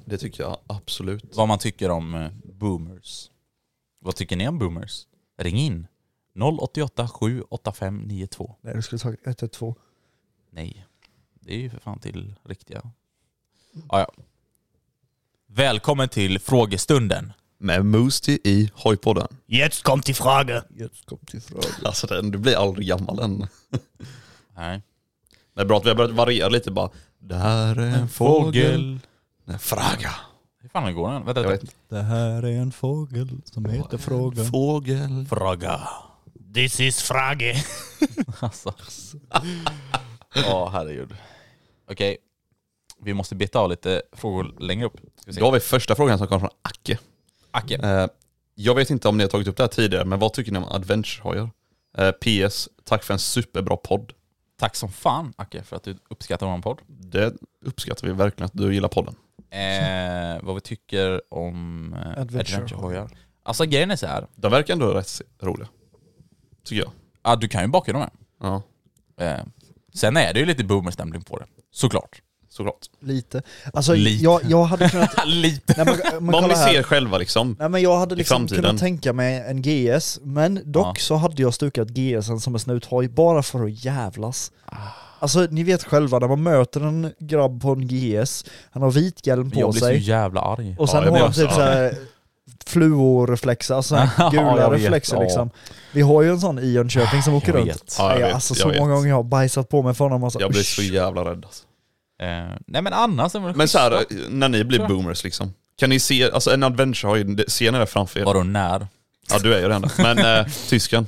[SPEAKER 4] Det tycker jag absolut.
[SPEAKER 2] Vad man tycker om eh, boomers. Vad tycker ni om boomers? Ring in. 088 785 92.
[SPEAKER 3] Nej du skulle sagt 112.
[SPEAKER 2] Nej. Det är ju för fan till riktiga. Ah, ja. Välkommen till frågestunden.
[SPEAKER 4] Med Moosty i Hojpodden.
[SPEAKER 8] Jetzt kommt die Frage.
[SPEAKER 3] Jetzt kom till fråga.
[SPEAKER 4] Alltså den, du blir aldrig gammal än.
[SPEAKER 2] Nej.
[SPEAKER 4] Det är bra att vi har börjat variera lite bara. Det här är en fågel. En fraga.
[SPEAKER 2] Hur fan går den?
[SPEAKER 4] Jag
[SPEAKER 2] Vänta,
[SPEAKER 4] vet
[SPEAKER 2] vänta.
[SPEAKER 4] inte.
[SPEAKER 3] Det här är en fågel som heter fråga.
[SPEAKER 4] Fågel.
[SPEAKER 2] Fråga.
[SPEAKER 8] This is Frage.
[SPEAKER 2] Alltså. Ja, herregud. Okej. Vi måste beta av lite frågor längre upp. Ska vi se.
[SPEAKER 4] Då har vi första frågan som kommer från Acke.
[SPEAKER 2] Acke.
[SPEAKER 4] Eh, jag vet inte om ni har tagit upp det här tidigare, men vad tycker ni om adventure-hojar? Eh, PS, tack för en superbra podd.
[SPEAKER 2] Tack som fan Acke för att du uppskattar vår podd.
[SPEAKER 4] Det uppskattar vi verkligen att du gillar podden.
[SPEAKER 2] Eh, vad vi tycker om eh,
[SPEAKER 3] Adventure.
[SPEAKER 2] adventure-hojar. Alltså grejen är så här.
[SPEAKER 4] De verkar ändå rätt roliga. Tycker jag.
[SPEAKER 2] Ah, du kan ju baka dem här.
[SPEAKER 4] Ja,
[SPEAKER 2] Eh, sen är det ju lite boomerstämpling på det. Såklart.
[SPEAKER 4] såklart.
[SPEAKER 3] Lite. Alltså
[SPEAKER 2] Lite.
[SPEAKER 3] Jag, jag hade kunnat...
[SPEAKER 2] lite.
[SPEAKER 3] Nej, men, men
[SPEAKER 4] Vad
[SPEAKER 3] kolla
[SPEAKER 4] ni
[SPEAKER 3] här.
[SPEAKER 4] ser själva liksom.
[SPEAKER 3] Nej men jag hade
[SPEAKER 4] I
[SPEAKER 3] liksom
[SPEAKER 4] framtiden.
[SPEAKER 3] kunnat tänka mig en GS, men dock
[SPEAKER 2] Ja.
[SPEAKER 3] så hade jag stukat GSen som en snuthoj bara för att jävlas. Alltså ni vet själva, när man möter en grabb på en GS, han har vit hjälm
[SPEAKER 2] Men jag
[SPEAKER 3] på
[SPEAKER 2] blir så
[SPEAKER 3] sig,
[SPEAKER 2] jävla arg.
[SPEAKER 3] och
[SPEAKER 4] Ja,
[SPEAKER 3] sen
[SPEAKER 4] jag
[SPEAKER 3] har
[SPEAKER 4] blir
[SPEAKER 3] han
[SPEAKER 4] också
[SPEAKER 3] typ
[SPEAKER 4] arg.
[SPEAKER 3] såhär fluorreflexer, alltså här
[SPEAKER 2] Ja, jag
[SPEAKER 3] gula
[SPEAKER 2] vet.
[SPEAKER 3] reflexer
[SPEAKER 2] Ja.
[SPEAKER 3] liksom. Vi har ju en sån i Jönköping som åker
[SPEAKER 2] jag
[SPEAKER 3] runt.
[SPEAKER 2] vet.
[SPEAKER 4] Ja, jag
[SPEAKER 3] Nej,
[SPEAKER 4] vet,
[SPEAKER 3] alltså
[SPEAKER 4] jag
[SPEAKER 3] så
[SPEAKER 4] vet.
[SPEAKER 3] många gånger jag har bajsat på mig för honom och så,
[SPEAKER 4] Jag blir
[SPEAKER 3] usch.
[SPEAKER 4] så jävla rädd alltså.
[SPEAKER 2] Eh, nej men annars är det väl
[SPEAKER 4] Men så här,
[SPEAKER 2] schysst,
[SPEAKER 4] när ni blir
[SPEAKER 2] Tror
[SPEAKER 4] boomers liksom. Kan ni se, alltså en adventure-hoj, det- ser ni det framför er?
[SPEAKER 2] va? Vadå när?
[SPEAKER 4] Ja du är ju det ändå. Men eh, tysken.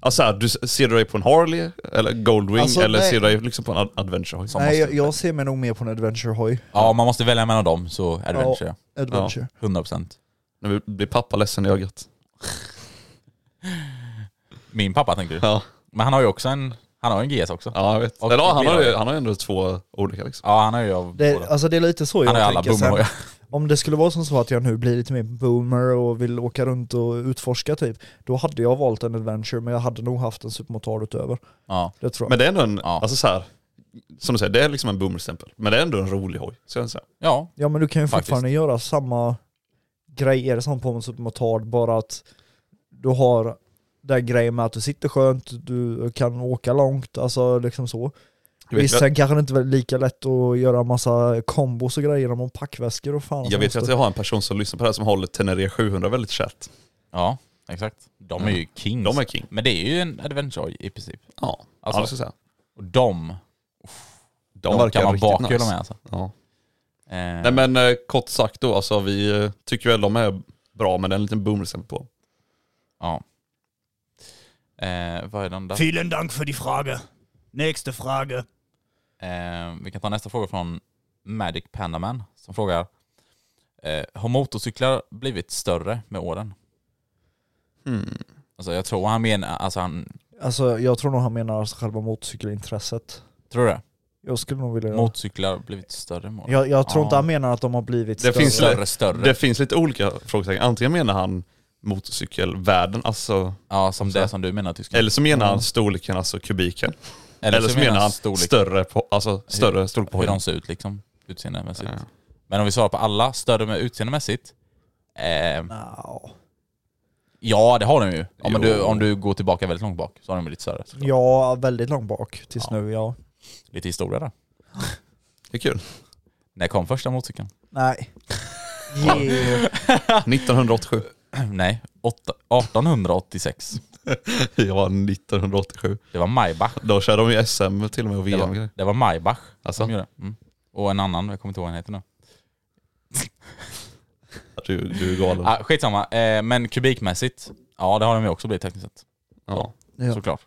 [SPEAKER 4] Alltså här, du, ser du dig på en Harley eller Goldwing
[SPEAKER 3] Alltså,
[SPEAKER 4] eller
[SPEAKER 3] nej.
[SPEAKER 4] ser du dig liksom på en ad- adventure hoj?
[SPEAKER 3] Nej jag, jag ser mig nog mer på en adventure-hoj.
[SPEAKER 2] Ja, man måste välja mellan dem så adventure.
[SPEAKER 3] Adventure.
[SPEAKER 2] 100%.
[SPEAKER 4] Nu blir pappa ledsen i ögat.
[SPEAKER 2] Min pappa tänker du?
[SPEAKER 4] Ja,
[SPEAKER 2] Men han har ju också en, han har ju en GS också. Ja,
[SPEAKER 4] ja jag vet.
[SPEAKER 2] Och-
[SPEAKER 4] eller, ja, han, har ju,
[SPEAKER 2] flera.
[SPEAKER 4] han har ju ändå två olika liksom.
[SPEAKER 2] han har ju av
[SPEAKER 3] Det,
[SPEAKER 2] båda.
[SPEAKER 3] alltså det är lite så
[SPEAKER 2] Han har ju
[SPEAKER 3] jag
[SPEAKER 2] alla
[SPEAKER 3] tänker. Sen,
[SPEAKER 2] boomhojar.
[SPEAKER 3] Om det skulle vara som så att jag nu blir lite mer boomer och vill åka runt och utforska typ, då hade jag valt en adventure men jag hade nog haft en supermotard utöver.
[SPEAKER 2] Ja.
[SPEAKER 3] Det tror jag.
[SPEAKER 4] Men det är ändå en,
[SPEAKER 2] Ja.
[SPEAKER 4] alltså så här, som du säger, det är liksom en boomerstämpel. Men det är ändå en rolig hoj, ska jag säga.
[SPEAKER 2] ja,
[SPEAKER 3] ja men du kan ju
[SPEAKER 2] Faktiskt.
[SPEAKER 3] fortfarande göra samma grej, är det som på en supermotard, bara att du har den grejen med att du sitter skönt, du kan åka långt, alltså liksom så.
[SPEAKER 4] Jag vet,
[SPEAKER 3] Visst,
[SPEAKER 4] jag,
[SPEAKER 3] sen kanske det inte är lika lätt att göra massa kombos och grejer om packväskor och fan.
[SPEAKER 4] jag vet ju att jag har en person som lyssnar på det här som håller Tenere 700 väldigt kärt.
[SPEAKER 2] ja, exakt. De är ju kings.
[SPEAKER 4] De är king.
[SPEAKER 2] Men det är ju en adventure i princip.
[SPEAKER 4] Ja,
[SPEAKER 2] Alltså,
[SPEAKER 4] alltså, ska jag säga.
[SPEAKER 2] Och de, uff, de,
[SPEAKER 4] verkar
[SPEAKER 2] kan man
[SPEAKER 4] riktigt
[SPEAKER 2] bakhjula
[SPEAKER 4] nice.
[SPEAKER 2] med alltså.
[SPEAKER 4] Ja.
[SPEAKER 2] Eh,
[SPEAKER 4] Nej men eh, kort sagt då, alltså vi eh, tycker väl de är bra men det är en liten boomerstämpel på.
[SPEAKER 2] Ja. Eh, vad är den där?
[SPEAKER 8] Vielen Dank für die Frage. Nächste Frage.
[SPEAKER 2] Eh, vi kan ta nästa fråga från Magic Pandaman som frågar eh, Har motorcyklar blivit större med åren?
[SPEAKER 4] Hmm.
[SPEAKER 2] Alltså jag tror han menar, alltså han,
[SPEAKER 3] Alltså jag tror nog han menar alltså själva motorcykelintresset.
[SPEAKER 2] tror du det?
[SPEAKER 3] Jag skulle nog vilja...
[SPEAKER 2] Motorcyklar har blivit större med åren?
[SPEAKER 3] Jag, jag tror
[SPEAKER 2] Ja.
[SPEAKER 3] inte han menar att de har blivit
[SPEAKER 4] Det
[SPEAKER 3] större.
[SPEAKER 4] finns
[SPEAKER 2] Större, större.
[SPEAKER 4] Det finns lite olika frågetecken. Antingen menar han motorcykelvärlden, alltså,
[SPEAKER 2] ja, som det som du menar tysken.
[SPEAKER 4] eller så menar han storleken, alltså kubiken. Eller, så, menar han större, på, alltså, större storlek på
[SPEAKER 2] hur
[SPEAKER 4] hojen.
[SPEAKER 2] de ser ut liksom, utseendemässigt.
[SPEAKER 4] Ja.
[SPEAKER 2] Men om vi svarar på alla, större med utseendemässigt? Eh,
[SPEAKER 3] Nja.
[SPEAKER 2] ja det har de ju. Om du,
[SPEAKER 4] Jo.
[SPEAKER 2] om du går tillbaka väldigt långt bak så har de blivit större. såklart.
[SPEAKER 3] Ja, väldigt långt bak tills nu, ja.
[SPEAKER 2] Lite historia där.
[SPEAKER 4] Det är kul.
[SPEAKER 2] När kom första motorcykeln?
[SPEAKER 3] Nej. Yeah.
[SPEAKER 4] 1987.
[SPEAKER 2] Nej, åtta- 1886.
[SPEAKER 4] Jag var 1987.
[SPEAKER 2] Det var Maybach.
[SPEAKER 4] Då körde de ju SM till och med och
[SPEAKER 2] Det
[SPEAKER 4] VM.
[SPEAKER 2] var, det var Maybach
[SPEAKER 4] Alltså.
[SPEAKER 2] som gjorde det. Mm. Och en annan, jag kommer inte ihåg vad han heter nu.
[SPEAKER 4] Du, du är galen.
[SPEAKER 2] Ah, skitsamma, eh, men kubikmässigt, ja det har de ju också blivit tekniskt sett.
[SPEAKER 4] Ja.
[SPEAKER 3] Ja.
[SPEAKER 2] Såklart.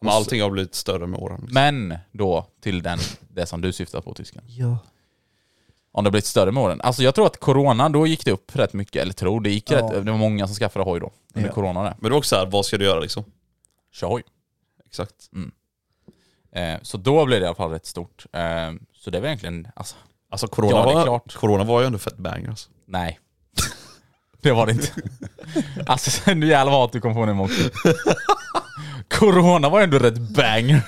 [SPEAKER 4] Men allting har blivit större med åren. Liksom.
[SPEAKER 2] Men då till den, det som du syftar på tysken.
[SPEAKER 3] Ja.
[SPEAKER 2] Om det har blivit större med åren. Alltså jag tror att corona, då gick det upp rätt mycket, eller tror, det gick
[SPEAKER 3] Ja.
[SPEAKER 2] rätt, det var många som skaffade hoj då. Under
[SPEAKER 3] Ja.
[SPEAKER 2] corona där.
[SPEAKER 4] Men det var också så här, vad ska du göra liksom?
[SPEAKER 2] Kör hoj. Mm.
[SPEAKER 4] Exakt.
[SPEAKER 2] Eh, så då blev det i alla fall rätt stort. Eh, så det var egentligen, alltså,
[SPEAKER 4] Alltså corona,
[SPEAKER 2] Ja, det är
[SPEAKER 4] var,
[SPEAKER 2] klart.
[SPEAKER 4] corona var ju ändå fett banger alltså.
[SPEAKER 2] nej. det var det inte. alltså sen nu jävlar vad hat du kom på nu Monty. Corona var ju ändå rätt banger.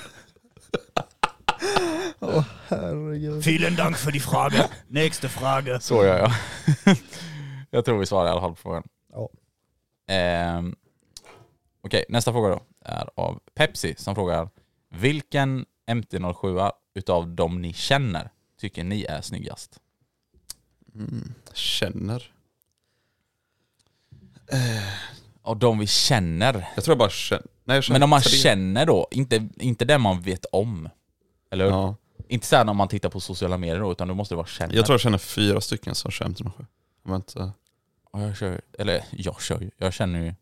[SPEAKER 3] Herregud.
[SPEAKER 8] Vielen Dank für die Frage. Nächste Frage.
[SPEAKER 2] Så gör jag. jag tror vi svarar i alla fall på frågan.
[SPEAKER 3] Ja.
[SPEAKER 2] Ehm, Okej, nästa fråga då är av Pepsi som frågar Vilken MT-07 utav de ni känner tycker ni är snyggast? Mm.
[SPEAKER 4] Känner.
[SPEAKER 2] Av de vi känner.
[SPEAKER 4] Jag tror jag bara känner. Nej, jag känner
[SPEAKER 2] Men om man
[SPEAKER 4] tre.
[SPEAKER 2] känner då, inte, inte det man vet om. Eller hur?
[SPEAKER 4] Ja.
[SPEAKER 2] Inte såhär när man tittar på sociala medier då, utan då måste det vara känner.
[SPEAKER 4] Jag tror jag känner fyra stycken som kör MT-07. Om jag inte...
[SPEAKER 2] Ja, jag kör, eller jag kör ju. Jag känner ju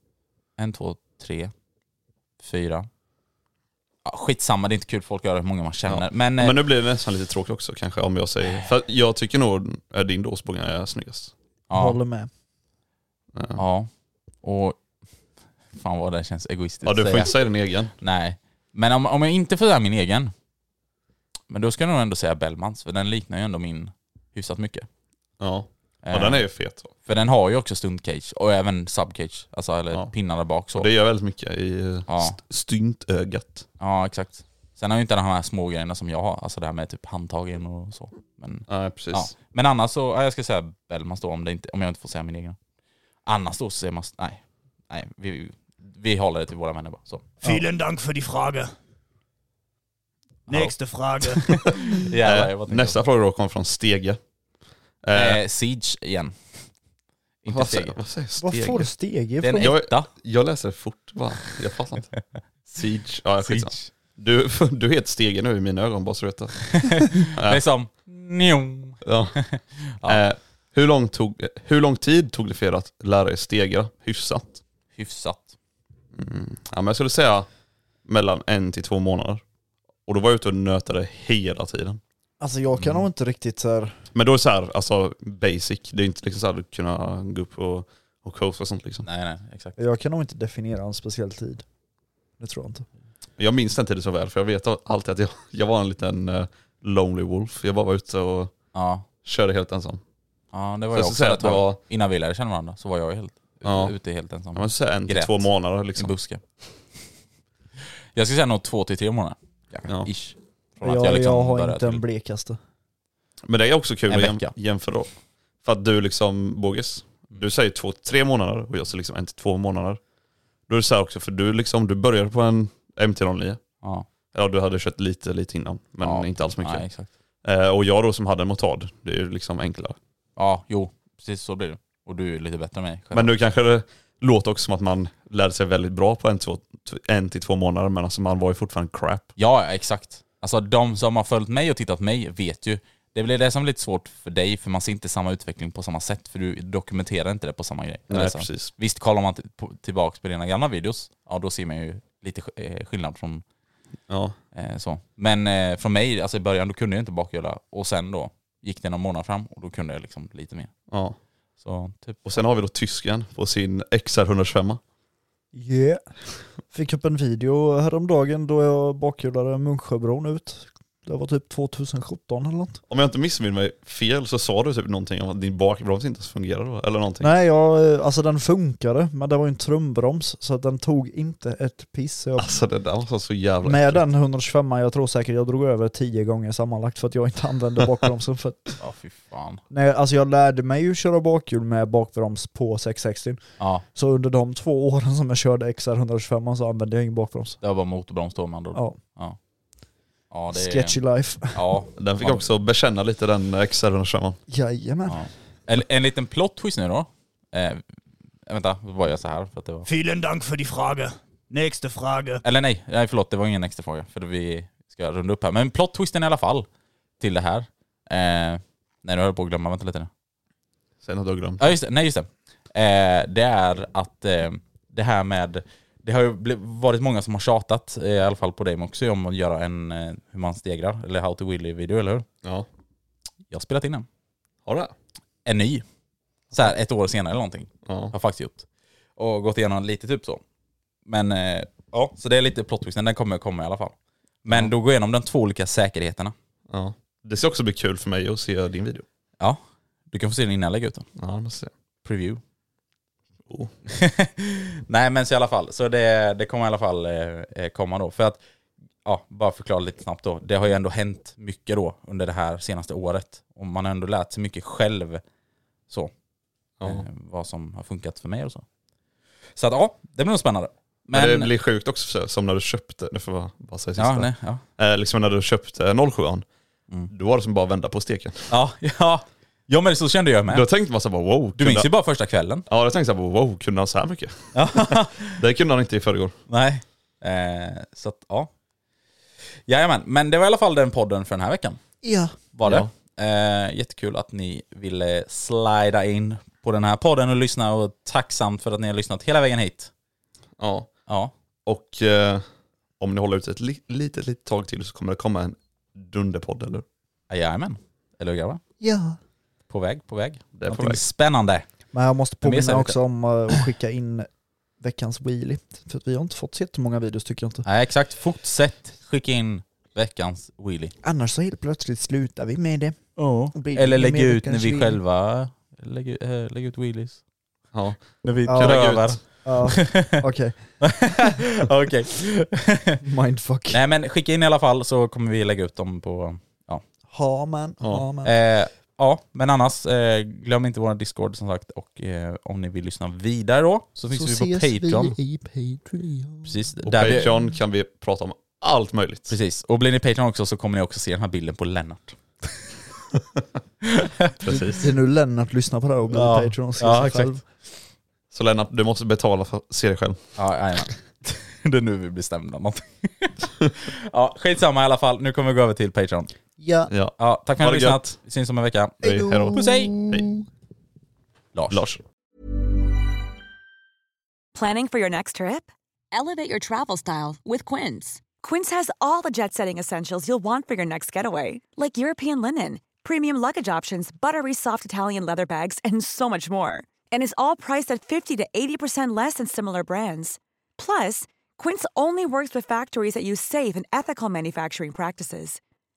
[SPEAKER 2] en, två, tre, fyra. Ja, skitsamma, det är inte kul folk gör hur många man känner.
[SPEAKER 4] Ja.
[SPEAKER 2] Men, eh,
[SPEAKER 4] Men nu blir det nästan lite tråkigt också kanske om jag säger... För att jag tycker nog eh, din dåsbåge är snyggast.
[SPEAKER 2] ja,
[SPEAKER 3] Håller med.
[SPEAKER 4] Ja.
[SPEAKER 2] ja. Och fan vad det känns egoistiskt
[SPEAKER 4] Ja, du
[SPEAKER 2] att
[SPEAKER 4] får
[SPEAKER 2] säga.
[SPEAKER 4] inte säga din egen.
[SPEAKER 2] Nej. Men om, om jag inte får säga min egen, men då ska jag nog ändå säga Bellmans, för den liknar ju ändå min hyfsat mycket.
[SPEAKER 4] Ja.
[SPEAKER 2] Eh,
[SPEAKER 4] ja, den är ju fet.
[SPEAKER 2] För den har ju också stuntcage och även subcage, alltså eller
[SPEAKER 4] Ja.
[SPEAKER 2] pinnar där bak så.
[SPEAKER 4] Och det gör väldigt mycket i
[SPEAKER 2] Ja.
[SPEAKER 4] ja. styntögat.
[SPEAKER 2] Ja, exakt. Sen har ju inte de här små grejerna som jag har, alltså det här med typ handtagen och så. Men,
[SPEAKER 4] Nej, precis.
[SPEAKER 2] ja. men annars så, ja, jag ska säga Bellmans då om, det inte, om jag inte får säga min egen. Annars då så säger man, s- nej, nej vi, vi håller det till våra vänner bara. Så.
[SPEAKER 8] Vielen Dank für die Frage. Nächste Frage.
[SPEAKER 2] Jävlar, jag bara
[SPEAKER 4] eh,
[SPEAKER 2] tänkte-
[SPEAKER 4] nästa fråga då kommer från Stege. Eh,
[SPEAKER 2] Eh, Siege igen. Inte
[SPEAKER 4] vad, säger,
[SPEAKER 2] Siege.
[SPEAKER 4] vad säger
[SPEAKER 3] Vad får
[SPEAKER 4] Stege?
[SPEAKER 3] steg
[SPEAKER 2] Det är
[SPEAKER 3] ifrån?
[SPEAKER 2] en
[SPEAKER 4] Jag-
[SPEAKER 2] etta.
[SPEAKER 4] Jag läser det fort va? Jag fattar inte. Siege. Ja, skitsamma.
[SPEAKER 2] Siege.
[SPEAKER 4] Du, du heter Stege nu i mina ögon, bara så du vet det.
[SPEAKER 2] Det är som, Liksom, njong.
[SPEAKER 4] Ja. Eh, hur, lång tog, eh, hur lång tid tog det för er att lära er stegra hyfsat? Mm.
[SPEAKER 2] hyfsat.
[SPEAKER 4] Ja, men jag skulle säga mellan en till två månader. Och då var jag ute och nötade hela tiden.
[SPEAKER 3] Alltså jag
[SPEAKER 2] Mm.
[SPEAKER 3] kan nog inte riktigt så här.
[SPEAKER 4] Men då är det så här, alltså basic. Det är inte liksom så här att kunna gå upp och, och coacha och sånt liksom.
[SPEAKER 2] Nej, nej, exakt.
[SPEAKER 3] jag kan nog inte definiera en speciell tid. Det tror jag inte.
[SPEAKER 4] Jag minns den tiden så väl, för jag vet alltid att jag, jag var en liten eh, lonely wolf. Jag bara var ute och
[SPEAKER 2] Ja,
[SPEAKER 4] körde helt ensam.
[SPEAKER 2] ja det var jag
[SPEAKER 4] Så jag skulle
[SPEAKER 2] också.
[SPEAKER 4] säga
[SPEAKER 2] ett
[SPEAKER 4] att det
[SPEAKER 2] tag.
[SPEAKER 4] var
[SPEAKER 2] Innan vi lärde känna varandra så var jag helt,
[SPEAKER 4] Ja.
[SPEAKER 2] ute helt ensam.
[SPEAKER 4] ja, men så här en till
[SPEAKER 2] Grät.
[SPEAKER 4] två månader
[SPEAKER 2] I
[SPEAKER 4] liksom.
[SPEAKER 2] buske. Jag skulle säga nog två till tre månader. Ja.
[SPEAKER 4] Ja.
[SPEAKER 2] Ish. Från
[SPEAKER 3] Jag,
[SPEAKER 2] att
[SPEAKER 3] jag,
[SPEAKER 2] liksom
[SPEAKER 3] har
[SPEAKER 2] började
[SPEAKER 3] inte en
[SPEAKER 2] till-
[SPEAKER 3] blekaste.
[SPEAKER 4] Men det är också kul
[SPEAKER 2] En
[SPEAKER 4] att jäm,
[SPEAKER 2] vecka.
[SPEAKER 4] jämföra då. För att du liksom, Bogis, du säger två, tre månader och jag säger liksom en till två månader. Då är det så här också, för du liksom, du började på en MT-09.
[SPEAKER 2] Ja.
[SPEAKER 4] Ja, du hade kört lite, lite innan, men
[SPEAKER 2] Ja.
[SPEAKER 4] inte alls mycket.
[SPEAKER 2] Nej, exakt.
[SPEAKER 4] Eh, och jag då som hade en motard, det är ju liksom enklare.
[SPEAKER 2] Ja, jo. Precis så blir det. Och du är lite bättre än mig. själv.
[SPEAKER 4] Men nu kanske det låter också som att man lärde sig väldigt bra på en, två, t- en till två månader, men alltså man var ju fortfarande crap.
[SPEAKER 2] Ja, ja, exakt. Alltså de som har följt mig och tittat på mig vet ju. Det blir det som är lite svårt för dig, för man ser inte samma utveckling på samma sätt, för du dokumenterar inte det på samma grej.
[SPEAKER 4] Nej,
[SPEAKER 2] Eller så.
[SPEAKER 4] precis.
[SPEAKER 2] Visst, kollar man t- på, tillbaka på dina gamla videos, ja då ser man ju lite sk- eh, skillnad från
[SPEAKER 4] Ja.
[SPEAKER 2] eh, så. Men eh, från mig, alltså i början, då kunde jag inte bakhjula. Och sen då gick det någon månad fram och då kunde jag liksom lite mer.
[SPEAKER 4] ja.
[SPEAKER 2] Så typ.
[SPEAKER 4] Och sen har vi då tysken på sin XR125.
[SPEAKER 3] Yeah. Fick upp en video häromdagen då jag bakhjulade Munksjöbron ut. Det var typ 2017 eller något.
[SPEAKER 4] Om jag inte missminner mig fel så sa du typ någonting om att din bakbroms inte ens fungerade va? eller någonting.
[SPEAKER 3] Nej, jag, eh, alltså den funkade, men det var ju en trumbroms så att den tog inte ett piss. Så Jag,
[SPEAKER 4] Alltså det där var så jävla
[SPEAKER 3] med
[SPEAKER 4] äckligt.
[SPEAKER 3] den 125 jag tror säkert jag drog över 10 gånger sammanlagt för att jag inte använde bakbromsen. För, att-
[SPEAKER 2] Ja, fy fan.
[SPEAKER 3] nej, alltså jag lärde mig ju köra bakhjul med bakbroms på 660.
[SPEAKER 2] Ja,
[SPEAKER 3] Så under de två åren som jag körde XR125 så använde jag ingen bakbroms.
[SPEAKER 2] det var bara motorbroms då med andra ord. ja,
[SPEAKER 3] Ja,
[SPEAKER 2] det är-
[SPEAKER 3] sketchy life.
[SPEAKER 2] Ja.
[SPEAKER 4] Den fick
[SPEAKER 2] Ja.
[SPEAKER 4] också bekänna lite den eh, XR125.
[SPEAKER 3] Jajamän.
[SPEAKER 2] Ja. En, en liten plot twist nu då. Eh, vänta, då var jag så här för att det var...
[SPEAKER 8] Vielen Dank für die Frage. Nächste Frage.
[SPEAKER 2] Eller nej, nej förlåt, det var ingen extra fråga för vi ska runda upp här. Men plot twisten i alla fall till det här. Eh, nej, nu höll jag på att glömma. Vänta lite nu.
[SPEAKER 4] Sen hade jag glömt.
[SPEAKER 2] Ja just det, nej just det. Eh, det är att eh, det här med, det har ju bliv- varit många som har tjatat, eh, i alla fall på dig också om att göra en eh, hur man stegrar, eller how to willy video eller hur?
[SPEAKER 4] Ja.
[SPEAKER 2] Jag har spelat in den.
[SPEAKER 4] Har du det?
[SPEAKER 2] En ny. Så här ett år senare eller någonting. Har
[SPEAKER 4] Ja.
[SPEAKER 2] jag faktiskt gjort. Och gått igenom lite typ så. Men eh, ja, så det är lite plot twisten, den kommer komma i alla fall. Men då går jag igenom de två olika säkerheterna.
[SPEAKER 4] ja. Det ska också bli kul för mig att se din video.
[SPEAKER 2] Ja, du kan få se den innan jag lägger ut den.
[SPEAKER 4] Ja, det måste jag se.
[SPEAKER 2] Preview.
[SPEAKER 4] Oh.
[SPEAKER 2] Nej men så i alla fall, så det, det kommer i alla fall eh, eh, komma då. För att, ja, bara förklara lite snabbt då. Det har ju ändå hänt mycket då under det här senaste året. Och man har ändå lärt sig mycket själv. Så. Eh,
[SPEAKER 4] Ja.
[SPEAKER 2] vad som har funkat för mig och så. Så att ja, det blir nog spännande. Men,
[SPEAKER 4] Men det blir sjukt också för sig, som när du köpte, nu får jag bara- bara säga
[SPEAKER 2] ja,
[SPEAKER 4] sista.
[SPEAKER 2] nej, ja.
[SPEAKER 4] eh, liksom när du köpte 07
[SPEAKER 2] Mm.
[SPEAKER 4] då var det som bara att vända på steken.
[SPEAKER 2] Ja, ja. ja, men så kände jag
[SPEAKER 4] Då
[SPEAKER 2] med.
[SPEAKER 4] tänkte man såhär, wow.
[SPEAKER 2] Du
[SPEAKER 4] kunde-
[SPEAKER 2] minns ju bara första kvällen.
[SPEAKER 4] Ja, då tänkte jag såhär, wow, kunde han så här mycket? det kunde han inte i förrgår.
[SPEAKER 2] Nej. Eh, så att, ja. Jajamän, men det var i alla fall den podden för den här veckan.
[SPEAKER 3] Ja.
[SPEAKER 2] Var det. Eh, jättekul att ni ville slida in på den här podden och lyssna och tacksamt för att ni har lyssnat hela vägen hit.
[SPEAKER 4] Ja.
[SPEAKER 2] Ja,
[SPEAKER 4] Och eh, om ni håller ut ett li- litet, litet tag till så kommer det komma en dunderpodd, eller?
[SPEAKER 2] Eh, jajamän. Eller hur grabbar?
[SPEAKER 3] Ja.
[SPEAKER 2] På väg, på väg.
[SPEAKER 4] Det är på
[SPEAKER 2] Någonting
[SPEAKER 4] väg.
[SPEAKER 2] spännande.
[SPEAKER 3] Men jag måste
[SPEAKER 2] Men vi ser
[SPEAKER 3] påminna
[SPEAKER 2] lite.
[SPEAKER 3] också om eh, att skicka in veckans wheelie. För att vi har inte fått så jättemånga videos tycker jag inte.
[SPEAKER 2] Nej, exakt. Fortsätt skicka in veckans wheelie.
[SPEAKER 3] Annars så helt plötsligt slutar vi med det. Och blir det
[SPEAKER 2] Eller
[SPEAKER 3] ingen
[SPEAKER 2] lägg
[SPEAKER 3] mer
[SPEAKER 2] ut när
[SPEAKER 3] veckans
[SPEAKER 2] vi
[SPEAKER 3] wheelie.
[SPEAKER 2] själva lägger, eh, lägger ut wheelies.
[SPEAKER 4] Ja.
[SPEAKER 2] När vi
[SPEAKER 3] Ja.
[SPEAKER 2] krövar.
[SPEAKER 3] Ja, okej.
[SPEAKER 2] Okej.
[SPEAKER 3] Mindfuck.
[SPEAKER 2] Nej men skicka in i alla fall så kommer vi lägga ut dem på...
[SPEAKER 3] Har man, har man.
[SPEAKER 2] Eh, ja, men annars eh, glöm inte vår Discord som sagt och eh, om ni vill lyssna vidare då så finns vi på Patreon.
[SPEAKER 3] vi i Patreon.
[SPEAKER 2] Precis,
[SPEAKER 4] Och
[SPEAKER 2] där vi-
[SPEAKER 4] Patreon kan vi prata om allt möjligt.
[SPEAKER 2] Precis, och blir ni Patreon också så kommer ni också se den här bilden på Lennart.
[SPEAKER 4] Precis.
[SPEAKER 3] Det är nu Lennart lyssnar på det här och blir
[SPEAKER 2] Ja.
[SPEAKER 3] Patreon och ser
[SPEAKER 2] Ja,
[SPEAKER 3] sig
[SPEAKER 2] exakt.
[SPEAKER 3] själv.
[SPEAKER 4] Så Lennart, du måste betala för att se dig själv.
[SPEAKER 2] Ja, jajamän. Det är nu vi blir stämda av någonting. ja, skitsamma i alla fall. Nu kommer vi gå över till Patreon.
[SPEAKER 3] Ja.
[SPEAKER 4] Ja.
[SPEAKER 2] Ja, tack för att
[SPEAKER 4] Ha
[SPEAKER 2] ni
[SPEAKER 4] det
[SPEAKER 2] har lyssnat. Vi syns om en vecka.
[SPEAKER 4] Hej då.
[SPEAKER 2] Puss hej!
[SPEAKER 4] Hej. Lars.
[SPEAKER 9] Planning for your next trip?
[SPEAKER 5] Elevate your travel style with Quince.
[SPEAKER 9] Quince has all the jet setting essentials you'll want for your next getaway, like European linen, premium luggage options, buttery soft Italian leather bags, and so much more. And is all priced at 50 to 80% less than similar brands. Plus, Quince only works with factories that use safe and ethical manufacturing practices.